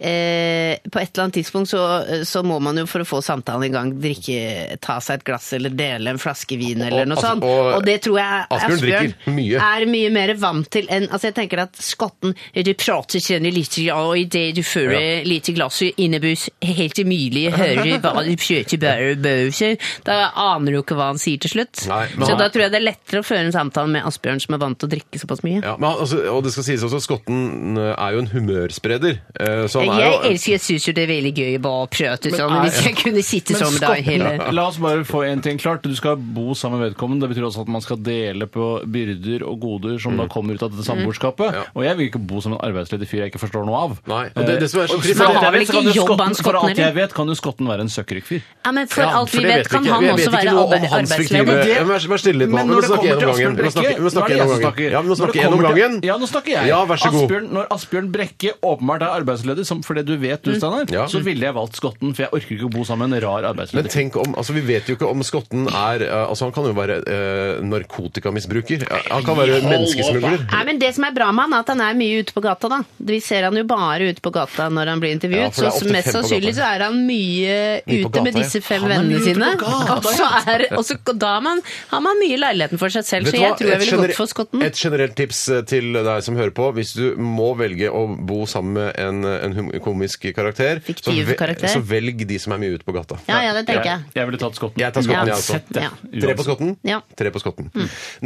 Speaker 3: eh, på et eller annet tidspunkt så, så må man jo for å få samtalen i gang drikke, ta seg et glass eller dele en flaske vin eller
Speaker 2: Og-
Speaker 3: noe
Speaker 2: og-
Speaker 3: sånt. Og,
Speaker 2: og-
Speaker 3: det tror jeg
Speaker 2: Asbjørn drikker mye.
Speaker 3: er mye mer vant til enn Altså jeg tenker at skotten Du prater kjenner litt, ja, og i det du fører lite glass innebus helt umulig hører du hva du prøver bare bøse. Da aner du ikke hva han sier til slutt.
Speaker 2: Nei, men
Speaker 3: så
Speaker 2: han-
Speaker 3: da tror jeg det er lettere å føre en samtale med Asbjørn som er vant til å drikke såpass mye.
Speaker 2: Ja, men han, altså, og det skal sies også, Skotten eh, er jo en humørspreder. eh, Så han er
Speaker 3: Jeg
Speaker 2: jo
Speaker 3: elsker, jeg syns jo det er veldig gøy å bare prate sånn.
Speaker 4: er-
Speaker 3: Hvis jeg kunne sitte
Speaker 4: Men
Speaker 3: sånn med deg
Speaker 4: skotten-
Speaker 3: hele
Speaker 4: La oss bare få en ting klart. Du skal bo sammen med vedkommende. Det betyr også at man skal dele på byrder og goder som
Speaker 2: Mm.
Speaker 4: da kommer ut av dette samboerskapet. Og jeg vil ikke bo som en arbeidsledig fyr jeg ikke forstår noe av.
Speaker 2: Nei, og det- det som er så
Speaker 4: Eh,
Speaker 2: trist-
Speaker 4: for
Speaker 2: Men
Speaker 3: han
Speaker 4: alt
Speaker 3: har
Speaker 4: jeg
Speaker 3: vel
Speaker 4: vet, så kan
Speaker 3: ikke
Speaker 4: jo
Speaker 3: jobb,
Speaker 4: skotten-
Speaker 3: han
Speaker 4: For
Speaker 3: skotten,
Speaker 4: alt jeg
Speaker 3: eller?
Speaker 4: vet, kan jo skotten være en søkkrik fyr.
Speaker 3: ja, men For alt
Speaker 2: for
Speaker 3: vi
Speaker 2: det
Speaker 3: vet,
Speaker 2: vi
Speaker 3: kan
Speaker 2: ikke.
Speaker 3: han
Speaker 2: Jeg vet
Speaker 3: også
Speaker 2: ikke
Speaker 3: være
Speaker 2: noe om
Speaker 3: arbe-
Speaker 2: hans fiktive-
Speaker 3: arbeidsledig.
Speaker 2: Ja, men Vær vær stille litt nå.
Speaker 4: Men
Speaker 2: Vi må
Speaker 4: når det
Speaker 2: snakke
Speaker 4: kommer
Speaker 2: gjennom
Speaker 4: til
Speaker 2: gangen. Vi må
Speaker 4: Asbjørn
Speaker 2: snakke,
Speaker 4: Brekke,
Speaker 2: vi må snakke
Speaker 4: nå er det jeg
Speaker 2: gjennom gangen.
Speaker 4: som snakker.
Speaker 2: Ja, vi må
Speaker 4: Når
Speaker 2: snakke
Speaker 4: det
Speaker 2: gjennom
Speaker 4: kommer til-
Speaker 2: gangen.
Speaker 4: Ja, nå snakker jeg.
Speaker 2: Ja, vær så god.
Speaker 4: Asbjørn, når Asbjørn Brekke åpenbart er arbeidsledig, som fordi du vet du, Steinar,
Speaker 2: Mm. Ja.
Speaker 4: så ville jeg valgt skotten, for jeg orker ikke å bo sammen med en rar
Speaker 2: Men
Speaker 4: arbeidsledig.
Speaker 2: tenk om, altså Vi vet jo ikke om skotten er eh, altså Han kan jo være eh, narkotikamisbruker. Ja, Han kan være menneskesmugler.
Speaker 3: Nei, men Det som er bra med han, er at han er mye ute på gata. da. Vi ser han jo bare ute på gata når han blir
Speaker 2: Ja,
Speaker 3: intervjuet.
Speaker 2: for det er
Speaker 3: så
Speaker 2: ofte
Speaker 3: mest
Speaker 2: fem på
Speaker 3: sannsynlig så
Speaker 2: gata.
Speaker 3: er han mye
Speaker 2: Mye på
Speaker 3: ute med
Speaker 2: gata, ja.
Speaker 3: disse fem
Speaker 4: Han er mye
Speaker 3: vennene
Speaker 4: ute
Speaker 3: sine.
Speaker 4: på gata,
Speaker 3: Og så er, og så, da har man, har man mye leiligheten for seg selv,
Speaker 2: Vet
Speaker 3: så
Speaker 2: du
Speaker 3: jeg
Speaker 2: hva?
Speaker 3: tror jeg
Speaker 2: Et
Speaker 3: ville
Speaker 2: gener-
Speaker 3: gått for skotten.
Speaker 2: Et generelt tips eh, til deg som hører på. Hvis du må velge å bo sammen med en, eh, en hum- komisk karakter, så,
Speaker 3: Fiktiv karakter.
Speaker 2: så velg de som er mye ute på gata.
Speaker 3: Ja, ja, det tenker
Speaker 4: jeg,
Speaker 3: jeg.
Speaker 4: jeg ville tatt skotten.
Speaker 2: Jeg tar skotten,
Speaker 3: Ja.
Speaker 2: jeg også.
Speaker 3: Ja.
Speaker 2: Tre på skotten?
Speaker 3: Ja. Mm.
Speaker 2: Tre på skotten.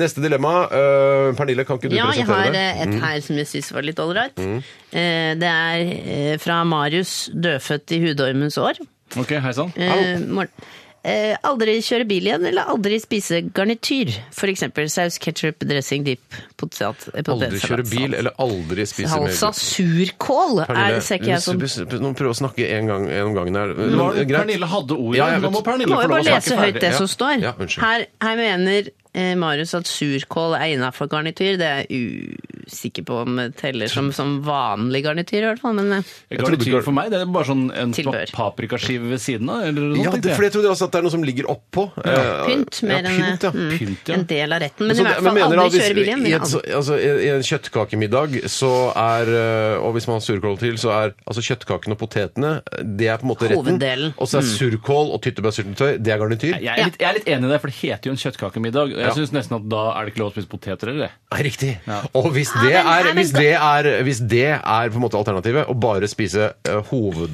Speaker 2: Neste dilemma. eh, Pernille, kan ikke du
Speaker 3: Ja, jeg
Speaker 2: presentere
Speaker 3: har
Speaker 2: det? Mm.
Speaker 3: eh, et her som jeg syns var litt ålreit. Eh, Det er eh, fra Marius, dødfødt i hudormens år.
Speaker 4: Ok, hei sann.
Speaker 3: Eh, morgen. Eh, Aldri kjøre bil igjen, eller aldri spise garnityr. For eksempel saus, ketchup, dressing, dip, potet eh,
Speaker 2: Aldri
Speaker 3: potetsalat,
Speaker 2: kjøre bil eller aldri spise
Speaker 3: Salsa, surkål er,
Speaker 2: Pernille,
Speaker 3: ser ikke jeg som
Speaker 2: hvis- hvis- nå prøv å snakke en gang, en om gangen her.
Speaker 4: Det var,
Speaker 2: Men, greit.
Speaker 4: Pernille hadde ordet.
Speaker 2: Ja, jeg
Speaker 4: Nå
Speaker 2: vet.
Speaker 4: må Pernille
Speaker 3: Må
Speaker 4: få
Speaker 3: jo
Speaker 4: lov å
Speaker 3: bare
Speaker 4: snakke
Speaker 3: lese høyt
Speaker 4: ferdig.
Speaker 3: det
Speaker 2: Ja.
Speaker 3: som står.
Speaker 2: Ja, unnskyld.
Speaker 3: her, her mener eh, Marius at surkål er innafor garnityr. Det er jeg usikker på om det teller som, som vanlig garnityr, i hvert fall. Men eh,
Speaker 4: Jeg
Speaker 2: Jeg trodde
Speaker 4: Garnityr
Speaker 2: ikke-
Speaker 4: for meg, det er bare sånn en
Speaker 3: Tilbehør.
Speaker 4: paprikaskive ved siden av? Eller noe
Speaker 2: Ja,
Speaker 4: sånt,
Speaker 2: det, for jeg trodde også at det er noe som ligger oppå. Eh,
Speaker 3: pynt mer
Speaker 2: ja,
Speaker 3: enn
Speaker 2: pynt, ja.
Speaker 3: mm,
Speaker 4: Pynt, ja.
Speaker 3: en del av retten. Men
Speaker 2: Så
Speaker 3: i
Speaker 2: det-
Speaker 3: hvert fall
Speaker 2: mener da,
Speaker 3: aldri
Speaker 2: hvis-
Speaker 3: kjøre bil igjen.
Speaker 2: I,
Speaker 3: Men
Speaker 2: et, så-
Speaker 3: aldri.
Speaker 2: altså, i- I en kjøttkakemiddag, så er, eh, og hvis man har surkål til, så er altså, kjøttkaken og potetene det er på en måte retten.
Speaker 3: Hoveddelen. Mm.
Speaker 2: Og så er surkål og tyttebærsyltetøy det er garnityr.
Speaker 4: Jeg er, litt, jeg er litt enig i det, for det heter jo en kjøttkakemiddag. og Jeg
Speaker 2: Ja.
Speaker 4: synes nesten at Da er det ikke lov å spise poteter eller det.
Speaker 2: Nei, riktig. Og hvis det,
Speaker 3: Ja, men-
Speaker 2: er,
Speaker 3: ja, men-
Speaker 2: hvis, det er, hvis det er på en måte alternativet, å bare spise eh,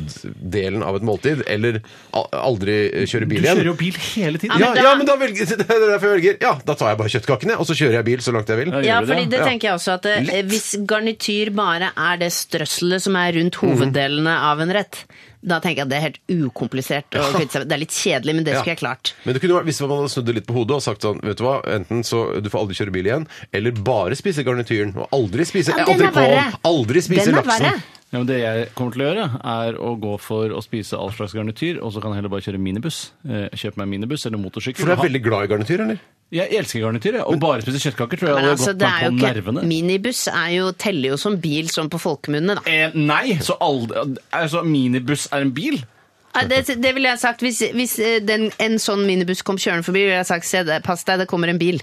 Speaker 2: hoveddelen av et måltid, eller al- aldri eh, kjøre bil
Speaker 4: Du
Speaker 2: igjen
Speaker 4: kjører jo bil hele tiden.
Speaker 2: Ja,
Speaker 3: men da-
Speaker 2: ja, men da velger, det er derfor jeg velger. Ja, da tar jeg bare kjøttkakene, og så kjører jeg bil så langt jeg vil.
Speaker 4: gjør
Speaker 3: Ja,
Speaker 4: vi det,
Speaker 3: fordi det
Speaker 2: ja.
Speaker 3: tenker jeg også at eh, Hvis garnityr bare er det strøsselet som er rundt
Speaker 2: Mhm.
Speaker 3: hoveddelene av en rett, da tenker jeg at det er helt ukomplisert. å kvitte seg med. Det er litt kjedelig, men det
Speaker 2: Ja.
Speaker 3: skulle jeg klart.
Speaker 2: Men det kunne vært, hvis man hadde snudd det litt på hodet og sagt sånn, vet du hva, enten så du får aldri kjøre bil igjen, eller bare spise garnityren, og aldri spise
Speaker 3: Ja, den er
Speaker 2: entrecôte,
Speaker 3: verre.
Speaker 2: aldri spise
Speaker 3: Den er
Speaker 2: laksen.
Speaker 3: verre.
Speaker 4: Ja, men det jeg kommer til å gjøre, er å gå for å spise all slags garnityr, og så kan jeg heller bare kjøre minibuss. Eh, Kjøpe meg minibuss eller motorsykkel.
Speaker 2: For du er veldig glad i garnityr, eller?
Speaker 4: Jeg elsker garnityr, jeg. Og bare spise kjøttkaker tror jeg
Speaker 3: Men
Speaker 4: hadde
Speaker 3: altså,
Speaker 4: gått
Speaker 3: det er
Speaker 4: meg
Speaker 3: jo
Speaker 4: på
Speaker 3: ikke,
Speaker 4: nervene.
Speaker 3: minibuss er jo, teller jo som bil, sånn på folkemunne, da.
Speaker 4: Eh, nei, så aldri, altså, minibuss er en bil?
Speaker 3: Nei, Det, det ville jeg sagt hvis, hvis eh, den, en sånn minibuss kom kjørende forbi, ville jeg sagt se, det- pass deg, det kommer en bil.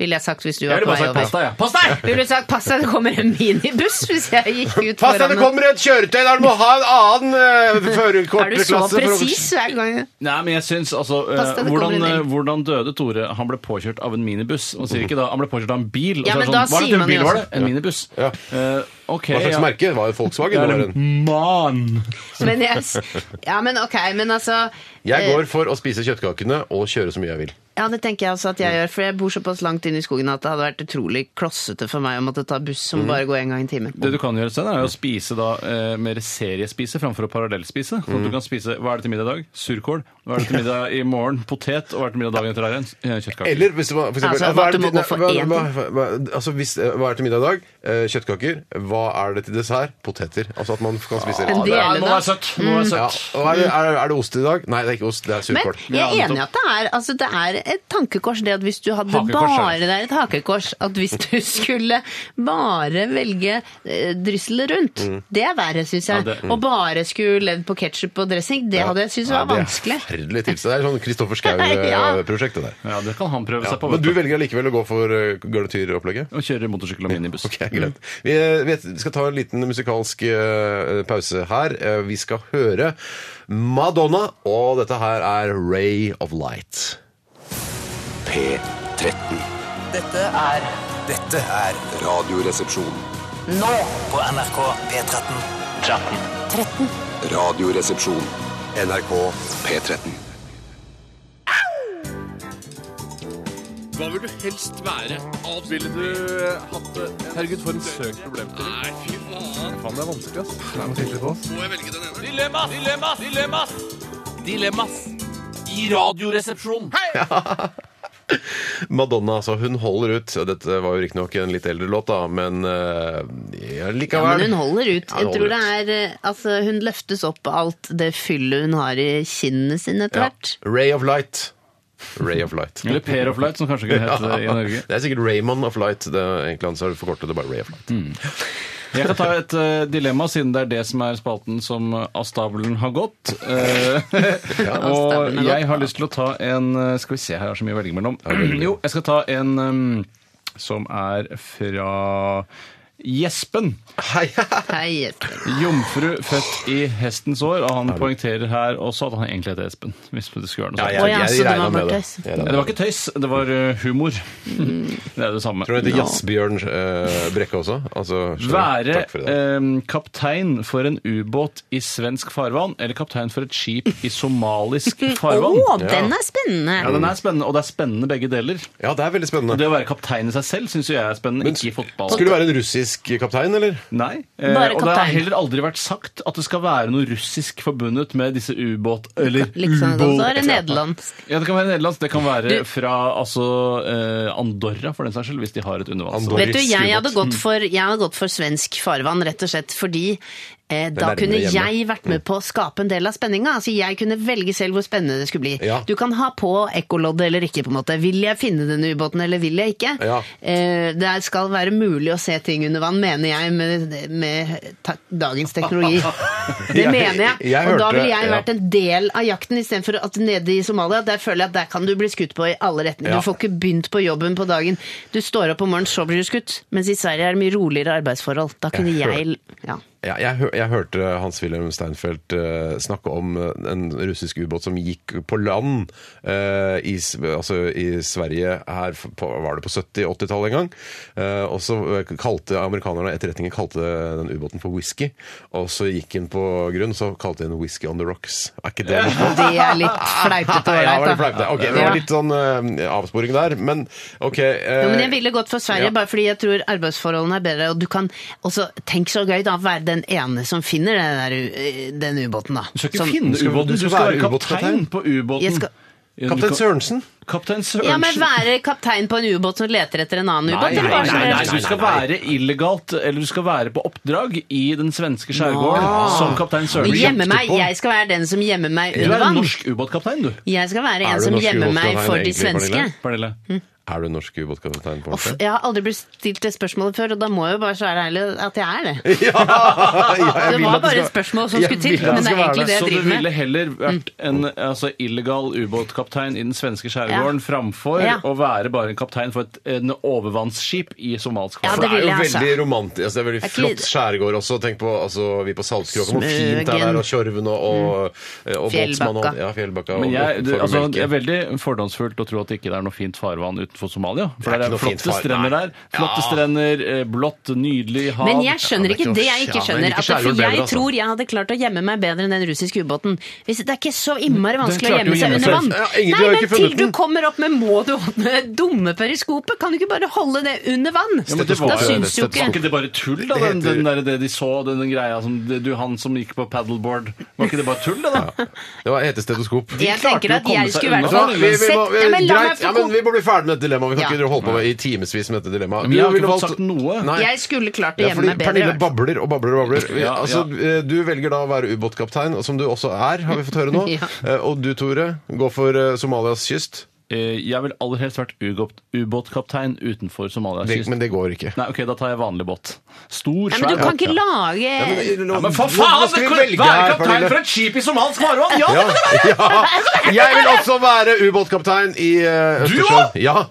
Speaker 3: Ville jeg sagt hvis du
Speaker 4: Jeg
Speaker 3: var
Speaker 4: ville
Speaker 3: på vei
Speaker 4: bare sagt
Speaker 3: over.
Speaker 4: pass deg, jeg. Pass deg!
Speaker 3: Du ville sagt 'pass deg, det kommer en minibuss' hvis jeg gikk ut
Speaker 2: Pass deg,
Speaker 3: foran
Speaker 2: det kommer et kjøretøy der du må ha en annen eh,
Speaker 3: Er du så
Speaker 2: førerkortklasse. for å-
Speaker 3: presis hver gang?
Speaker 4: Nei, men jeg syns altså eh,
Speaker 3: Pass deg, det kommer
Speaker 4: hvordan,
Speaker 3: en
Speaker 4: eh,
Speaker 3: elg.
Speaker 4: hvordan døde Tore? Han ble påkjørt av en minibuss. Og sier ikke da, Han ble påkjørt av en bil. Og
Speaker 3: Ja,
Speaker 4: så er
Speaker 3: men
Speaker 4: det
Speaker 3: da
Speaker 4: sånn, hva er
Speaker 3: sier
Speaker 4: det,
Speaker 3: man altså.
Speaker 4: en bil
Speaker 3: jo
Speaker 4: var det?
Speaker 3: også-
Speaker 4: En minibuss.
Speaker 2: Ja.
Speaker 4: Eh, Ok,
Speaker 2: Hva slags
Speaker 4: ja.
Speaker 2: merke? Det var jo Volkswagen. det var en.
Speaker 4: Man!
Speaker 3: Men jeg, s- ja, men ok, men altså
Speaker 2: Jeg
Speaker 3: eh,
Speaker 2: går for å spise kjøttkakene og kjøre så mye jeg vil.
Speaker 3: Ja, det tenker jeg også at jeg gjør, for jeg bor såpass langt inn i skogen at det hadde vært utrolig klossete for meg å måtte ta buss som bare går en gang i timen.
Speaker 4: Det du kan gjøre, Sten, er jo å spise da, eh, mer seriespise framfor å parallellspise. Sånn at du kan spise, Hva er det til middag i dag? Surkål. Hva er det til middag i morgen? Potet. Og hva er det til middag dagen etter der igjen? Eh, Kjøttkake.
Speaker 2: Eller hvis det var for eksempel,
Speaker 3: Altså,
Speaker 2: hva, er
Speaker 3: at du
Speaker 2: det,
Speaker 3: må
Speaker 2: nei,
Speaker 3: gå for
Speaker 2: hva,
Speaker 3: én
Speaker 2: hva, hva, altså, hvis, eh, hva er det til middag i dag? Eh, Kjøttkaker. Hva er det til dessert? Poteter. Altså at man kan spise
Speaker 3: En
Speaker 2: rett.
Speaker 3: del.
Speaker 4: Nei, nå er det søtt! Nå
Speaker 3: Mm.
Speaker 4: er det
Speaker 2: Ja.
Speaker 4: søtt.
Speaker 2: Og er, det, er, det- er det ost i dag? Nei, det er ikke ost, det er
Speaker 3: Men
Speaker 2: surkål.
Speaker 3: jeg er
Speaker 4: Ja,
Speaker 3: enig i at det er, altså, det er et tankekors det at hvis du hadde
Speaker 4: Hakekors,
Speaker 3: bare
Speaker 4: er
Speaker 3: det er et hakekors, at hvis du skulle bare velge eh, drysselet rundt, det er verre, syns jeg.
Speaker 4: Ja, det-
Speaker 3: Og bare skulle levd på ketsjup og dressing, det hadde jeg syntes var
Speaker 2: Nei,
Speaker 3: vanskelig.
Speaker 2: Det er forferdelig tilstand. Det er sånn Kristoffer
Speaker 3: Ja.
Speaker 2: Schou-prosjektet der.
Speaker 4: Ja, det kan han prøve seg på.
Speaker 2: Men
Speaker 4: vet
Speaker 2: du velger allikevel å gå for eh, garnityropplegget?
Speaker 4: Og kjører motorsykkel og minibuss.
Speaker 2: Ok, greit. Vi, eh, vet- vi skal ta en liten musikalsk eh, pause her. Eh, Vi skal høre Madonna, og dette her er Ray of Light.
Speaker 7: P13.
Speaker 11: Dette er
Speaker 10: Dette er
Speaker 7: Radioresepsjon.
Speaker 11: nå på NRK P13.
Speaker 7: Radioresepsjon. NRK P13.
Speaker 9: Hva vil du helst være? Ville du hatt det? Herregud, for en søk problemstilling. Nei, fy faen. Faen, det er vanskelig, ass. Må jeg velge den ene? Dilemmas! Dilemmas! Dilemmas! Dilemmas! I radioresepsjonen.
Speaker 2: Madonna, altså. Hun holder ut. Og Dette var jo riktignok en litt eldre låt, da, men eh, ja,
Speaker 3: Ja,
Speaker 2: likevel.
Speaker 3: men hun holder ut.
Speaker 2: Ja, hun
Speaker 3: Jeg tror det
Speaker 2: holder
Speaker 3: er eh, Altså, hun løftes opp av alt det fyllet hun har i kinnene sine etter
Speaker 2: Ja.
Speaker 3: hvert.
Speaker 2: Ray of Light. Ray of Light.
Speaker 4: Eller Pair of Light, som kanskje kunne hete det eh, i Norge.
Speaker 2: Det er sikkert Raymond of Light. Det er egentlig han som har forkortet det bare Ray of Light.
Speaker 3: Mm.
Speaker 4: Jeg kan ta et eh, dilemma, siden det er det som er spalten som eh, av stabelen har gått. Eh, og
Speaker 3: stabelen har
Speaker 4: jeg
Speaker 3: gått,
Speaker 4: har lyst til å ta en eh, Skal vi se, her er så mye å velge mellom. Jo, jeg skal ta en em, som er fra Gjespen.
Speaker 3: Hei, Jesper.
Speaker 4: Jomfru født i hestens år. Og han poengterer her også at han egentlig heter Espen. Hvis det skulle være noe sånt.
Speaker 3: Å ja, så det var
Speaker 2: regner
Speaker 3: bare
Speaker 2: det.
Speaker 3: tøys.
Speaker 2: Jeg regner
Speaker 4: Det var ikke tøys, det var eh, humor. Det er det samme.
Speaker 2: Tror du det heter Jazzbjørn eh, Brekke også? Altså, skjønner.
Speaker 4: Være
Speaker 2: Takk for i dag.
Speaker 4: eh, kaptein for en ubåt i svensk farvann eller kaptein for et skip i somalisk
Speaker 3: Å,
Speaker 4: farvann?
Speaker 3: den er spennende!
Speaker 4: Ja, den er spennende, og det er spennende begge deler.
Speaker 2: Ja, det er veldig
Speaker 4: Og
Speaker 2: spennende.
Speaker 4: det å være kaptein i seg selv syns jeg er spennende, ikke i fotball.
Speaker 2: Skulle det være en russisk kaptein, eller?
Speaker 4: Nei. eh,
Speaker 3: Bare
Speaker 4: og det har
Speaker 3: kaptein.
Speaker 4: heller aldri vært sagt at det skal være noe russisk forbundet med disse ubåt- eller
Speaker 3: Liksom, det også
Speaker 4: ubåt...
Speaker 3: er det nederlandsk.
Speaker 4: Ja, det kan være nederlandsk. Det kan være
Speaker 3: Du-
Speaker 4: fra altså, eh, Andorra, for den saks skyld, hvis de har et undervanns...
Speaker 2: Andorra.
Speaker 3: Vet du, jeg
Speaker 2: Risk
Speaker 3: hadde, gått for, jeg hadde gått for svensk farvann, rett og slett fordi eh, da
Speaker 2: nærmere
Speaker 3: kunne
Speaker 2: hjemme. Mm.
Speaker 3: jeg vært med på å skape en del av spenninga. Altså, jeg kunne velge selv hvor spennende det skulle bli.
Speaker 2: Ja.
Speaker 3: Du kan ha på ekkoloddet eller ikke, på en måte. Vil jeg finne denne ubåten, eller vil jeg ikke?
Speaker 2: Ja.
Speaker 3: Eh, det skal være mulig å se ting under vann, mener jeg, med, med ta dagens teknologi. Det
Speaker 2: Jeg-
Speaker 3: mener jeg.
Speaker 2: jeg
Speaker 3: Og da
Speaker 2: hørte-
Speaker 3: ville jeg
Speaker 2: ja.
Speaker 3: vært en del av jakten, istedenfor at nede i Somalia, der føler jeg at der kan du bli skutt på i alle retninger.
Speaker 2: Ja.
Speaker 3: Du får ikke begynt på jobben på dagen. Du står opp om morgenen, så blir du skutt. Mens i Sverige er det mye roligere arbeidsforhold. Da kunne
Speaker 2: Jeg
Speaker 3: jeg ja.
Speaker 2: Ja, jeg, hø jeg hørte Hans-Wilhelm Steinfeld eh, snakke om eh, en russisk ubåt som gikk på land eh, i, S- altså, i Sverige her f- på, var det på 70-80-tallet en gang. Eh, og så eh, kalte amerikanerne etterretningen kalte den ubåten for whisky. Og så gikk den på grunn, så kalte de den Whisky on the Rocks. Er ikke det litt
Speaker 3: Det er litt flautete
Speaker 2: Ja, var
Speaker 3: og
Speaker 2: det flaut,
Speaker 3: ålreit,
Speaker 2: det?
Speaker 3: da.
Speaker 2: Ok, det var
Speaker 3: Ja.
Speaker 2: litt sånn eh, avsporing der, men ok. eh,
Speaker 3: Jo, men jeg ville gått for Sverige,
Speaker 2: ja.
Speaker 3: bare fordi jeg tror arbeidsforholdene er bedre. Og du kan også, tenk så gøy, da, være den ene som finner den, der, u- den ubåten, da.
Speaker 4: Du skal ikke
Speaker 3: Som-
Speaker 4: finne
Speaker 2: skal-
Speaker 4: ubåten,
Speaker 2: du
Speaker 4: du
Speaker 2: skal
Speaker 4: skal,
Speaker 2: være
Speaker 4: være
Speaker 2: ubåtkaptein.
Speaker 4: kaptein på ubåten.
Speaker 3: Jeg skal-
Speaker 4: Ja, du
Speaker 2: Kaptein
Speaker 4: kan-
Speaker 2: Sørensen?
Speaker 4: Kaptein
Speaker 3: Ja, men
Speaker 4: Sørensen.
Speaker 3: være kaptein på en ubåt som leter etter en annen ubåt?
Speaker 4: Nei, nei,
Speaker 3: eller hva
Speaker 4: nei,
Speaker 3: som
Speaker 4: nei,
Speaker 3: helst?
Speaker 4: nei, du skal være illegalt, eller du skal være på oppdrag i den svenske skjærgården som kaptein
Speaker 3: Du gjemmer
Speaker 4: Sørensen.
Speaker 3: meg, jeg skal være den som gjemmer meg
Speaker 4: Du
Speaker 3: under
Speaker 4: er en
Speaker 3: vann.
Speaker 4: norsk ubåtkaptein, du.
Speaker 3: Jeg skal være
Speaker 2: Er
Speaker 3: en
Speaker 2: du
Speaker 3: som
Speaker 2: norsk
Speaker 3: gjemmer meg
Speaker 2: ubåtkaptein
Speaker 3: for de
Speaker 2: egentlig,
Speaker 3: svenske.
Speaker 2: Pernille?
Speaker 4: Pernille.
Speaker 3: Mm.
Speaker 2: Er du norsk ubåtkaptein? på
Speaker 3: Uff,
Speaker 2: ordentlig?
Speaker 3: jeg har aldri blitt stilt det spørsmålet før, og da må jeg jo bare svare ærlig at jeg er det.
Speaker 2: Ja, ja, jeg
Speaker 3: Det
Speaker 2: vil
Speaker 3: var
Speaker 2: at du
Speaker 3: bare
Speaker 2: skal-
Speaker 3: et spørsmål som
Speaker 2: Jeg
Speaker 3: skulle til,
Speaker 2: vil at
Speaker 3: men
Speaker 2: du
Speaker 3: det
Speaker 2: skal
Speaker 3: er
Speaker 2: være
Speaker 3: egentlig det jeg
Speaker 4: Så du
Speaker 3: driver
Speaker 4: ville
Speaker 3: med.
Speaker 4: heller vært en altså, illegal ubåtkaptein i den svenske Isbjørn framfor
Speaker 3: Ja.
Speaker 4: å være bare en kaptein for et en overvannsskip i somalsk
Speaker 3: Ja,
Speaker 2: For det, er jo
Speaker 3: jeg, altså.
Speaker 2: veldig romantisk. Altså, det er veldig
Speaker 3: Det er ikke-
Speaker 2: flott skjærgård også. Tenk på altså, vi på Saltkråka, hvor fint det er
Speaker 4: Smøgen.
Speaker 2: der, og Tjorven og, og,
Speaker 3: Mm.
Speaker 2: og
Speaker 4: Fjellbakka.
Speaker 2: Båtsmannen. Ja, Fjellbakka.
Speaker 4: Men
Speaker 2: og-
Speaker 4: jeg,
Speaker 2: og
Speaker 4: det, altså,
Speaker 2: Torvmelken.
Speaker 4: det er veldig fordomsfullt å tro at det ikke er noe fint farvann utenfor Somalia. For
Speaker 2: Det er
Speaker 4: det er,
Speaker 2: ikke noe fint
Speaker 4: flotte
Speaker 2: far-
Speaker 4: strender
Speaker 2: nei.
Speaker 4: der. Flotte
Speaker 2: Ja.
Speaker 4: strender, eh, blått, nydelig hav.
Speaker 3: Men jeg skjønner ikke det jeg ikke
Speaker 4: Ja, men
Speaker 3: skjønner. At,
Speaker 4: skjærgård
Speaker 3: for
Speaker 4: bedre,
Speaker 3: jeg
Speaker 4: altså.
Speaker 3: tror jeg hadde klart å gjemme meg bedre enn den russiske ubåten. Hvis det er ikke så innmari vanskelig å
Speaker 4: klarte jo
Speaker 3: gjemme seg
Speaker 4: å
Speaker 3: under
Speaker 4: gjemme
Speaker 3: vann.
Speaker 4: seg. Ja, ingen
Speaker 3: Nei,
Speaker 4: har
Speaker 3: men
Speaker 4: ikke
Speaker 3: til
Speaker 4: funnet
Speaker 3: du
Speaker 4: den.
Speaker 3: kommer opp med må du åpne det dumme periskopet? Kan du ikke bare holde det under vann?
Speaker 4: Ja, men det var,
Speaker 3: da syns jo
Speaker 4: var ikke
Speaker 3: ikke
Speaker 4: det bare tull, da? Den, den der, det de så, den, den greia som det- du, han som gikk på paddleboard. Var ikke det bare tull, det, da?
Speaker 2: Det var hete stetoskop.
Speaker 3: Jeg tenker at jeg skulle vært
Speaker 2: Så, vi, vi, må, vi,
Speaker 3: Ja, men la meg
Speaker 2: greit,
Speaker 3: få
Speaker 2: ja, men vi må bli ferdig med dette dilemmaet. Vi kan
Speaker 3: Ja.
Speaker 2: ikke holde på med i timevis med dette dilemmaet.
Speaker 4: Men jeg har
Speaker 2: Du
Speaker 4: ikke
Speaker 2: ville
Speaker 4: fått
Speaker 2: valgt-
Speaker 4: sagt noe.
Speaker 2: Nei.
Speaker 3: Jeg skulle klart å
Speaker 2: Ja,
Speaker 3: gjemme
Speaker 2: fordi
Speaker 3: meg
Speaker 2: Pernille
Speaker 3: bedre.
Speaker 2: babler og babler og babler. Vi,
Speaker 4: Ja,
Speaker 2: altså, eh, Du velger da å være ubåtkaptein, som du også er, har vi fått høre nå.
Speaker 3: Ja.
Speaker 2: Eh, Og du, Tore, går for eh, Somalias kyst.
Speaker 4: Eh, Jeg ville aller helst vært ubåt- ubåtkaptein utenfor Somalias
Speaker 2: Det-
Speaker 4: kyst.
Speaker 2: Men det går ikke.
Speaker 4: Nei, ok, da tar jeg vanlig båt. Stor,
Speaker 3: Ja, men du
Speaker 4: svær
Speaker 3: kan
Speaker 4: båt.
Speaker 3: ikke lage
Speaker 2: Ja,
Speaker 4: Ja, men
Speaker 2: nå-
Speaker 4: for
Speaker 2: nå
Speaker 4: faen!
Speaker 2: skal vi
Speaker 4: det-
Speaker 2: velge
Speaker 4: Være
Speaker 2: her,
Speaker 4: kaptein
Speaker 2: Pernille.
Speaker 4: for et skip i somalisk farvann! Ja,
Speaker 2: Ja, ja. Jeg vil også være ubåtkaptein i eh, Østersjøen. Ja.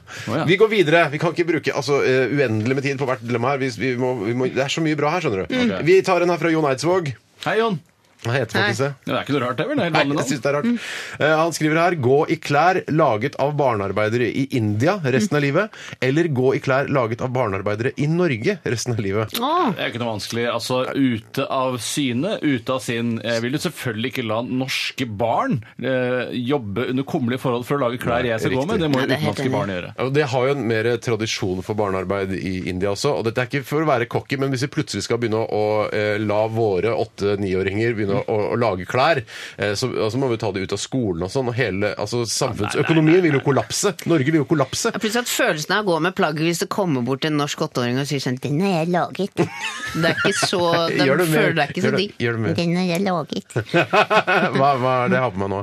Speaker 2: Vi går videre. Vi kan ikke bruke altså, eh, uendelig med tid på hvert dilemma her. Vi, vi må, vi må, det er så mye bra her, skjønner du.
Speaker 4: Mm.
Speaker 2: Vi tar en her fra Jon Eidsvåg.
Speaker 4: Hei, Jon.
Speaker 2: Han heter faktisk det.
Speaker 4: Det er ikke noe rart, det vel? Det er helt
Speaker 2: Nei,
Speaker 4: vanlig
Speaker 2: jeg
Speaker 4: navn.
Speaker 2: synes det er rart. Eh, han skriver her 'gå i klær laget av barnearbeidere i India resten
Speaker 4: Mm.
Speaker 2: av livet', eller 'gå i klær laget av barnearbeidere i Norge resten av livet'.
Speaker 3: Åh,
Speaker 4: Det er ikke noe vanskelig. Altså, Ute av syne, ute av sinn. Jeg vil jo selvfølgelig ikke la norske barn eh, jobbe under kummerlige forhold for å lage klær jeg skal gå
Speaker 2: riktig.
Speaker 4: med. Det må
Speaker 3: Nei,
Speaker 4: jo
Speaker 3: det er helt
Speaker 4: utenlandske
Speaker 3: enig.
Speaker 4: barn gjøre.
Speaker 2: Ja, og Altså, Det har jo en mer tradisjon for barnearbeid i India også. og Dette er ikke for å være cocky, men hvis vi plutselig skal begynne å eh, la våre åtte-niåringer begynne å, å lage klær, eh, så altså, må vi ta det ut av skolen og sånn. og hele, altså Samfunnsøkonomien vil jo kollapse. Norge vil jo kollapse.
Speaker 3: Ja, Plutselig at følelsen av å gå med plagget hvis det kommer bort en norsk åtteåring og sier sånn 'Den har jeg laget'. Det er ikke så De
Speaker 2: Gjør det mer.
Speaker 3: føler deg ikke så
Speaker 2: Gjør det-
Speaker 3: digg.
Speaker 2: gjør det mer.
Speaker 3: 'Den har jeg laget'.
Speaker 2: hva, hva er det jeg har på meg nå?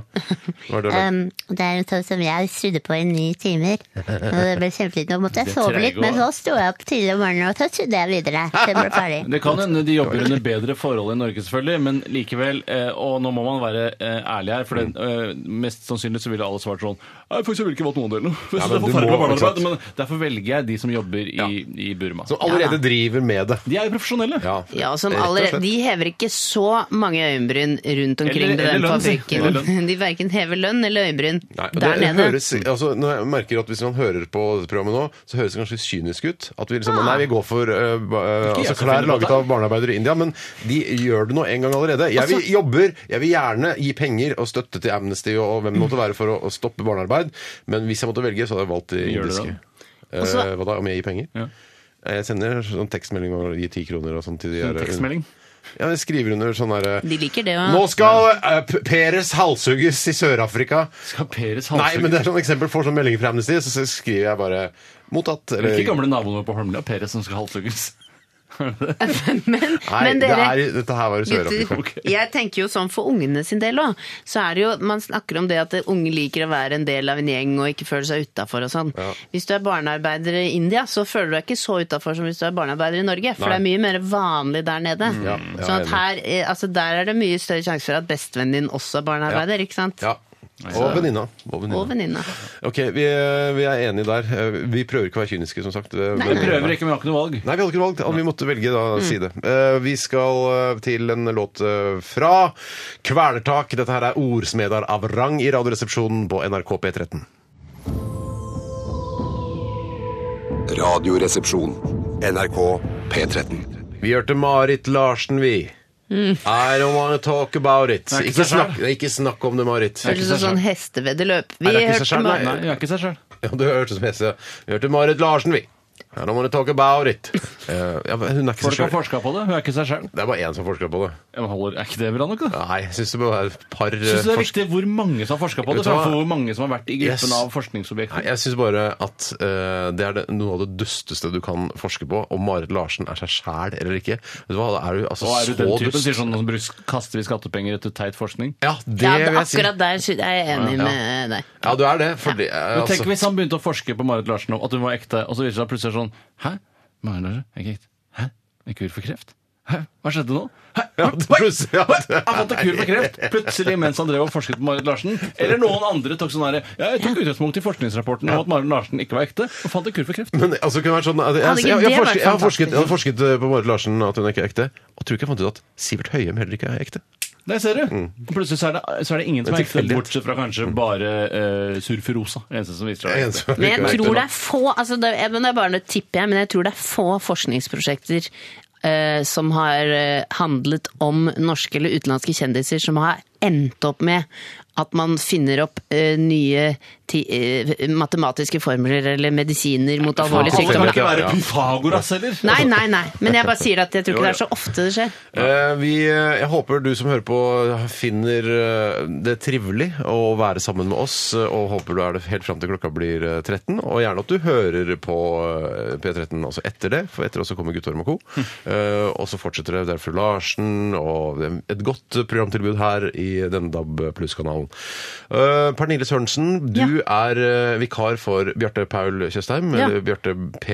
Speaker 2: Hva er det?
Speaker 12: Um, det er en sånn som jeg sydde på i ni timer. Og det ble kjempefint. Nå måtte jeg
Speaker 4: Det
Speaker 12: sove
Speaker 4: trege
Speaker 12: litt, men så
Speaker 4: og-
Speaker 12: sto jeg opp tidlig om morgenen, og så sydde jeg videre. Det ble ferdig.
Speaker 4: Det kan hende de jobber under bedre forhold i Norge, selvfølgelig, men likevel eh, Og nå må man være eh, ærlig her, for det, eh, mest sannsynlig så ville alle svart sånn Nei, faktisk, jeg vil ikke valgt noen del nå.
Speaker 2: Ja, men
Speaker 4: det er
Speaker 2: du
Speaker 4: forferdelig
Speaker 2: må,
Speaker 4: med
Speaker 2: ikke sant?
Speaker 4: barnearbeid, men derfor velger jeg de som jobber i, i Burma.
Speaker 2: Som allerede driver med det.
Speaker 4: De er jo profesjonelle.
Speaker 2: Ja,
Speaker 3: Ja, som
Speaker 2: rett og
Speaker 3: allerede,
Speaker 2: slett.
Speaker 3: De hever ikke så mange øyenbryn rundt omkring
Speaker 4: Eller-
Speaker 3: på den
Speaker 4: eller lønn, si.
Speaker 3: fabrikken.
Speaker 4: Eller lønn.
Speaker 3: De verken hever lønn eller øyenbryn
Speaker 2: Nei, og
Speaker 3: der
Speaker 2: det
Speaker 3: nede.
Speaker 2: Høres, altså, når jeg merker at Hvis man hører på dette programmet nå, så høres det kanskje kynisk ut. At vi liksom,
Speaker 3: Ah.
Speaker 2: Nei, vi går for eh, ba- eh,
Speaker 4: Ikke jeg
Speaker 2: altså,
Speaker 4: som
Speaker 2: klær
Speaker 4: finner på
Speaker 2: laget
Speaker 4: det.
Speaker 2: av barnearbeidere i India, men de gjør det nå en gang allerede.
Speaker 3: Altså-
Speaker 2: Jeg vil, jobber, jeg vil gjerne gi penger og støtte til Amnesty og, og hvem det måtte være for å, å stoppe barnearbeid, men hvis jeg måtte velge, så hadde jeg valgt de
Speaker 4: Gjør du det,
Speaker 2: indiske. Eh,
Speaker 3: Også-
Speaker 2: hva da, om jeg gir penger?
Speaker 4: Ja.
Speaker 2: Eh, Jeg sender sånn tekstmelding og gir ti kroner og sånn til de der-
Speaker 4: Tekstmelding.
Speaker 2: Ja, jeg skriver under sånn derre
Speaker 3: De liker det, ja.
Speaker 2: Nå skal eh, P- Peres halshugges i Sør-Afrika.
Speaker 4: Skal Peres
Speaker 2: Nei, men
Speaker 4: halshugge
Speaker 2: det er sånn eksempel for sånn meldinger fra Amnesty, så så skriver jeg bare mottatt.
Speaker 4: Det er
Speaker 2: Eller,
Speaker 4: sånn- ikke gamle naboen vår på Holmlia, Peres, som skal halshugges.
Speaker 3: Men,
Speaker 2: nei,
Speaker 3: men
Speaker 2: det
Speaker 3: dere,
Speaker 2: er, dette her var i Sør-Afrika.
Speaker 3: gutter, jeg tenker jo sånn for ungene sin del òg. Så er det jo, man snakker om det at unge liker å være en del av en gjeng og ikke føle seg utafor og sånn.
Speaker 2: Ja.
Speaker 3: Hvis du er barnearbeider i India, så føler du deg ikke så utafor som hvis du er barnearbeider i Norge. For
Speaker 2: Nei. Mm.
Speaker 3: det er mye mer vanlig der nede.
Speaker 2: Ja, ja,
Speaker 3: sånn at
Speaker 2: jeg
Speaker 3: her, eh, altså der er det mye større sjanse for at bestevennen din også er barnearbeider, ikke sant?
Speaker 2: Ja. Og venninna. Og venninna.
Speaker 3: Og venninna.
Speaker 2: Ok, vi, vi er enige der. Eh, Vi prøver ikke å være kyniske, som sagt. eh,
Speaker 3: Nei,
Speaker 4: Vi
Speaker 3: nei.
Speaker 4: prøver ikke, men vi har ikke noe valg.
Speaker 2: Nei, vi hadde ikke valgt. Vi måtte velge da
Speaker 3: Mm.
Speaker 2: side. Eh, Vi skal eh, til en låt eh, fra Kvelertak. Dette her er Ordsmeder av rang i Radioresepsjonen på NRK P13.
Speaker 7: Radioresepsjon. NRK P13.
Speaker 2: Vi hørte Marit Larsen, vi.
Speaker 3: Mm.
Speaker 2: I don't wanna talk about it.
Speaker 4: er ikke
Speaker 2: Ikke
Speaker 4: seg
Speaker 2: snakk, ikke snakk om det, Marit.
Speaker 3: Føles som sånn hesteveddeløp. Vi
Speaker 2: Nei, det er ikke så
Speaker 3: hørte
Speaker 2: skjær-
Speaker 3: med
Speaker 4: Nei, vi er ikke seg sjøl.
Speaker 2: Ja, det hørtes som hese. Vi hørte Marit Larsen, vi. I don't wanna talk about it. Eh, ja, men hun er ikke så
Speaker 4: Folk har
Speaker 2: sjøl.
Speaker 4: forska på det. Hun er ikke seg sjøl.
Speaker 2: Det er bare én som forsker på det.
Speaker 4: Er ikke det bra nok, da?
Speaker 2: Nei, jeg syns det bør være et par eh,
Speaker 4: Syns du det er
Speaker 2: forsk-
Speaker 4: viktig hvor mange som har forska på
Speaker 2: Vet
Speaker 4: det,
Speaker 2: du hva?
Speaker 4: framfor hvor mange som har vært i gruppen
Speaker 2: Yes.
Speaker 4: av
Speaker 2: Nei,
Speaker 4: forskningsobjekter?
Speaker 2: jeg syns bare at eh, det er det, noe av det dusteste du kan forske på, om Marit Larsen er seg sjæl eller ikke. Vet du hva, da er du altså
Speaker 4: Og er du
Speaker 2: så
Speaker 4: den typen
Speaker 2: dust.
Speaker 4: sier sånn noen bruk- kaster vi skattepenger etter teit forskning?
Speaker 2: Ja, det
Speaker 3: Ja,
Speaker 2: vil jeg si.
Speaker 3: akkurat der sy- er jeg enig
Speaker 2: Ja.
Speaker 3: med deg.
Speaker 2: Ja, du er det. For det er,
Speaker 4: Men tenk
Speaker 2: altså,
Speaker 4: hvis han begynte å forske på Marit Larsen nå, at hun var ekte, og så viser det seg plutselig sånn Hæ? Marit Larsen er ikke ekte? Hæ? Er Ikke kur for kreft? Hæ, hva skjedde nå? Hæ,
Speaker 2: Ja,
Speaker 4: oi,
Speaker 2: plutselig- ja,
Speaker 4: oi, oi, Han fant en kur for kreft! Plutselig mens han drev og forsket på Marit Larsen. Eller noen andre tok sånn herre ja, Jeg tok utgangspunkt i forskningsrapporten om at Marit Larsen ikke var ekte, og fant en kur for kreft.
Speaker 2: Men altså, det kunne vært sånn at jeg,
Speaker 4: Hadde
Speaker 2: jeg,
Speaker 4: ikke
Speaker 2: jeg,
Speaker 4: det
Speaker 2: har forsket,
Speaker 4: vært
Speaker 2: jeg, har forsket,
Speaker 4: fantastisk?
Speaker 2: jeg har forsket eh, på Marit Larsen at hun ikke er ekte, og tror ikke jeg fant ut at Sivert Høyem heller ikke er ekte.
Speaker 4: Der ser du! Og Plutselig så er, det, så er det ingen som
Speaker 2: Det er
Speaker 4: er ekte,
Speaker 2: tilfeldighet.
Speaker 4: bortsett fra kanskje bare uh, Surferosa. Eneste som viser seg å være ekte.
Speaker 3: Men jeg tror det er få altså det, jeg, men det er bare noe tipp jeg, men jeg tror det er få forskningsprosjekter eh, som har eh, handlet om norske eller utenlandske kjendiser som har endt opp med at man finner opp eh, nye ti, eh, matematiske formler eller medisiner mot alvorlig
Speaker 4: Faen,
Speaker 3: sykdom.
Speaker 4: Det kan ikke være
Speaker 3: da.
Speaker 4: Pyfagoras heller!
Speaker 3: Nei, nei, nei. Men jeg bare sier at jeg
Speaker 2: Jo,
Speaker 3: tror ikke det
Speaker 2: jo.
Speaker 3: er så ofte det skjer.
Speaker 2: Eh, vi, eh, jeg håper du som hører på finner eh, det trivelig å være sammen med oss, eh, og håper du er det helt fram til klokka blir eh, 13. Og gjerne at du hører på eh, P13 også etter det, for etter oss så kommer Guttorm og co. Eh, og så fortsetter det derfor Larsen, og det er et godt programtilbud her i denne DAB pluss-kanalen. Eh, Pernille Sørensen, du er eh, vikar for Bjarte Paul Tjøstheim,
Speaker 3: Ja.
Speaker 2: eller Bjarte P,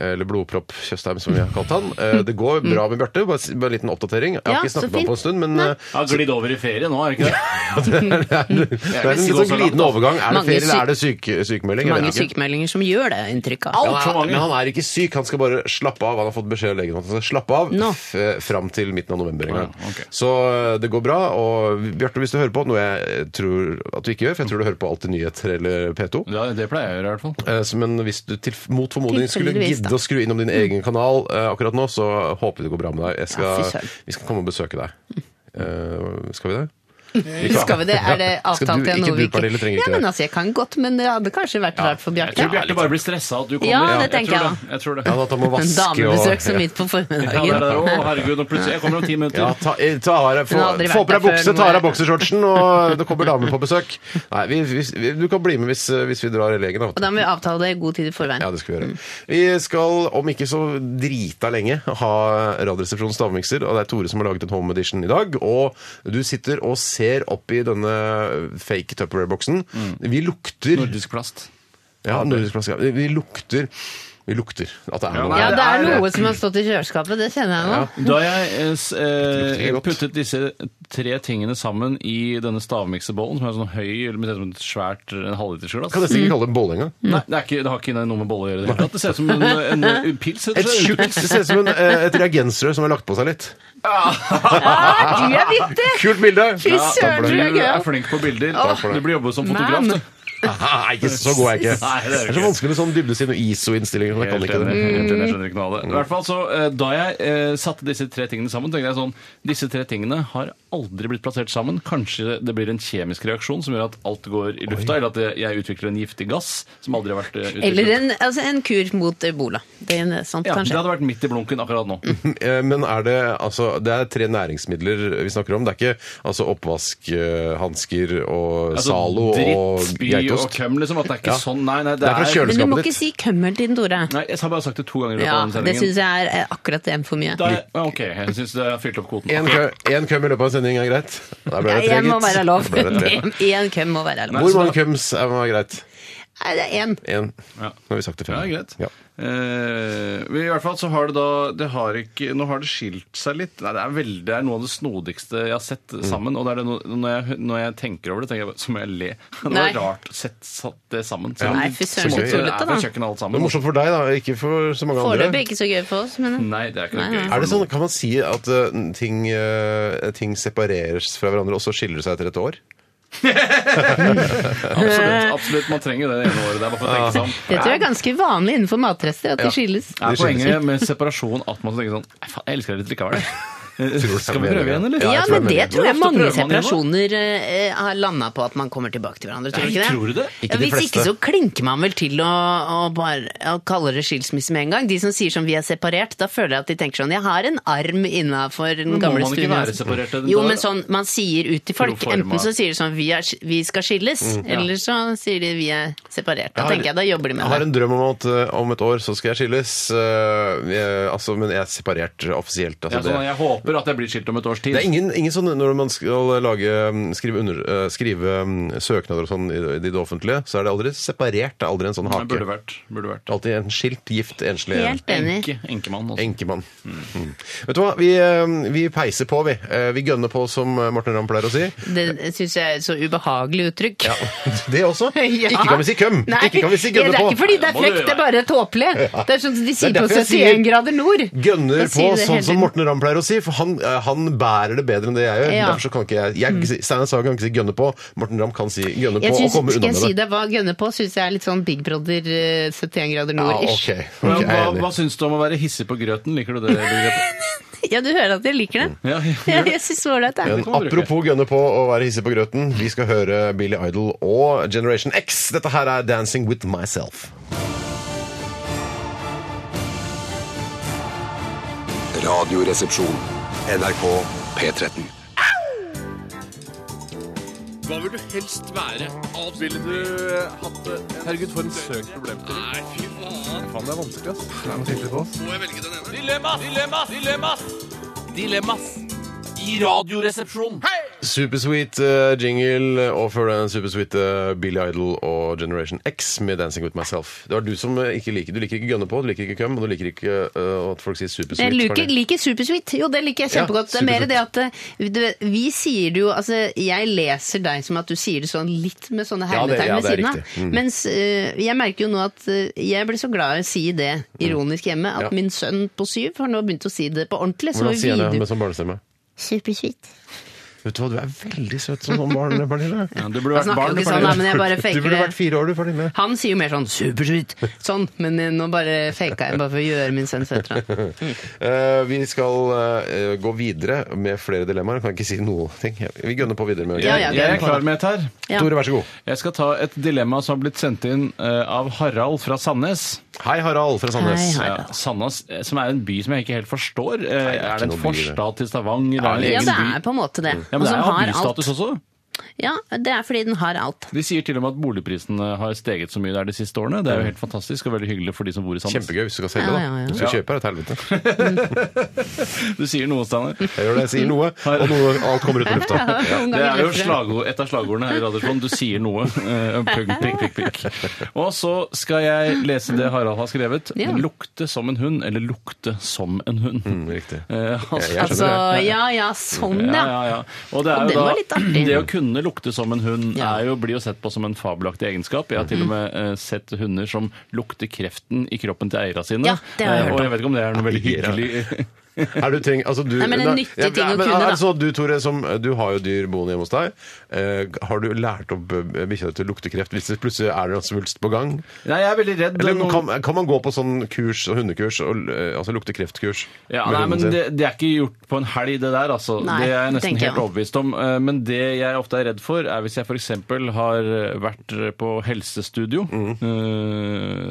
Speaker 2: eller Blodpropp Tjøstheim, som vi har kalt han. Eh, Det går bra med Bjarte, bare s- bare en liten oppdatering. Jeg har
Speaker 3: Mm. Ja,
Speaker 2: ikke snakket
Speaker 3: så
Speaker 2: med ham på en
Speaker 3: fint.
Speaker 2: stund, men eh,
Speaker 4: Har glidd over i ferie nå, er det ikke det?
Speaker 2: det er, det er, det er en litt
Speaker 4: gå
Speaker 2: sånn
Speaker 4: så langt,
Speaker 2: glidende overgang. Er det
Speaker 3: Mange
Speaker 2: ferie, eller
Speaker 3: syk-
Speaker 2: er det syke, sykemelding? Jeg
Speaker 3: Mange
Speaker 2: vet ikke.
Speaker 3: sykemeldinger som gjør det inntrykk av.
Speaker 2: Ja, men han, men han er ikke syk, han skal bare slappe av. Han har fått beskjed av legen om at han skal slappe av f eh, fram til midten av november en gang. Så eh, det går bra. Og Bjarte, hvis du hører på, noe jeg tror at du ikke gjør, for jeg tror du hører på Alltid nyheter eller P2
Speaker 4: Ja, det pleier jeg å gjøre i hvert fall.
Speaker 2: Eh, så- Men hvis du til, mot formodning skulle
Speaker 4: Tilfeldigvis,
Speaker 2: gidde
Speaker 4: da.
Speaker 2: å skru innom din egen kanal eh, akkurat nå, så håper vi det går bra med deg. Jeg
Speaker 3: Mm. Ja, fy
Speaker 2: skal,
Speaker 3: søren.
Speaker 2: vi skal komme og besøke deg. Eh, skal vi det?
Speaker 3: Skal vi det? Er det
Speaker 2: Skal du-
Speaker 3: avtalt til
Speaker 2: ikke
Speaker 3: noe
Speaker 2: du,
Speaker 3: vi ikke
Speaker 2: Pernille, trenger
Speaker 3: Ja,
Speaker 2: ikke
Speaker 3: men
Speaker 2: det.
Speaker 3: altså, jeg kan godt, men det hadde kanskje vært rart for
Speaker 4: Jeg tror
Speaker 3: Bjarte.
Speaker 4: Bjarte bare blir stressa av at du kommer.
Speaker 3: Ja, det tenker jeg
Speaker 4: det. Jeg tror det.
Speaker 2: Ja, at han må
Speaker 3: En
Speaker 2: vaske
Speaker 3: damebesøk så
Speaker 2: og-
Speaker 3: midt på
Speaker 4: Ja, det er det. Å,
Speaker 3: formiddagen.
Speaker 4: herregud, nå plutselig. Jeg kommer om ti minutter.
Speaker 2: Ja, ta, eh, ta, av deg- få
Speaker 4: Hun har aldri
Speaker 2: få på deg
Speaker 4: vært der
Speaker 2: bukse,
Speaker 4: før,
Speaker 2: ta av
Speaker 4: men-
Speaker 2: deg boksershortsen, og det kommer damer på besøk. Nei, vi, hvis- vi, du kan bli med hvis, eh, hvis vi drar i legen. Da.
Speaker 3: Og da må vi avtale det i god tid i forveien.
Speaker 2: Ja, det skal vi
Speaker 4: Mm.
Speaker 2: gjøre. Vi skal, om ikke så drita lenge, ha Radioresepsjonens stavmikser, og det er Tore som har laget en home edition i dag, og du sitter og ser opp i denne fake Tupperware-boksen.
Speaker 3: Mm.
Speaker 2: Vi lukter...
Speaker 4: Nordisk plast.
Speaker 2: Ja, nordisk plast. Ja. Vi vi lukter... Vi lukter at det er noe.
Speaker 3: Ja, det er noe som har stått i kjøleskapet, det kjenner jeg nå.
Speaker 4: Da jeg eh, s- eh, puttet disse tre tingene sammen i denne stavmiksebollen, som er sånn høy eller med et sånt svært eh, en halvlitersglass
Speaker 2: Kan nesten ikke kalle det en bolle engang.
Speaker 4: Nei, det, er ikke, det har ikke noe med bolle å gjøre. i Det, hele tatt. det ser ut som en, en, en pils. rett og
Speaker 2: Et
Speaker 4: slett.
Speaker 2: tjukt, det ser ut som en, eh, et reagensrør som har lagt på seg litt.
Speaker 3: Ja, du er vittig!
Speaker 2: Kult bilde!
Speaker 3: Fy søren, du er
Speaker 4: Du er
Speaker 3: gøy!
Speaker 4: flink på bilder.
Speaker 2: Takk for det.
Speaker 4: Du blir jobbet som fotograf.
Speaker 3: Man.
Speaker 4: du.
Speaker 2: Nei, ikke så god er jeg ikke.
Speaker 4: Nei, det er
Speaker 2: det,
Speaker 4: jo
Speaker 2: er så
Speaker 4: ikke.
Speaker 2: vanskelig med sånn dybdesinn og ISO-innstillinger. Jeg kan
Speaker 4: Helt
Speaker 2: ikke
Speaker 3: Mm.
Speaker 4: enig,
Speaker 2: det.
Speaker 4: helt enig, jeg skjønner ikke noe av det. I hvert fall så, eh, Da jeg eh, satte disse tre tingene sammen, tenkte jeg sånn Disse tre tingene har aldri blitt plassert sammen. Kanskje det blir en kjemisk reaksjon som gjør at alt går i lufta, eller at det- jeg utvikler en giftig gass som aldri har vært eh, utviklet.
Speaker 3: Eller en, altså, en kur mot ebola. Det er sant,
Speaker 4: ja, Det
Speaker 3: kanskje.
Speaker 4: hadde vært midt i blunken akkurat nå.
Speaker 2: Eh, Men er det altså Det er tre næringsmidler vi snakker om. Det er ikke altså oppvaskhansker og
Speaker 4: Altså,
Speaker 2: Zalo
Speaker 4: dritt,
Speaker 2: og
Speaker 4: spy og
Speaker 2: geitost.
Speaker 4: køm, liksom. At det er ikke
Speaker 2: Ja.
Speaker 4: sånn, nei, nei. Det,
Speaker 2: Det er fra kjøleskapet
Speaker 3: Men du må
Speaker 2: ditt.
Speaker 3: ikke si kømmel til den, Tore.
Speaker 4: Nei, jeg har bare sagt det to ganger i løpet
Speaker 3: Ja,
Speaker 4: av
Speaker 3: det
Speaker 4: denne
Speaker 3: syns
Speaker 4: sendingen.
Speaker 3: jeg er eh, akkurat en for mye.
Speaker 4: Da er- ja, ok, jeg syns det har fylt opp kvoten.
Speaker 2: En kø- en køm i løpet av en sending er greit? Da ble
Speaker 3: Ja,
Speaker 2: det tre,
Speaker 3: Én må
Speaker 2: gitt.
Speaker 3: være
Speaker 2: Da
Speaker 3: lov.
Speaker 2: ble det tre.
Speaker 3: Én køm må være lov.
Speaker 2: Hvor mange køms er er greit?
Speaker 3: Nei, det er én.
Speaker 2: Én.
Speaker 4: Ja.
Speaker 2: Nå har vi sagt det fem.
Speaker 4: Ja, greit.
Speaker 2: Ja.
Speaker 4: Eh, men I hvert fall så har det da det har ikke, Nå har det skilt seg litt. Nei, det, er veldig, det er noe av det snodigste jeg har sett
Speaker 2: Mm.
Speaker 4: sammen. Og det er det no, når, jeg, når jeg tenker over det, tenker jeg bare, så må jeg le. Det
Speaker 3: Nei.
Speaker 4: var rart sett, satt det sammen.
Speaker 2: Ja.
Speaker 4: Som-
Speaker 2: Nei, fy søren, så
Speaker 4: som om det
Speaker 2: tullete, da.
Speaker 4: er fra kjøkkenet alt
Speaker 2: Det er
Speaker 4: sammen.
Speaker 2: morsomt for deg, da. Ikke for så mange andre.
Speaker 3: Foreløpig ikke så gøy for oss, men
Speaker 4: Nei, det er ikke noe
Speaker 3: Nei,
Speaker 4: gøy.
Speaker 2: Er det sånn, Kan man si at eh, ting, eh, ting separeres fra hverandre, og så skiller det seg etter et år?
Speaker 4: Absolutt, absolutt, man trenger det det ene året der, bare for å tenke seg om.
Speaker 3: Eh. Det tror jeg er ganske vanlig innenfor matrester, at
Speaker 4: Ja.
Speaker 3: de skilles.
Speaker 4: Er poenget med separasjon at man tenker sånn «Nei, faen, Jeg elsker deg litt likevel. Skal vi prøve igjen, eller?
Speaker 3: Ja, men det tror jeg
Speaker 4: Hvor ofte
Speaker 3: mange
Speaker 4: prøver man igjen, da?
Speaker 3: separasjoner eh, har landa på at man kommer tilbake til hverandre. Tror du
Speaker 4: Nei,
Speaker 3: ikke det?
Speaker 4: tror du det?
Speaker 3: ja,
Speaker 4: Ikke de
Speaker 3: hvis
Speaker 4: fleste.
Speaker 3: ikke så klinker man vel til å, å bare å kalle det skilsmisse med en gang. De som sier som vi er separert, da føler jeg at de tenker sånn Jeg har en arm innafor den
Speaker 4: Men må
Speaker 3: gamle
Speaker 4: man ikke
Speaker 3: stuen.
Speaker 4: være separert til den
Speaker 3: Jo,
Speaker 4: dag?
Speaker 3: men sånn man sier ut til folk.
Speaker 4: Pro forma.
Speaker 3: Enten så sier de sånn vi, er, vi skal skilles,
Speaker 2: Mm. Ja.
Speaker 3: eller så sier de vi er separert. Da
Speaker 2: Jeg har-
Speaker 3: tenker jeg da jobber de
Speaker 2: Jeg
Speaker 3: med
Speaker 2: har
Speaker 3: det.
Speaker 2: en drøm om at eh, om et år så skal jeg skilles. eh, jeg, altså, men jeg er separert offisielt. Altså,
Speaker 4: Ja, sånn,
Speaker 2: det-
Speaker 4: jeg håper håper at jeg blir skilt om et års tid.
Speaker 2: Det er ingen, ingen sånn Når man skal lage, mm, skrive, under, eh, skrive mm, søknader og sånn i det, i det offentlige, så er det aldri separert. Det er aldri en sånn hake.
Speaker 4: Men burde vært. Burde vært.
Speaker 2: Alltid en skilt, gift, enslig.
Speaker 4: Helt enig. Enke, enkemann altså. også.
Speaker 2: Enkemann. Mm. Vet du hva, vi, eh, vi peiser på, vi. Eh, Vi gønner på, som Morten Ramm pleier å si.
Speaker 3: Det syns jeg er et så ubehagelig uttrykk.
Speaker 2: Det også.
Speaker 3: Ja.
Speaker 2: Ikke kan vi si køm.
Speaker 3: Nei,
Speaker 2: Ikke kan vi si gønne
Speaker 3: det er
Speaker 2: på.
Speaker 3: ikke fordi det er frekt, det er bare tåpelig.
Speaker 2: Ja.
Speaker 3: Det er sånn som de sier
Speaker 2: Det er
Speaker 3: på
Speaker 2: derfor jeg
Speaker 3: 71
Speaker 2: sier
Speaker 3: grader nord.
Speaker 2: Gønner
Speaker 3: Da
Speaker 2: på
Speaker 3: sier de det hele
Speaker 2: sånn som
Speaker 3: tiden.
Speaker 2: Morten Ramm pleier å si, for han, eh, han bærer det bedre enn det jeg gjør.
Speaker 3: Ja. Mm.
Speaker 2: Derfor så kan ikke jeg, jeg Steinar Sagen kan ikke si 'gønne på', Morten Ramm kan si 'gønne på'
Speaker 3: Jeg
Speaker 2: og
Speaker 3: synes,
Speaker 2: komme
Speaker 3: skal
Speaker 2: unna
Speaker 3: jeg si
Speaker 2: med det.
Speaker 3: deg hva gønne på, syns jeg er litt sånn Big Brother eh, 71 grader nord-ish.
Speaker 2: ok.
Speaker 4: Men
Speaker 2: jeg er
Speaker 4: hva,
Speaker 2: enig.
Speaker 4: hva syns du om å være hissig på grøten? Liker du det begrepet?
Speaker 3: Ja, du hører at jeg liker det.
Speaker 4: Ja,
Speaker 3: Ja, jeg syns det var ålreit,
Speaker 2: Men
Speaker 3: jeg.
Speaker 2: apropos gønne på å være hissig på grøten, vi skal høre Billy Idol og Generation X. Dette her er 'Dancing With Myself'.
Speaker 7: Radioresepsjon. NRK P13.
Speaker 9: Hva vil du helst være? Alt ville du hatt det? Herregud, for en søk problemstilling. Nei, fy faen. Faen, det er vanskelig, ass. Nei, må tenke på oss. Må jeg velge den ene? Dilemmas! Dilemmas! Dilemmas! Dilemmas! I radioresepsjonen. Hei!
Speaker 2: Supersweet eh, jingle og før den supersweet eh, Billy Idol og Generation X med 'Dancing With Myself'. Det var du som eh, ikke liker Du liker ikke gønne på, du liker ikke køm, og du liker ikke eh, at folk sier supersweet.
Speaker 3: Jeg liker,
Speaker 2: Pernille.
Speaker 3: liker Supersweet. Jo, det liker jeg
Speaker 2: Ja,
Speaker 3: kjempegodt. det er mer
Speaker 2: Supersweet.
Speaker 3: det at eh, du vet, vi sier det jo Altså, jeg leser deg som at du sier det sånn litt med sånne
Speaker 2: Ja, det-
Speaker 3: hermetegn
Speaker 2: ja,
Speaker 3: ved
Speaker 2: det er
Speaker 3: siden av.
Speaker 2: riktig. Mm.
Speaker 3: Mens eh, jeg merker jo nå at eh, jeg blir så glad i å si det ironisk hjemme, at
Speaker 2: Mm. Ja.
Speaker 3: min sønn på syv har nå begynt å si det på ordentlig. Så
Speaker 2: Hvordan sier jeg det med
Speaker 3: videre.
Speaker 2: sånn barnestemme?
Speaker 3: Supersweet.
Speaker 2: Vet du hva, du er veldig søt som sånn barn, Pernille.
Speaker 4: du
Speaker 3: vært Jeg snakker barn, jo ikke sånn, Pernille. da, men jeg bare faker
Speaker 2: Du burde
Speaker 3: det.
Speaker 2: vært fire år, du, Pernille.
Speaker 3: Han sier jo mer sånn 'supersweet', sånn, men eh, nå bare faka jeg bare for å gjøre min sønn søtere.
Speaker 2: Eh, vi skal eh, gå videre med flere dilemmaer. Jeg kan ikke si noe ting. Vi gønner på videre med
Speaker 4: Jeg, jeg er klar med et her.
Speaker 2: Ja. Tore, vær så god.
Speaker 4: Jeg skal ta et dilemma som har blitt sendt inn eh, av Harald fra Sandnes.
Speaker 2: Hei, Harald fra Sandnes. Hei,
Speaker 4: Ja, Sandnes, eh, som er en by som jeg ikke helt forstår. Eh, er
Speaker 2: ikke
Speaker 4: det en
Speaker 2: noe by, det.
Speaker 4: forstad til Stavanger? Er det en
Speaker 3: Ja,
Speaker 4: egen
Speaker 3: det
Speaker 4: by?
Speaker 3: er på en måte det.
Speaker 4: Ja, men
Speaker 3: Og
Speaker 4: det
Speaker 3: som
Speaker 4: er jo
Speaker 3: har alt.
Speaker 4: bystatus også.
Speaker 3: Ja, det er fordi den har alt.
Speaker 4: De sier til og med at boligprisene har steget så mye der de siste årene. Det er jo helt fantastisk og veldig hyggelig for de som bor i Sandnes.
Speaker 2: Kjempegøy hvis du skal selge, da.
Speaker 4: Ja, ja, ja.
Speaker 2: Du skal
Speaker 4: Ja.
Speaker 2: kjøpe her et helvete.
Speaker 4: Du sier noe, Steinar.
Speaker 2: Jeg gjør det. Jeg sier noe, og noe, alt kommer ut av lufta.
Speaker 4: Ja, det er jo slagord, et av slagordene her i Radiofonen. Du sier noe. eh, Pung, prikk, prikk, prikk. Og så skal jeg lese det Harald har skrevet.
Speaker 3: Ja.
Speaker 4: Lukte som en hund, eller lukte som en hund. Eh,
Speaker 2: riktig.
Speaker 3: Altså, ja ja, sånn
Speaker 4: Ja,
Speaker 3: ja.
Speaker 4: ja, ja. Og det
Speaker 3: Og
Speaker 4: er
Speaker 3: den
Speaker 4: jo
Speaker 3: var litt
Speaker 4: da,
Speaker 3: artig.
Speaker 4: det å kunne lukte som en hund er jo, blir jo sett på som en fabelaktig egenskap. Jeg har til og med
Speaker 3: Mm-hmm.
Speaker 4: eh, sett hunder som lukter kreften i kroppen til eierne sine.
Speaker 3: Ja, det har jeg
Speaker 4: Eh,
Speaker 3: hørt
Speaker 4: og
Speaker 3: om.
Speaker 4: jeg vet ikke om det er noe veldig hyggelig
Speaker 2: Er du treng, altså du,
Speaker 3: Nei, men en nyttig ting å
Speaker 2: men
Speaker 3: kunne,
Speaker 2: Er
Speaker 3: da.
Speaker 2: det sånn at du, Tore, som du har jo dyr boende hjemme hos deg, eh, har du lært opp eh, bikkja di til luktekreft hvis det plutselig er en svulst på gang?
Speaker 4: Nei, jeg er veldig redd.
Speaker 2: Eller
Speaker 4: Noen-
Speaker 2: kan, kan man gå på sånn kurs, og hundekurs, og, eh, altså luktekreftkurs?
Speaker 4: Ja,
Speaker 2: med
Speaker 4: nei,
Speaker 2: hunden
Speaker 4: men
Speaker 2: sin?
Speaker 4: det, det er ikke gjort på en helg, det der. altså.
Speaker 3: Nei,
Speaker 4: det er jeg
Speaker 3: det
Speaker 4: nesten
Speaker 3: tenker jeg
Speaker 4: helt overbevist om. Eh, Men det jeg ofte er redd for, er hvis jeg f.eks. har vært på helsestudio eh,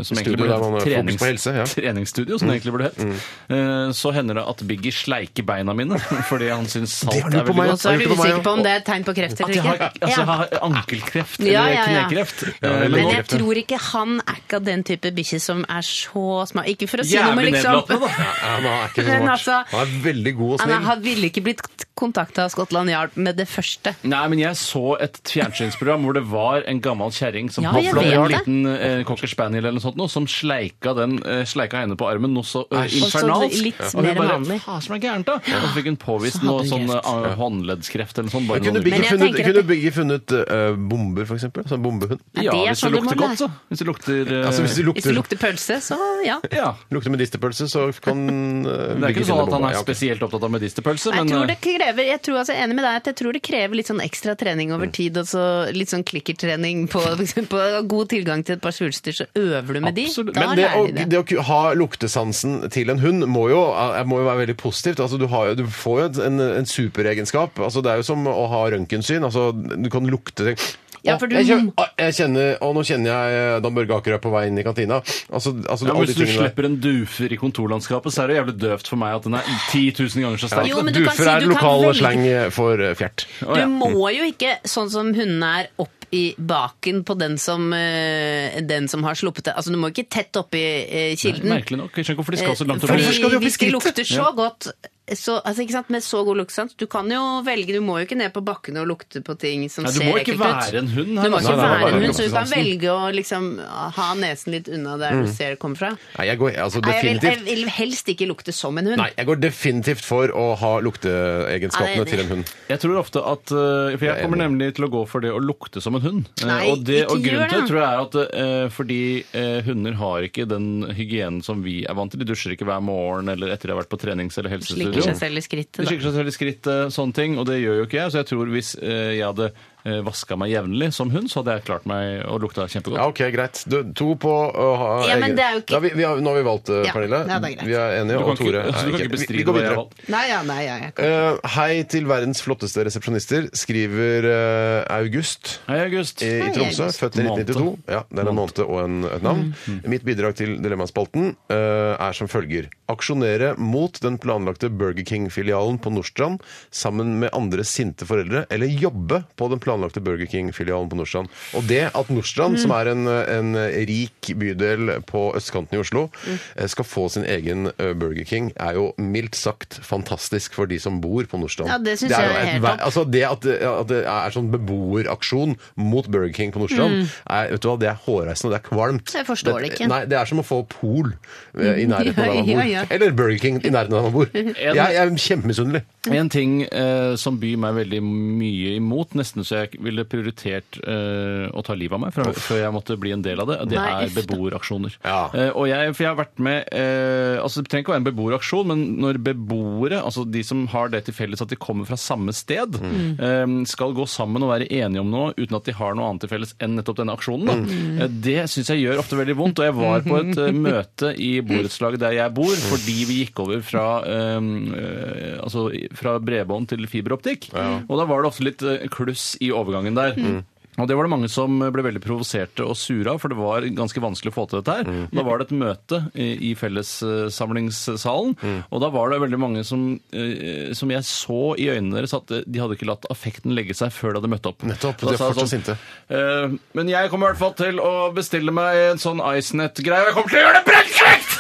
Speaker 4: Som
Speaker 2: Mm. Studio
Speaker 4: egentlig burde
Speaker 2: der man har fokus
Speaker 4: hett trenings,
Speaker 2: på helse, ja. Mm.
Speaker 4: treningsstudio, som det egentlig burde hett. Eh, Så hender det at Biggie sleiker beina mine fordi han syns salt
Speaker 3: Det
Speaker 4: er veldig
Speaker 3: Og
Speaker 4: godt.
Speaker 3: så er du usikker på om det er et tegn på kreft
Speaker 4: At
Speaker 3: eller
Speaker 4: jeg har,
Speaker 3: ikke.
Speaker 4: altså, jeg har ankelkreft eller
Speaker 3: Ja, ja, ja.
Speaker 4: knekreft.
Speaker 2: Ja, eller
Speaker 4: Eh,
Speaker 3: Men
Speaker 4: nå-
Speaker 3: jeg tror ikke han er ikke av den type bikkje som er så smart. Ikke for å si noe,
Speaker 4: Jævlig
Speaker 3: men
Speaker 4: nedlatende,
Speaker 3: liksom.
Speaker 4: da!
Speaker 2: Ja, men han er ikke så
Speaker 3: Men
Speaker 2: smart.
Speaker 3: altså-
Speaker 2: Han er veldig god og
Speaker 3: Han er-
Speaker 2: snill.
Speaker 3: han ville ikke blitt kontakta av Scotland Yard med det første.
Speaker 4: Nei, men jeg så et fjernsynsprogram hvor det var en gammel kjerring som
Speaker 3: Ja,
Speaker 4: hadde
Speaker 3: jeg
Speaker 4: en
Speaker 3: vet det.
Speaker 4: liten eh, cocker spaniel eller noe sånt, noe, som sleika, den, eh, sleika henne på armen noe så eh,
Speaker 3: Æsj.
Speaker 4: infernalsk.
Speaker 3: Og så litt
Speaker 4: Ja.
Speaker 3: mer
Speaker 4: hun bare,
Speaker 3: vanlig.
Speaker 4: Hva som er gærent, da? Og så fikk hun påvist
Speaker 3: Hadde
Speaker 4: noe
Speaker 3: hun
Speaker 4: sånn
Speaker 3: kreft?
Speaker 4: eh, håndleddskreft eller noe sånt.
Speaker 2: Men
Speaker 4: Bare
Speaker 2: Kunne
Speaker 4: noen
Speaker 2: Biggie
Speaker 3: jeg
Speaker 2: funnet,
Speaker 3: tenker at
Speaker 2: kunne
Speaker 3: det-
Speaker 2: Biggie funnet eh, bomber, for eksempel? Sånn bombehund?
Speaker 3: Ja, det er
Speaker 4: hvis det
Speaker 3: sånn du må
Speaker 4: lukter
Speaker 3: lære.
Speaker 4: godt, så. Hvis det lukter eh,
Speaker 2: Altså, hvis det
Speaker 3: Hvis det
Speaker 2: lukter,
Speaker 3: lukter pølse, så ja.
Speaker 4: Ja.
Speaker 2: lukter medisterpølse, så kan eh,
Speaker 4: Det er
Speaker 2: Biggie
Speaker 4: ikke sånn
Speaker 2: finne
Speaker 4: at han
Speaker 2: bomba. Ja,
Speaker 4: er
Speaker 2: ok.
Speaker 4: spesielt opptatt av medisterpølse,
Speaker 3: Jeg
Speaker 4: men
Speaker 3: tror
Speaker 4: eh,
Speaker 3: det krever, jeg tror, altså, jeg er enig med deg at jeg tror det krever litt sånn ekstra trening
Speaker 4: Mm.
Speaker 3: over tid. Og så litt sånn klikkertrening på, for eksempel, og god tilgang til et par svulster, så øver du med de.
Speaker 4: Absolutt.
Speaker 3: Da
Speaker 2: Men det å,
Speaker 3: lærer de det.
Speaker 2: det å ku- ha luktesansen til en hund må jo, eh, må jo være veldig positivt. Altså, du, har, jo- du får jo et- en, en superegenskap. Altså, det er jo som å ha røntgensyn. Altså, du kan lukte ting.
Speaker 3: Ja,
Speaker 2: Å,
Speaker 3: for du-
Speaker 2: jeg kjenner, å, jeg kjenner, å, nå kjenner jeg eh, Dan Børge Akerø på vei inn i kantina. Altså, altså,
Speaker 4: ja,
Speaker 2: alle
Speaker 4: men
Speaker 2: de
Speaker 4: hvis du
Speaker 2: tingene der.
Speaker 4: slipper en dufer i kontorlandskapet, så er det jævlig døvt for meg at den er 10 000 ganger så sterk.
Speaker 3: Jo, men du kan
Speaker 2: Dufer
Speaker 3: si
Speaker 2: er
Speaker 3: du kan
Speaker 2: lokal
Speaker 3: velge-
Speaker 2: slang for eh, fjert.
Speaker 4: Å, ja. Mm.
Speaker 3: Du må jo ikke, sånn som hundene er, opp i baken på den som, eh, den som har sluppet det. Altså, du må ikke tett oppi eh, kilden.
Speaker 4: Merkelig nok. Jeg skjønner ikke hvorfor de skal så langt
Speaker 3: Eh,
Speaker 4: opp i-
Speaker 3: Fordi hvis de lukter så
Speaker 4: Ja.
Speaker 3: godt så, altså, ikke sant? Med så god luktesans. Du kan jo velge, du må jo ikke ned på bakken og lukte på ting som
Speaker 4: Nei, du
Speaker 3: ser
Speaker 4: må
Speaker 3: ekkelt ut.
Speaker 4: ikke være en hund her,
Speaker 3: Du må
Speaker 4: altså.
Speaker 3: ikke
Speaker 4: Nei, nei,
Speaker 3: være
Speaker 4: bare
Speaker 3: en hund, så du kan
Speaker 4: luktesansen.
Speaker 3: velge å liksom ha nesen litt unna der
Speaker 2: Mm.
Speaker 3: du ser det kommer fra.
Speaker 2: Nei, jeg går altså,
Speaker 3: Nei, jeg, vil, jeg
Speaker 2: definitivt
Speaker 3: vil helst ikke lukte som en hund.
Speaker 2: Nei, jeg går definitivt for å ha lukteegenskapene
Speaker 3: Nei, det-
Speaker 2: til en hund.
Speaker 4: Jeg tror ofte at eh, For jeg kommer nemlig til å gå for det å lukte som en hund. Eh,
Speaker 3: Nei,
Speaker 4: og, det, og
Speaker 3: ikke gjør
Speaker 4: grunnen til det
Speaker 3: det.
Speaker 4: tror jeg er at eh, fordi eh, hunder har ikke den hygienen som vi er vant til. De dusjer ikke hver morgen eller etter de har vært på trenings- eller helsestudio.
Speaker 3: Slikker seg selv i skrittet.
Speaker 4: De
Speaker 3: da.
Speaker 4: skikker seg selv i skritt, eh, sånne ting, og det gjør jo ikke jeg. Så jeg tror hvis eh, jeg hadde eh, vaska meg jevnlig som hund, så hadde jeg klart meg å lukte kjempegodt.
Speaker 2: Ja, ok, greit. Du, to på å ha
Speaker 3: Ja, men
Speaker 2: egen-
Speaker 3: det er jo ikke-
Speaker 2: Da, vi, vi har, nå har vi valgt, eh,
Speaker 3: Ja,
Speaker 2: Pernille.
Speaker 3: ja, det er greit.
Speaker 2: vi er enige,
Speaker 4: Du kan
Speaker 2: og Tore er
Speaker 4: ikke- så du kan ikke
Speaker 2: Vi-
Speaker 4: bestride
Speaker 2: Vi går
Speaker 4: hva jeg har
Speaker 2: videre.
Speaker 4: valgt.
Speaker 3: Nei, ja, nei, ja, jeg kan.
Speaker 2: Eh, hei til verdens flotteste resepsjonister, skriver eh, August, I,
Speaker 4: Hei,
Speaker 2: i Tromsø.
Speaker 4: August.
Speaker 2: Født i 1992. Ja, det er en måned Mm. og en, et navn. Mitt bidrag til Dilemmaspalten eh, er som følger. Aksjonere mot den planlagte Burger King-filialen på Nordstrand sammen med andre sinte foreldre, eller jobbe på den planlagte Burger King-filialen på Nordstrand. Og det at Nordstrand,
Speaker 13: Mm.
Speaker 2: som er en, en rik bydel på østkanten i Oslo,
Speaker 3: Mm.
Speaker 2: eh, skal få sin egen eh, Burger King, er jo mildt sagt fantastisk for de som bor på Nordstrand.
Speaker 3: Ja, det synes
Speaker 2: jo
Speaker 3: jeg er
Speaker 2: et
Speaker 3: helt
Speaker 2: ver-
Speaker 3: topp.
Speaker 2: Altså det at, det- at det er sånn beboeraksjon mot Burger King på Nordstrand,
Speaker 3: Mm.
Speaker 2: er, vet du hva, det er hårreisende, det er kvalmt.
Speaker 3: Jeg forstår det ikke.
Speaker 2: Nei, det er som å få pol eh, i nærheten av der man
Speaker 3: Ja,
Speaker 2: bor.
Speaker 3: ja, ja.
Speaker 2: Eller Burger King i nærheten av der man bor. Jeg, jeg er kjempemisunnelig.
Speaker 4: En ting eh, som byr meg veldig mye imot, nesten så jeg ville prioritert eh, å ta livet av meg fra, før jeg måtte bli en del av det, det
Speaker 13: Nei,
Speaker 4: er
Speaker 13: uff da.
Speaker 4: beboeraksjoner. Eh, og jeg, for jeg har vært med eh, altså Det trenger ikke å være en beboeraksjon, men når beboere, altså de som har det til felles at de kommer fra samme sted,
Speaker 13: Mm.
Speaker 4: eh, skal gå sammen og være enige om noe uten at de har noe annet til felles enn nettopp denne aksjonen, da.
Speaker 13: Mm.
Speaker 4: Eh, det syns jeg gjør ofte veldig vondt. Og jeg var på et eh, møte i borettslaget der jeg bor, fordi vi gikk over fra, eh, eh, altså, fra bredbånd til fiberoptikk. Og da var det ofte litt eh, kluss i overgangen der.
Speaker 13: Mm.
Speaker 4: Og det var det mange som ble veldig provoserte og sure av, for det var ganske vanskelig å få til dette her.
Speaker 2: Mm.
Speaker 4: Da var det et møte i i fellessamlingssalen,
Speaker 2: Mm.
Speaker 4: og da var det veldig mange som, eh, som jeg så i øynene deres at eh, de hadde ikke latt affekten legge seg før de hadde møtt opp. Nettopp,
Speaker 2: de er fortsatt
Speaker 4: sånn,
Speaker 2: sinte.
Speaker 4: Eh, men jeg kommer i hvert fall til å bestille meg en sånn Icenet-greie, og jeg kommer til å gjøre det brennkjekt!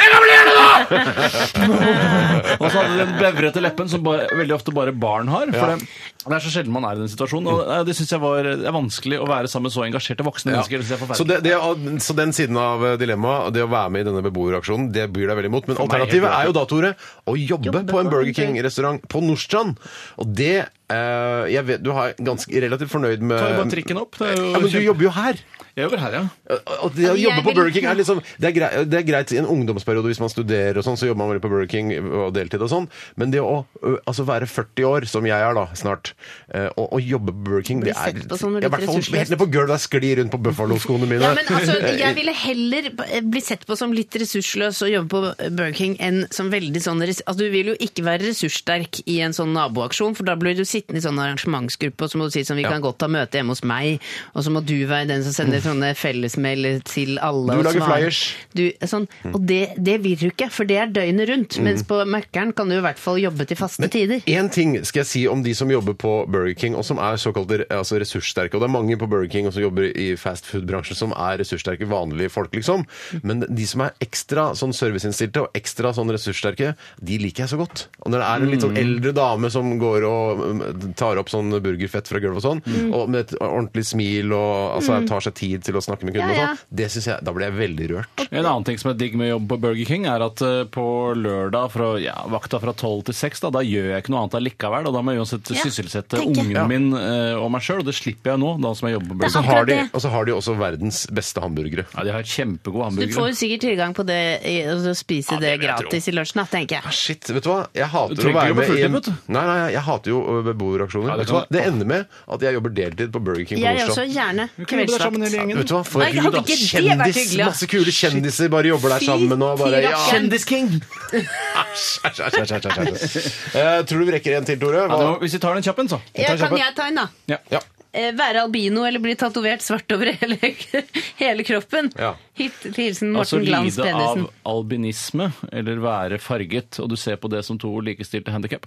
Speaker 4: Jeg kommer til å gjøre det nå! Og så hadde de den bevrete leppen som bare, veldig ofte bare barn har. For
Speaker 13: Ja.
Speaker 4: det, det er så sjelden man er i den situasjonen. Og eh, det synes jeg var det er vanskelig å være sammen med så engasjerte voksne
Speaker 2: Ja.
Speaker 4: mennesker. Det synes jeg er
Speaker 2: Så,
Speaker 4: forferdelig.
Speaker 2: det, det, så den siden av eh, dilemmaet, det å være med i denne beboeraksjonen, det byr deg veldig imot. Men
Speaker 4: For meg helt
Speaker 2: alternativet
Speaker 4: klart.
Speaker 2: er jo da, Tore, å jobbe,
Speaker 4: Jobbe
Speaker 2: på en
Speaker 4: på
Speaker 2: Burger
Speaker 4: en
Speaker 2: King-restaurant på Nordstrand. Og det eh, jeg vet, Du er ganske relativt fornøyd med
Speaker 4: Ta jo bare trikken opp. Det er jo
Speaker 2: ja, men du
Speaker 4: kjempe-
Speaker 2: jobber jo her.
Speaker 4: Jeg jobber her, ja.
Speaker 2: Og det å
Speaker 4: Jeg
Speaker 2: jobbe på
Speaker 4: vil-
Speaker 2: Burger King er liksom det er, greit, det er greit i en ungdomsperiode hvis man studerer og sånn, så jobber man veldig på Burger King og deltid og sånn, men det å ø, altså være 40 år, som jeg er da snart, eh, og, og jobbe på Burger King,
Speaker 3: Bli
Speaker 2: det er
Speaker 3: sett sånn på som
Speaker 2: jeg, i
Speaker 3: litt
Speaker 2: hvert fall
Speaker 3: ressursløs.
Speaker 2: helt ned på gulvet og skli rundt på Buffalo-skoene mine.
Speaker 3: Ja, men altså, jeg ville heller eh, bli sett på som litt ressursløs og jobbe på eh, Burger King enn som veldig sånn res- altså, Du vil jo ikke være ressurssterk i en sånn naboaksjon, for da blir du sittende i sånn arrangementsgruppe, og så må du si sånn Vi kan godt ha møte hjemme hos meg, og så må du være den som sender sånne fellesmailer til alle.
Speaker 2: Du
Speaker 3: og
Speaker 2: lager
Speaker 3: svarer.
Speaker 2: flyers.
Speaker 3: Du, sånn, og det, det vil du ikke, for det er døgnet rundt.
Speaker 2: Mm.
Speaker 3: Mens på Mækkern kan du i hvert fall jobbe til faste tider.
Speaker 2: Én ting skal jeg si om de som jobber på Burger King, og som er såkalt altså ressurssterke. Og det er mange på Burger King og som jobber i fastfood-bransjen som er ressurssterke, vanlige folk, liksom. Men de som er ekstra sånn serviceinnstilte og ekstra sånn ressurssterke, de liker jeg så godt. Og når det er en litt sånn
Speaker 4: Mm.
Speaker 2: eldre dame som går og mm, tar opp sånn burgerfett fra gulvet og sånn,
Speaker 13: Mm.
Speaker 2: og med et ordentlig smil og altså,
Speaker 4: Mm.
Speaker 2: tar seg tid til å snakke med kunden
Speaker 4: Ja, ja.
Speaker 2: og sånn, det syns jeg Da blir jeg veldig rørt.
Speaker 4: En annen ting som er digg med jobb på Burger King, er at eh, på lørdag fra, ja, vakta fra tolv til seks, da, da gjør jeg ikke noe annet allikevel. Og da må jeg uansett
Speaker 2: Ja,
Speaker 4: sysselsette
Speaker 2: tenker jeg.
Speaker 4: ungen
Speaker 2: Ja.
Speaker 4: min eh, og meg sjøl, og det slipper jeg nå, da som jeg jobber på
Speaker 2: Og
Speaker 4: Burger
Speaker 2: så
Speaker 4: King.
Speaker 2: har de, og så har de også verdens beste hamburgere.
Speaker 4: Ja, de har kjempegode
Speaker 3: Du får jo sikkert tilgang på det i- å spise det,
Speaker 2: vil jeg tro.
Speaker 3: gratis i lunsjen, da, tenker jeg.
Speaker 2: Shit, vet du hva? Jeg
Speaker 4: Du
Speaker 2: hater å
Speaker 4: trenger
Speaker 2: være
Speaker 4: ikke å
Speaker 2: med
Speaker 4: få
Speaker 2: i en...
Speaker 4: fulltid,
Speaker 2: Nei, nei, jeg hater jo ø, beboeraksjoner.
Speaker 4: Ja, det
Speaker 2: vet du hva?
Speaker 4: kan-
Speaker 2: Det ender med at jeg jobber deltid på Burger King på
Speaker 3: Jeg er også
Speaker 2: Nordstrand.
Speaker 3: gjerne
Speaker 4: jobbe der sammen
Speaker 3: kveldsvakt.
Speaker 4: hele gjengen.
Speaker 2: Vet du hva? For
Speaker 3: Nei,
Speaker 2: en gud,
Speaker 3: hadde ikke
Speaker 2: ass.
Speaker 3: det vært
Speaker 2: Kjendis,
Speaker 3: hyggelig, ass.
Speaker 2: masse kule kjendiser bare jobber der
Speaker 3: Fy
Speaker 2: sammen og bare ja.
Speaker 3: rakkeren.
Speaker 4: King!
Speaker 2: Æsj, æsj, æsj, æsj, æsj, æsj. Eh, Tror du vi rekker en til, Tore?
Speaker 4: Ja, det må- hvis vi tar den kjappen, så.
Speaker 3: Ja, kan jeg ta en, da?
Speaker 4: Ja.
Speaker 3: Eh, Være albino eller bli tatovert svart over hele, hele kroppen?
Speaker 4: Ja.
Speaker 3: Hit til hilsen
Speaker 4: Altså
Speaker 3: Morten Glans
Speaker 4: lide av
Speaker 3: Pedersen.
Speaker 4: albinisme eller være farget, og du ser på det som to likestilte handikap.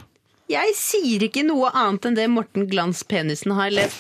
Speaker 3: Jeg sier ikke noe annet enn det Morten Glans Penisen har levd.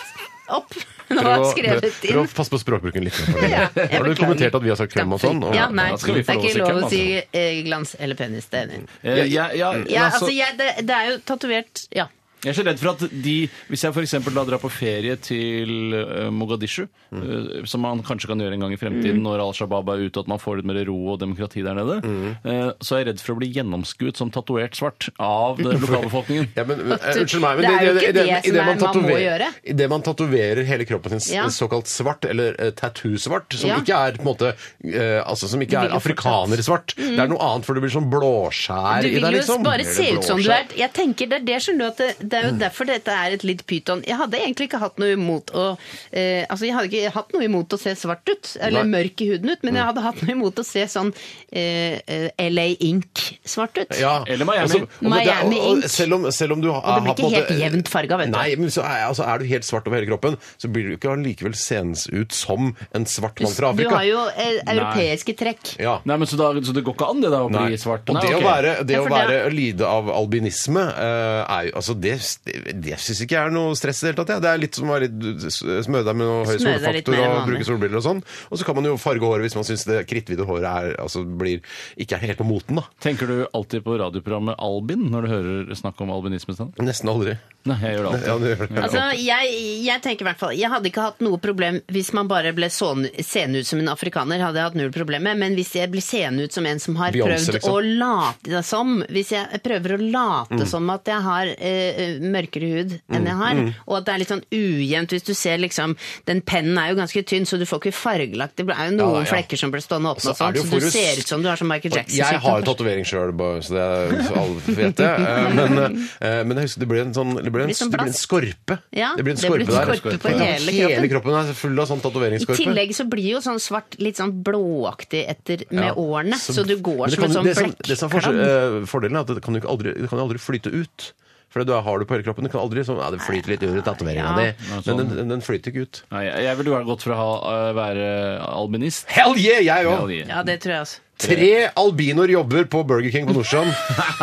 Speaker 3: opp. Nå har jeg skrevet
Speaker 2: prøv å
Speaker 3: inn.
Speaker 2: passe på språkbruken litt.
Speaker 3: Ja, jeg
Speaker 2: har du
Speaker 3: beklager.
Speaker 2: kommentert at vi har sagt klem og sånn? Og,
Speaker 3: Ja, nei,
Speaker 2: Da skal vi
Speaker 3: det
Speaker 2: få
Speaker 3: er
Speaker 2: lov å
Speaker 3: ikke
Speaker 2: si
Speaker 3: lov
Speaker 2: klem,
Speaker 3: å
Speaker 2: altså.
Speaker 3: si eh, glans eller penis. Det er jeg enig i.
Speaker 4: Eh, jeg- ja,
Speaker 3: Ja,
Speaker 4: altså-
Speaker 3: altså, jeg, det, det er jo tatovert Ja.
Speaker 4: Jeg er så redd for at de, hvis jeg f.eks. drar på ferie til eh, Mogadishu,
Speaker 2: Mm.
Speaker 4: eh, som man kanskje kan gjøre en gang i fremtiden
Speaker 13: Mm.
Speaker 4: når Al Shabaab er ute, at man får litt mer ro og demokrati der nede,
Speaker 2: Mm.
Speaker 4: eh, så er jeg redd for å bli gjennomskuet som tatovert svart av det lokalbefolkningen.
Speaker 2: Men, eh, Unnskyld meg, men
Speaker 3: Det er jo
Speaker 2: i
Speaker 3: ikke det
Speaker 2: i
Speaker 3: som er-
Speaker 2: man
Speaker 3: man må
Speaker 2: tatoverer-
Speaker 3: gjøre.
Speaker 2: i det man tatoverer hele kroppen sin
Speaker 3: Ja.
Speaker 2: s- såkalt svart, eller eh, tattoo-svart, som
Speaker 3: Ja.
Speaker 2: ikke er på en måte eh, altså som ikke
Speaker 3: Det
Speaker 2: er
Speaker 3: ligger
Speaker 2: afrikaner-svart.
Speaker 3: Mm.
Speaker 2: Det er noe annet, for det blir sånn blåskjær
Speaker 3: Du
Speaker 2: i
Speaker 3: vil
Speaker 2: deg,
Speaker 3: jo
Speaker 2: liksom.
Speaker 3: bare
Speaker 2: Eller Mm.
Speaker 3: se ut som du
Speaker 2: blåskjær.
Speaker 3: er Jeg tenker, Det er det skjønner du at det, det er jo derfor dette er et litt pyton. Jeg hadde egentlig ikke hatt noe imot å eh, Altså, jeg hadde ikke hatt noe imot å se svart ut, eller
Speaker 2: Nei. Mm.
Speaker 3: mørk i huden ut, men jeg hadde hatt noe imot å se sånn eh, eh, LA Ink-svart ut.
Speaker 2: Ja. Altså, og- og-
Speaker 3: Miami
Speaker 2: og- og-
Speaker 3: Ink.
Speaker 2: Selv om, selv om du har,
Speaker 3: Og det blir
Speaker 2: har på en
Speaker 3: ikke
Speaker 2: måte-
Speaker 3: helt jevnt farga, vet du.
Speaker 2: Nei, men så er, altså, er du helt svart over hele kroppen, så blir du ikke allikevel seende ut som en svart mann fra
Speaker 3: Du
Speaker 2: Afrika.
Speaker 3: har jo eh,
Speaker 2: Nei.
Speaker 3: europeiske trekk.
Speaker 2: ja.
Speaker 4: Nei, men så, da, så det går ikke an det da å
Speaker 2: Nei.
Speaker 4: bli svart?
Speaker 2: Og
Speaker 4: Nei,
Speaker 2: det å,
Speaker 4: ok.
Speaker 2: være, det
Speaker 3: Ja,
Speaker 2: å
Speaker 3: for
Speaker 2: være,
Speaker 3: det-
Speaker 2: lide av albinisme eh, er jo Altså, det, det syns ikke jeg er noe stress i det hele tatt. jeg. Det er litt som å være litt- smøre deg med noe høy
Speaker 3: Smøre deg litt
Speaker 2: solfaktor
Speaker 3: mer
Speaker 2: og
Speaker 3: enn vanlig.
Speaker 2: bruke solbriller og sånn. Og så kan man jo farge håret hvis man syns det kritthvite håret er, altså, blir, ikke er helt på moten, da.
Speaker 4: Tenker du alltid på radioprogrammet Albin når du hører snakk om albinisme? Sten?
Speaker 2: Nesten aldri.
Speaker 4: Nei, jeg gjør det alltid.
Speaker 2: Ja, du gjør det.
Speaker 3: Altså, jeg, jeg tenker i hvert fall Jeg hadde ikke hatt noe problem hvis man bare ble sån- seende ut som en afrikaner. hadde jeg hatt null problem med, Men hvis jeg blir seende ut som en som har
Speaker 12: Beyoncé,
Speaker 3: prøvd
Speaker 12: liksom.
Speaker 3: å late som Hvis jeg prøver å late
Speaker 12: Mm.
Speaker 3: som at jeg har eh, mørkere hud enn
Speaker 12: Mm,
Speaker 3: jeg har,
Speaker 12: mm.
Speaker 3: og at det er litt sånn ujevnt Hvis du ser liksom Den pennen er jo ganske tynn, så du får ikke fargelagt Det er jo
Speaker 2: Ja, ja.
Speaker 3: noen flekker som blir stående åpne,
Speaker 2: Så
Speaker 3: og
Speaker 2: er
Speaker 3: sånn,
Speaker 2: det jo
Speaker 3: så
Speaker 2: forus-
Speaker 3: du ser ut som du har sånn Michael Jackson.
Speaker 2: Jeg har tatovering sjøl, så det er, så alle vet det. Eh, Men, eh, men jeg husker det ble en sånn Det ble en,
Speaker 3: Litt sånn
Speaker 2: det ble en
Speaker 3: blask.
Speaker 2: skorpe.
Speaker 3: Ja,
Speaker 2: det ble en
Speaker 3: det ble
Speaker 2: skorpe der.
Speaker 3: skorpe på
Speaker 2: Ja,
Speaker 3: hele
Speaker 2: Hele
Speaker 3: kroppen.
Speaker 2: kroppen er full av sånn
Speaker 3: I
Speaker 2: tatoveringsskorpe.
Speaker 3: tillegg så blir jo sånn svart litt sånn blåaktig etter med
Speaker 2: Ja.
Speaker 3: årene, så, du går
Speaker 2: Men det
Speaker 3: som
Speaker 2: kan
Speaker 3: en
Speaker 2: jo-
Speaker 3: sånn
Speaker 2: det som- Det som er
Speaker 3: blekkklabb.
Speaker 2: forskjell- eh, fordelen er at det kan jo ikke aldri, det kan jo aldri flyte ut. For det du har det på hele kroppen, det kan aldri sånn Ja, det flyter litt ut i tatoveringa
Speaker 4: Ja.
Speaker 2: di, men den, den- den flyter ikke ut.
Speaker 4: Nei, jeg, jeg ville jo gått for å ha, eh, være albinist.
Speaker 2: Hell yeah, jeg òg!
Speaker 3: Ja, det tror jeg også.
Speaker 2: Tre albinoer jobber på Burger King på Nordstrand.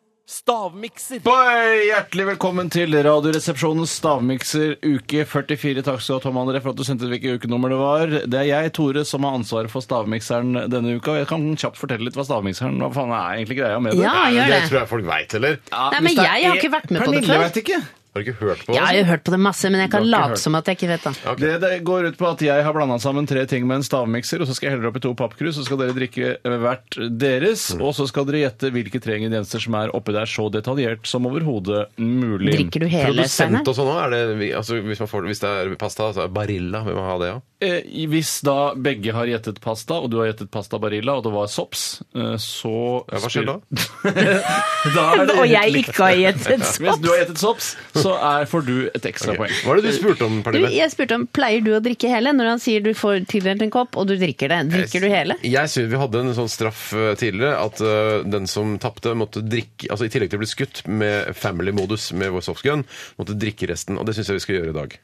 Speaker 4: stavmikser. Boy, hjertelig velkommen til Radioresepsjonens stavmikser uke 44. Takk skal du ha, Tom André, for at du sendte ut hvilket ukenummer det var. Det er jeg, Tore, som har ansvaret for stavmikseren denne uka. og Jeg kan kjapt fortelle litt hva stavmikseren Hva faen er egentlig greia med det?
Speaker 3: Ja, Nei, men gjør det det. tror
Speaker 2: jeg folk veit, eller?
Speaker 3: Nei, men jeg har ikke vært med på det før.
Speaker 4: E- vet ikke.
Speaker 2: Har du ikke hørt på
Speaker 3: Jeg har jo hørt på det masse, men jeg kan
Speaker 4: Du har ikke hørt.
Speaker 3: late som at jeg ikke vet det.
Speaker 4: Det, det går ut på at jeg har blanda sammen tre ting med en stavmikser, og så skal jeg helle det opp i to pappkrus, så skal dere drikke eh, hvert deres,
Speaker 2: Mm.
Speaker 4: og så skal dere gjette hvilke tre ingredienser som er oppi der, så detaljert som overhodet mulig.
Speaker 3: Drikker du hele, Steinar?
Speaker 2: Produsent og sånn òg? Er det, vi- altså, hvis, man får- hvis det er pasta, så er Barilla Hvem har det, ja?
Speaker 4: Eh, i- Hvis da begge har gjettet pasta, og du har gjettet pasta barilla, og det var sops, eh, så
Speaker 2: Ja, hva skjer da?
Speaker 4: Da er det
Speaker 3: Og jeg
Speaker 4: likt.
Speaker 3: ikke har gjettet sops.
Speaker 4: Hvis du har gjettet sops, så er, får du et ekstra poeng.
Speaker 2: Hva er det du spurte om,
Speaker 3: Du, jeg spurte om pleier du å drikke hele når han sier du får tildelt en kopp, og du drikker det. Drikker du hele?
Speaker 2: Jeg synes Vi hadde en sånn straff eh, tidligere at eh, den som tapte, måtte drikke altså I tillegg til å bli skutt med family-modus med vår softgun, måtte drikke resten. Og det syns jeg vi skal gjøre i dag.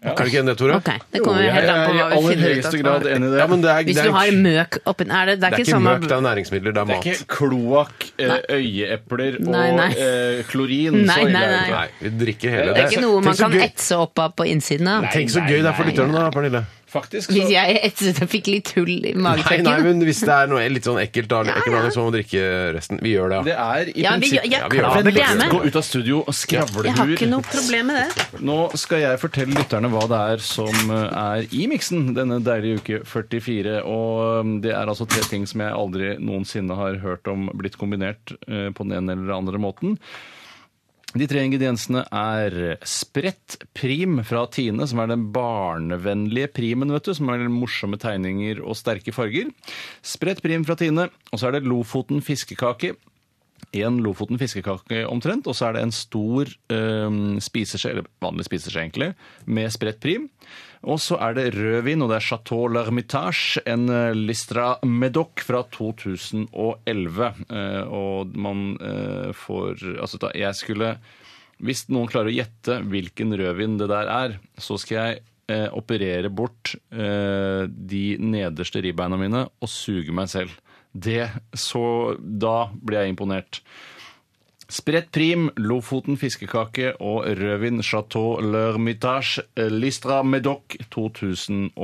Speaker 2: Er du ikke enig i det, Tore?
Speaker 3: Ok, det kommer helt an på hva vi finner ut av.
Speaker 2: Ja, men det er,
Speaker 3: Hvis
Speaker 2: det er,
Speaker 3: du har møk oppi er det, det er ikke sånn
Speaker 2: møk, det er næringsmidler, det er
Speaker 4: Det
Speaker 2: mat.
Speaker 4: er ikke kloakk, eh, øyeepler og
Speaker 3: Nei, nei.
Speaker 4: Eh, klorin.
Speaker 3: Nei,
Speaker 4: så ille
Speaker 3: nei,
Speaker 4: er det
Speaker 3: nei.
Speaker 4: ikke.
Speaker 2: Nei, vi drikker hele.
Speaker 3: Det er ikke noe man
Speaker 2: Tenk så
Speaker 3: kan
Speaker 2: gøy-
Speaker 3: etse opp av på innsiden av.
Speaker 2: Tenk så gøy det er for lytterne, da, Pernille.
Speaker 4: Faktisk.
Speaker 3: Hvis jeg etset og fikk litt hull i
Speaker 2: Nei,
Speaker 3: magesekken.
Speaker 2: nei, men hvis det er noe litt sånn ekkelt, da, eller ekkel blanding, så må man drikke resten. Vi gjør det,
Speaker 4: Det er i
Speaker 3: Ja, vi-
Speaker 4: prinsipp...
Speaker 3: jeg- jeg klarer det, jeg er med.
Speaker 4: Gå ut av studio og
Speaker 3: Jeg har
Speaker 4: skravlehuer.
Speaker 3: ikke noe problem med det.
Speaker 4: Nå skal jeg fortelle lytterne hva det er som eh, er i miksen denne deilige uke 44. Og um, det er altså tre ting som jeg aldri noensinne har hørt om blitt kombinert eh, på den ene eller andre måten. De tre ingrediensene er Sprett Prim fra Tine, som er den barnevennlige primen, vet du, som er morsomme tegninger og sterke farger. Sprett Prim fra Tine, og så er det Lofoten fiskekake. En Lofoten fiskekake omtrent, og så er det en stor øhm, spiseskje, eller vanlig spiseskje egentlig, med spredt prim. Og så er det rødvin, og det er Chateau L'Hermitage, en eh, Listra Medoc fra 2011. Eh, og man eh, får Altså, da, jeg skulle Hvis noen klarer å gjette hvilken rødvin det der er, så skal jeg eh, operere bort eh, de nederste ribbeina mine og suge meg selv. Det, så da blir jeg imponert. Spredt prim, Lofoten fiskekake og rødvin Chateau L'Hermitage Listra Medoc 2011.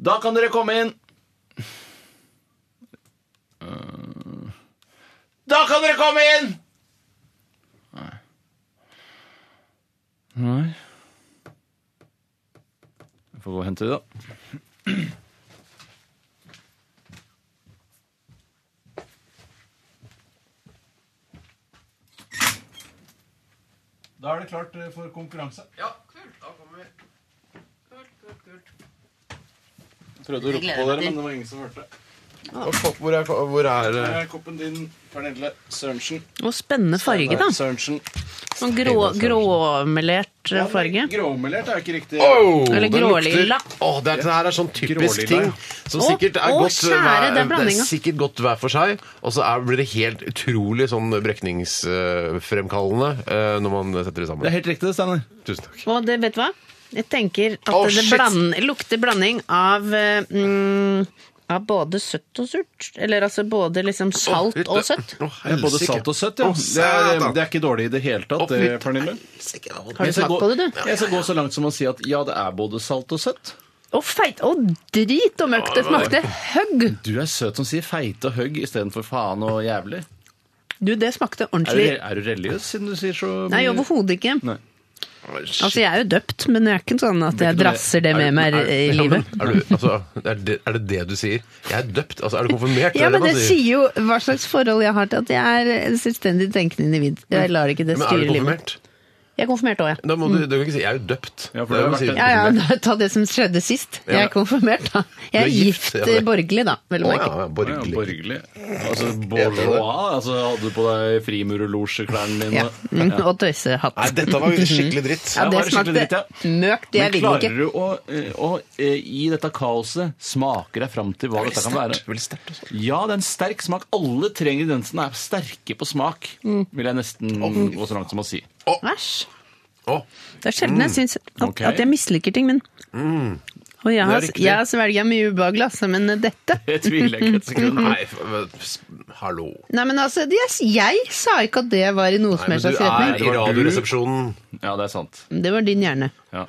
Speaker 4: Da kan dere komme inn! Eh, Da kan dere komme inn! Nei. Jeg får gå og hente de, da. Da er det klart eh, for konkurranse.
Speaker 9: Ja, kult. Da kommer vi. Kult, kult, kult.
Speaker 4: Prøvde å rope på dere, men det var ingen som hørte.
Speaker 2: Og kopp, Hvor er, hvor er
Speaker 4: Her
Speaker 2: eh,
Speaker 4: er koppen din, Pernille Sørensen.
Speaker 3: Og spennende farge, da.
Speaker 4: Sørensen.
Speaker 3: Sånn grå, gråmelert eh, farge.
Speaker 4: Gråmelert er jo ikke riktig.
Speaker 2: Åh,
Speaker 3: Eller
Speaker 2: den
Speaker 3: grålilla.
Speaker 2: lukter- Åh, det, er, det her er sånn typisk
Speaker 4: Grålilla,
Speaker 2: ting
Speaker 4: ja.
Speaker 2: som
Speaker 3: Åh,
Speaker 2: sikkert er
Speaker 3: åh,
Speaker 2: godt
Speaker 3: kjære, det er
Speaker 2: hver, det
Speaker 3: blandinga.
Speaker 2: er sikkert godt hver for seg, og så er, blir det helt utrolig sånn brekningsfremkallende eh, når man setter det sammen.
Speaker 4: Det er helt riktig, det, Steinar.
Speaker 2: Tusen takk.
Speaker 3: Og det, vet du hva? Jeg tenker at
Speaker 2: Åh,
Speaker 3: det
Speaker 2: shit.
Speaker 3: bland, lukter blanding av eh, mm, av både søtt og surt. Eller altså både liksom salt
Speaker 2: Åh,
Speaker 3: og søtt.
Speaker 2: Åh,
Speaker 4: Det er både
Speaker 2: helsike.
Speaker 4: salt og søtt, ja.
Speaker 2: Åh,
Speaker 4: det, er, eh,
Speaker 2: satan.
Speaker 4: det er ikke dårlig i det hele tatt, det, Pernille.
Speaker 3: Har du
Speaker 4: Jeg skal
Speaker 3: smakt
Speaker 4: gå-
Speaker 3: på det, du?
Speaker 4: Jeg skal gå så langt som å si at ja, det er både salt og søtt.
Speaker 3: Å, feit! Å, drit og mørkt! Det smakte høgg!
Speaker 4: Du er søt som sier feite og høgg istedenfor faen og jævlig.
Speaker 3: Du, det smakte
Speaker 4: Er du,
Speaker 3: ordentlig
Speaker 4: er du religiøs siden du sier så
Speaker 3: Nei, overhodet ikke.
Speaker 4: Nei.
Speaker 3: Altså, jeg er jo døpt, men jeg er ikke sånn at jeg
Speaker 4: ikke noe-
Speaker 3: drasser det
Speaker 2: Er
Speaker 3: med
Speaker 2: du-
Speaker 3: meg
Speaker 2: er-
Speaker 3: i
Speaker 2: ja, men
Speaker 3: livet.
Speaker 2: Er, du, altså, er, det, er det det du sier? Jeg er døpt. Altså, er du konfirmert?
Speaker 3: Ja,
Speaker 2: er
Speaker 3: men det
Speaker 2: man
Speaker 3: sier jo hva slags forhold jeg har til at jeg er en selvstendig tenkende individ. Jeg lar ikke det
Speaker 2: Men er
Speaker 3: styre
Speaker 2: du
Speaker 3: livet.
Speaker 2: konfirmert?
Speaker 3: Jeg er konfirmert òg, jeg.
Speaker 2: Da må du, du kan ikke si 'jeg er jo døpt'.
Speaker 4: Ja,
Speaker 2: Da
Speaker 4: for det har
Speaker 2: må
Speaker 4: vært
Speaker 2: du si,
Speaker 4: en-
Speaker 3: Ja, ja, da- ta det som skjedde sist. Jeg
Speaker 2: Ja.
Speaker 3: er konfirmert, da. Jeg
Speaker 2: Du
Speaker 3: er
Speaker 2: er gift,
Speaker 3: gift
Speaker 2: ja,
Speaker 3: eh,
Speaker 2: det.
Speaker 3: borgerlig, da, vel å
Speaker 2: Å,
Speaker 3: merke.
Speaker 2: ja,
Speaker 4: Ja,
Speaker 2: borgerlig.
Speaker 4: borgerlig. Altså bourgeois. Altså, hadde du på deg frimurerlosjeklærne dine?
Speaker 3: Ja. Mm, Og tøysehatt.
Speaker 2: Nei, dette var skikkelig dritt.
Speaker 3: Ja, det
Speaker 4: var skikkelig
Speaker 3: smakte
Speaker 4: dritt, ja.
Speaker 3: møkt. Jeg
Speaker 4: Men
Speaker 3: vil
Speaker 4: klarer
Speaker 3: ikke.
Speaker 4: du å, eh, å eh, i dette kaoset smake deg fram til hva dette kan være? Ja, det er en sterk smak. Alle tre ingrediensene er sterke på smak,
Speaker 3: Mm.
Speaker 4: vil jeg nesten gå så langt som å si.
Speaker 3: Æsj.
Speaker 2: Å, Mm.
Speaker 3: Det er sjelden jeg syns at,
Speaker 4: Ok.
Speaker 3: at jeg misliker ting, men Og jeg har,
Speaker 4: riktig.
Speaker 3: jeg har svelget mye ubehagelig, altså, men dette
Speaker 4: Det tviler jeg ikke et sekund
Speaker 3: Mhm.
Speaker 4: på.
Speaker 2: Nei, f- men, s- hallo.
Speaker 3: Nei, men altså, jeg, jeg sa ikke at det var i noe som
Speaker 2: Nei, men
Speaker 3: helst
Speaker 2: du
Speaker 3: slags
Speaker 2: er
Speaker 3: retning.
Speaker 2: i Radioresepsjonen.
Speaker 4: Ja, det er sant.
Speaker 3: Det var din hjerne.
Speaker 4: Ja.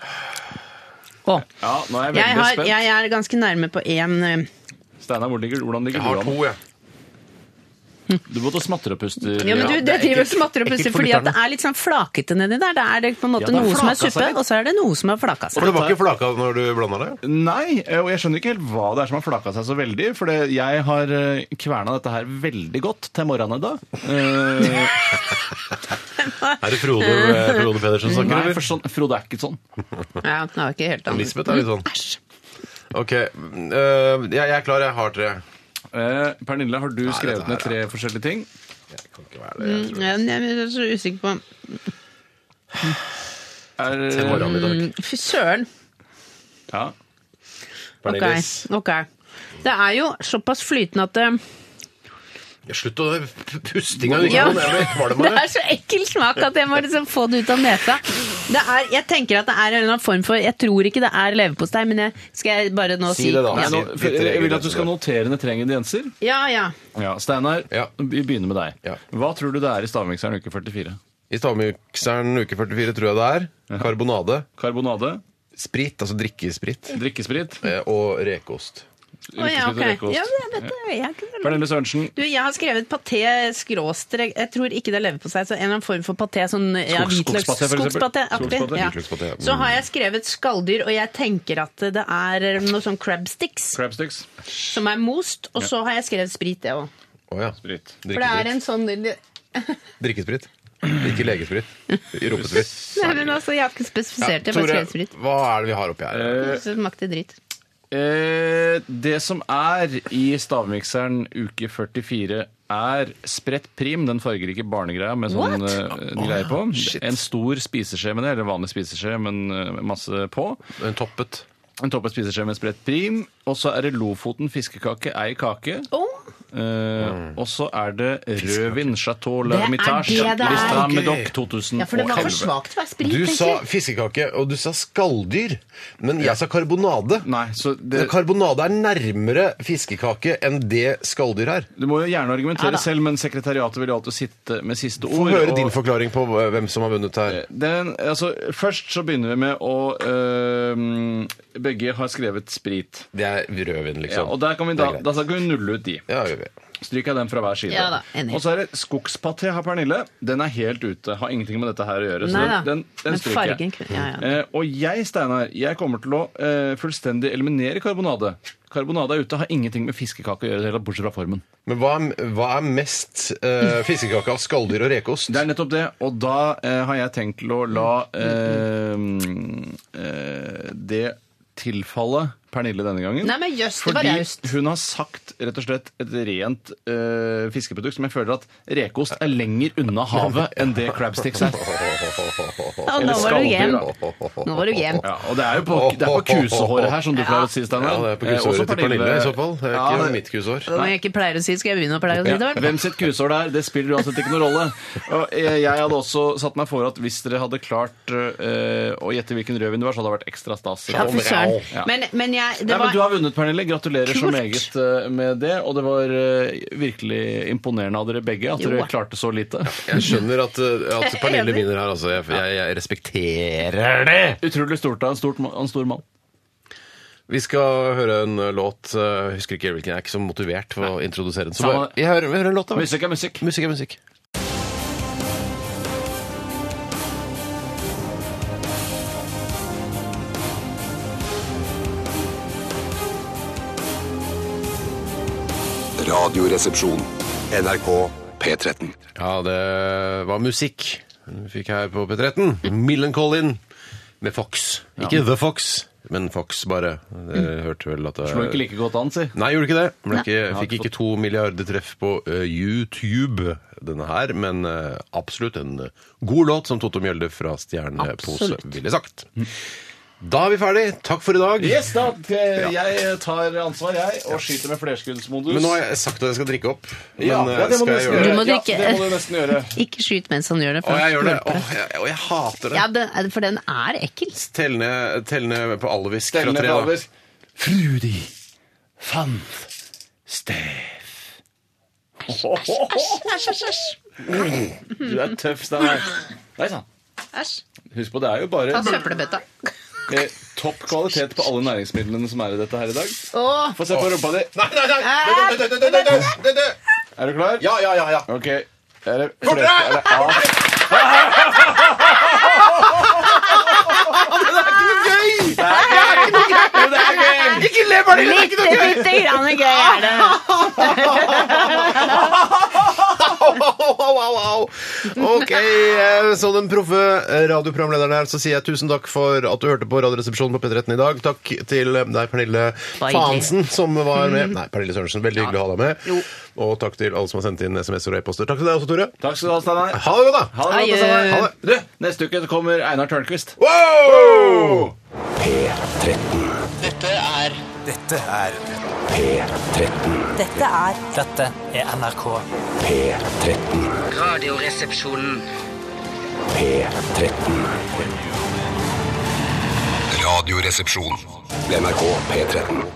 Speaker 3: Å.
Speaker 4: Ja, nå er jeg
Speaker 3: Jeg,
Speaker 4: veldig
Speaker 3: har,
Speaker 4: spent.
Speaker 3: jeg er ganske nærme på eh, én
Speaker 4: Steinar, hvor ligger- hvordan
Speaker 2: Jeg
Speaker 4: ligger
Speaker 2: har
Speaker 4: du an?
Speaker 2: to, jeg.
Speaker 4: Du måtte smatter og puster.
Speaker 3: Ja, men du, det
Speaker 2: er
Speaker 3: driver
Speaker 2: ekkelt-
Speaker 3: som matter og
Speaker 2: ekkelt
Speaker 3: puster
Speaker 2: for
Speaker 3: fordi at det
Speaker 2: lytterne.
Speaker 3: er litt sånn flakete nedi der. Det er det på en måte
Speaker 4: Ja, det har
Speaker 3: noe som er
Speaker 4: flaket seg
Speaker 3: suppe,
Speaker 4: litt.
Speaker 3: og så er altså. det noe som har flaka
Speaker 2: For
Speaker 3: seg.
Speaker 2: det var ikke flaka når du blanda det?
Speaker 4: Nei, eh, og jeg skjønner ikke helt hva det er som har flaka seg så veldig. For det, jeg har eh, kverna dette her veldig godt til morgenen i dag. Eh,
Speaker 2: Er det Frode, eh, Frode Pedersen som snakker,
Speaker 4: nei,
Speaker 2: eller?
Speaker 4: for sånn, Frode er ikke sånn.
Speaker 3: Ja, det var ikke helt annet. Mm,
Speaker 2: Lisbeth er litt sånn. OK. eh, jeg, jeg er klar, jeg har tre.
Speaker 4: Eh, Pernille, har du skrevet
Speaker 2: dette
Speaker 4: ned
Speaker 2: her
Speaker 4: tre forskjellige ting?
Speaker 2: Jeg kan ikke være det.
Speaker 3: Mm, ja, men Jeg er så usikker på
Speaker 4: Er,
Speaker 2: Til morgenen i dag.
Speaker 3: Mm, Fy søren.
Speaker 4: ja.
Speaker 3: Ok.
Speaker 2: Pernilles.
Speaker 3: ok. Det er jo såpass flytende at eh, det,
Speaker 2: Ja, Slutt å pustinga i
Speaker 3: Ja.
Speaker 2: mikrofonen. jeg blir kvalm
Speaker 3: det
Speaker 2: av det.
Speaker 3: er så ekkel smak at jeg må liksom få det ut av nesa. Det er, jeg tenker at det er en eller annen form for Jeg tror ikke det er leverpostei, men jeg, skal jeg bare nå
Speaker 2: Si
Speaker 3: si
Speaker 2: det da.
Speaker 4: Nei,
Speaker 3: Ja,
Speaker 4: nå,
Speaker 2: de tre
Speaker 4: for, eh, jeg vil at du
Speaker 2: ingrediensene der.
Speaker 4: skal notere ned tre ingredienser.
Speaker 3: ja. ja.
Speaker 4: Ja, Steinar,
Speaker 2: Ja.
Speaker 4: vi begynner med deg.
Speaker 2: Ja.
Speaker 4: Hva tror du det er i stavmikseren uke 44?
Speaker 2: I stavmikseren uke 44 tror jeg det er. Karbonade.
Speaker 4: Karbonade?
Speaker 2: Sprit, altså drikkesprit. Eh,
Speaker 4: Drikkesprit.
Speaker 2: Og rekeost.
Speaker 3: Å ja, ok. Ja, men jeg vet det. Jeg kunne
Speaker 4: Pernille Sørensen.
Speaker 3: Du, jeg har skrevet paté skråstrek Jeg tror ikke det er leverpostei, så en eller annen form for paté. Sånn ja,
Speaker 4: Skogs-
Speaker 3: hvitløks-
Speaker 4: skogspaté, for eksempel.
Speaker 3: skogspaté-aktig.
Speaker 4: Skogspaté,
Speaker 3: Ja.
Speaker 4: hvitløkspaté, ja. Mm.
Speaker 3: Så har jeg skrevet skalldyr, og jeg tenker at det er noe sånn crab sticks
Speaker 4: Crabsticks.
Speaker 3: som er most, og så har jeg skrevet sprit, det òg.
Speaker 2: Å ja.
Speaker 3: For det er
Speaker 2: Drikkesprit.
Speaker 3: en sånn
Speaker 2: Drikkesprit. Ikke legesprit. Rumpesprit.
Speaker 3: Nei, men altså, jeg har ikke spesifisert det, jeg har bare
Speaker 2: Tore,
Speaker 3: skrevet sprit.
Speaker 2: hva er det vi har oppi her?
Speaker 3: Så smakte dritt.
Speaker 4: Eh, det som er i stavmikseren uke 44 er Spredt Prim, den fargerike barnegreia med sånn
Speaker 13: What?
Speaker 4: eh, greie på. en stor spiseskje med det, eller vanlig spiseskje, men eh, masse på.
Speaker 2: En Eh, toppet.
Speaker 4: En toppet spiseskje med Spredt Prim. Og så er det Lofoten fiskekake, ei kake. Eh,
Speaker 2: Mm.
Speaker 4: Og så er det rødvin, Chateau
Speaker 3: Det er
Speaker 4: L'Hermitage,
Speaker 3: det det er.
Speaker 4: Lista
Speaker 3: Gøy.
Speaker 4: Medoc 2011.
Speaker 3: Ja, for det var for svakt til å være sprit,
Speaker 2: Du
Speaker 3: egentlig.
Speaker 2: sa fiskekake, og du sa skalldyr. Men jeg sa karbonade.
Speaker 4: det-
Speaker 2: Karbonade er nærmere fiskekake enn det skalldyr er.
Speaker 4: Du må jo gjerne
Speaker 2: Ja
Speaker 4: argumentere
Speaker 2: da.
Speaker 4: selv, men sekretariatet vil jo alltid sitte med siste ord.
Speaker 2: Få høre
Speaker 4: og-
Speaker 2: din forklaring på eh, hvem som har vunnet her.
Speaker 4: Den, altså, først så begynner vi med å øhm, Begge har skrevet sprit.
Speaker 2: Det er rødvin, liksom.
Speaker 4: Ja, og der kan vi
Speaker 2: Det
Speaker 4: da,
Speaker 2: er greit.
Speaker 4: da kan vi nulle ut de. Stryker jeg den fra hver side.
Speaker 3: Ja da, enig.
Speaker 4: og så er det skogspaté har Pernille. Den er helt ute. Har ingenting med dette her å gjøre.
Speaker 3: Nei
Speaker 4: så
Speaker 3: da.
Speaker 4: den, den, den
Speaker 3: Men
Speaker 4: stryker
Speaker 3: fargen
Speaker 4: jeg.
Speaker 3: kunne- ja, ja.
Speaker 4: Eh, og jeg, Steinar, jeg kommer til å eh, fullstendig eliminere karbonade. Karbonade er ute, har ingenting med fiskekake å gjøre, heller, bortsett fra formen.
Speaker 2: Men hva er, hva er mest eh, fiskekake av skalldyr og rekeost?
Speaker 4: Det er nettopp det, og da eh, har jeg tenkt til å la eh, eh, det tilfalle Pernille denne gangen.
Speaker 3: Nei, men jøss, det var
Speaker 4: Fordi
Speaker 3: raust.
Speaker 4: hun har sagt rett og slett et rent eh, fiskeprodukt som jeg føler at rekeost er lenger unna havet enn det crabsticks er.
Speaker 3: Ja, nå var
Speaker 4: Eller
Speaker 3: du
Speaker 4: skalldyr,
Speaker 3: gen.
Speaker 4: da.
Speaker 3: Nå var du gen.
Speaker 4: Ja, og det er jo på, det er på kusehåret her, som du pleier å si, Steinar.
Speaker 2: Ja, det er på
Speaker 4: Eh,
Speaker 2: kusehåret
Speaker 4: også
Speaker 2: til Pernille, i så fall. Det er
Speaker 4: Ja,
Speaker 2: ikke
Speaker 4: det-
Speaker 2: mitt kusehår.
Speaker 3: Når jeg ikke pleier å si, skal jeg begynne å pleie å si det.
Speaker 4: Ja.
Speaker 3: vel?
Speaker 4: Hvem sitt kusår det er, det spiller uansett ikke noen rolle. Og eh, jeg hadde også satt meg for at hvis dere hadde klart eh, å gjette hvilken rødvin det var, så hadde det vært ekstra stas.
Speaker 3: Ja, for søren.
Speaker 4: Ja.
Speaker 3: Men, men jeg, det
Speaker 4: Nei, men Du
Speaker 3: var
Speaker 4: har vunnet, Pernille. Gratulerer så
Speaker 3: Kult.
Speaker 4: meget eh, med det. Og det var eh, virkelig imponerende av dere begge at
Speaker 3: Jo.
Speaker 4: dere klarte så lite.
Speaker 2: Jeg skjønner at, eh, at Pernille
Speaker 4: Enig.
Speaker 2: vinner her, altså. Jeg, jeg, jeg respekterer det!
Speaker 4: Utrolig stort av en, stort, ma- en stor mann.
Speaker 2: Vi skal høre en eh, låt. eh, Jeg husker ikke hvilken. Jeg er ikke så motivert for å introdusere den. Så bare,
Speaker 4: Samme-
Speaker 2: jeg hører, vi hører en låt, da.
Speaker 4: Musikk er musikk.
Speaker 2: Musikk er musikk.
Speaker 7: Radioresepsjon. NRK P13.
Speaker 2: Ja, det var musikk vi fikk her på P13. Millencolin med Fox. Ikke
Speaker 4: Ja.
Speaker 2: The Fox, men Fox bare. Det hørte vel at det
Speaker 4: Slo ikke like godt an, si.
Speaker 2: Nei, gjorde ikke det. Ble
Speaker 4: Nei.
Speaker 2: ikke, fikk ikke to milliarder treff på eh, YouTube, denne her, men eh, absolutt en eh, god låt som Totto Mjølde fra Stjernepose
Speaker 4: Absolutt. Mm.
Speaker 2: ville sagt. Da er vi ferdig. Takk for i dag.
Speaker 4: Yes, da. eh,
Speaker 2: Ja.
Speaker 4: Jeg tar ansvar, jeg, og skyter med flerskuddsmodus.
Speaker 2: Men nå har jeg sagt at jeg skal drikke opp. Men
Speaker 4: Ja,
Speaker 2: eh,
Speaker 4: ja, det må
Speaker 2: skal jeg gjøre
Speaker 3: Du
Speaker 4: du nesten
Speaker 2: det?
Speaker 3: må
Speaker 4: Ja,
Speaker 3: drikke.
Speaker 4: det må du nesten gjøre.
Speaker 3: Ikke skyt mens han gjør det.
Speaker 2: Å,
Speaker 3: han
Speaker 2: jeg gjør det.
Speaker 3: knulper
Speaker 2: Å, jeg, og jeg hater det.
Speaker 3: Ja, det, er- for den er ekkel.
Speaker 2: Tell ned, tell ned på alvisk
Speaker 4: Tell
Speaker 2: fra
Speaker 4: ned
Speaker 2: tre,
Speaker 4: på
Speaker 2: da.
Speaker 4: alvisk. Frudi fant Steff.
Speaker 3: Æsj, æsj, æsj.
Speaker 4: Du er tøff, Steinar. Nei sann.
Speaker 3: Æsj.
Speaker 4: Husk på, det er jo bare
Speaker 3: Ta søppelbøtta.
Speaker 4: eh, topp kvalitet på alle næringsmidlene som er i dette her i dag.
Speaker 3: Åh.
Speaker 4: Få se på rumpa di.
Speaker 2: Nei, nei, nei! Død, død, død, død, død, død, død.
Speaker 4: Er du klar?
Speaker 2: Ja, ja, ja. ja.
Speaker 4: Ok. Er det
Speaker 2: Kom
Speaker 4: fleste? Er det A?
Speaker 13: Men det er ikke noe gøy! Det er ikke noe gøy!
Speaker 4: det er gøy!
Speaker 13: Ikke le, Pernille! Det er
Speaker 3: Bitte,
Speaker 13: ikke noe gøy!
Speaker 3: bitte grann gøy er det.
Speaker 2: Au, au, au, au. Ok, eh, som den proffe eh, radioprogramlederen her, så sier jeg tusen takk for at du hørte på Radioresepsjonen på P13 i dag. Takk til eh, deg, Pernille
Speaker 13: Bare hyggelig.
Speaker 2: Fahnsen, som var med.
Speaker 13: Mhm.
Speaker 2: Nei, Pernille Sørensen, veldig hyggelig å ha deg med. Og takk til alle som har sendt inn SMS-er og e-poster. Takk til deg også, Tore.
Speaker 4: Takk skal du ha, Steinar.
Speaker 2: Ha det godt, da.
Speaker 4: Ha det godt,
Speaker 2: Adjø.
Speaker 4: Steinar.
Speaker 2: Ha
Speaker 4: Du, neste uke kommer Einar Tørnquist.
Speaker 2: Wow!
Speaker 10: P13.
Speaker 11: Dette er Dette er
Speaker 10: P13.
Speaker 11: Dette er Dette er NRK.
Speaker 10: P13.
Speaker 11: Radioresepsjonen.
Speaker 10: P13.
Speaker 7: Radioresepsjon. NRK P13.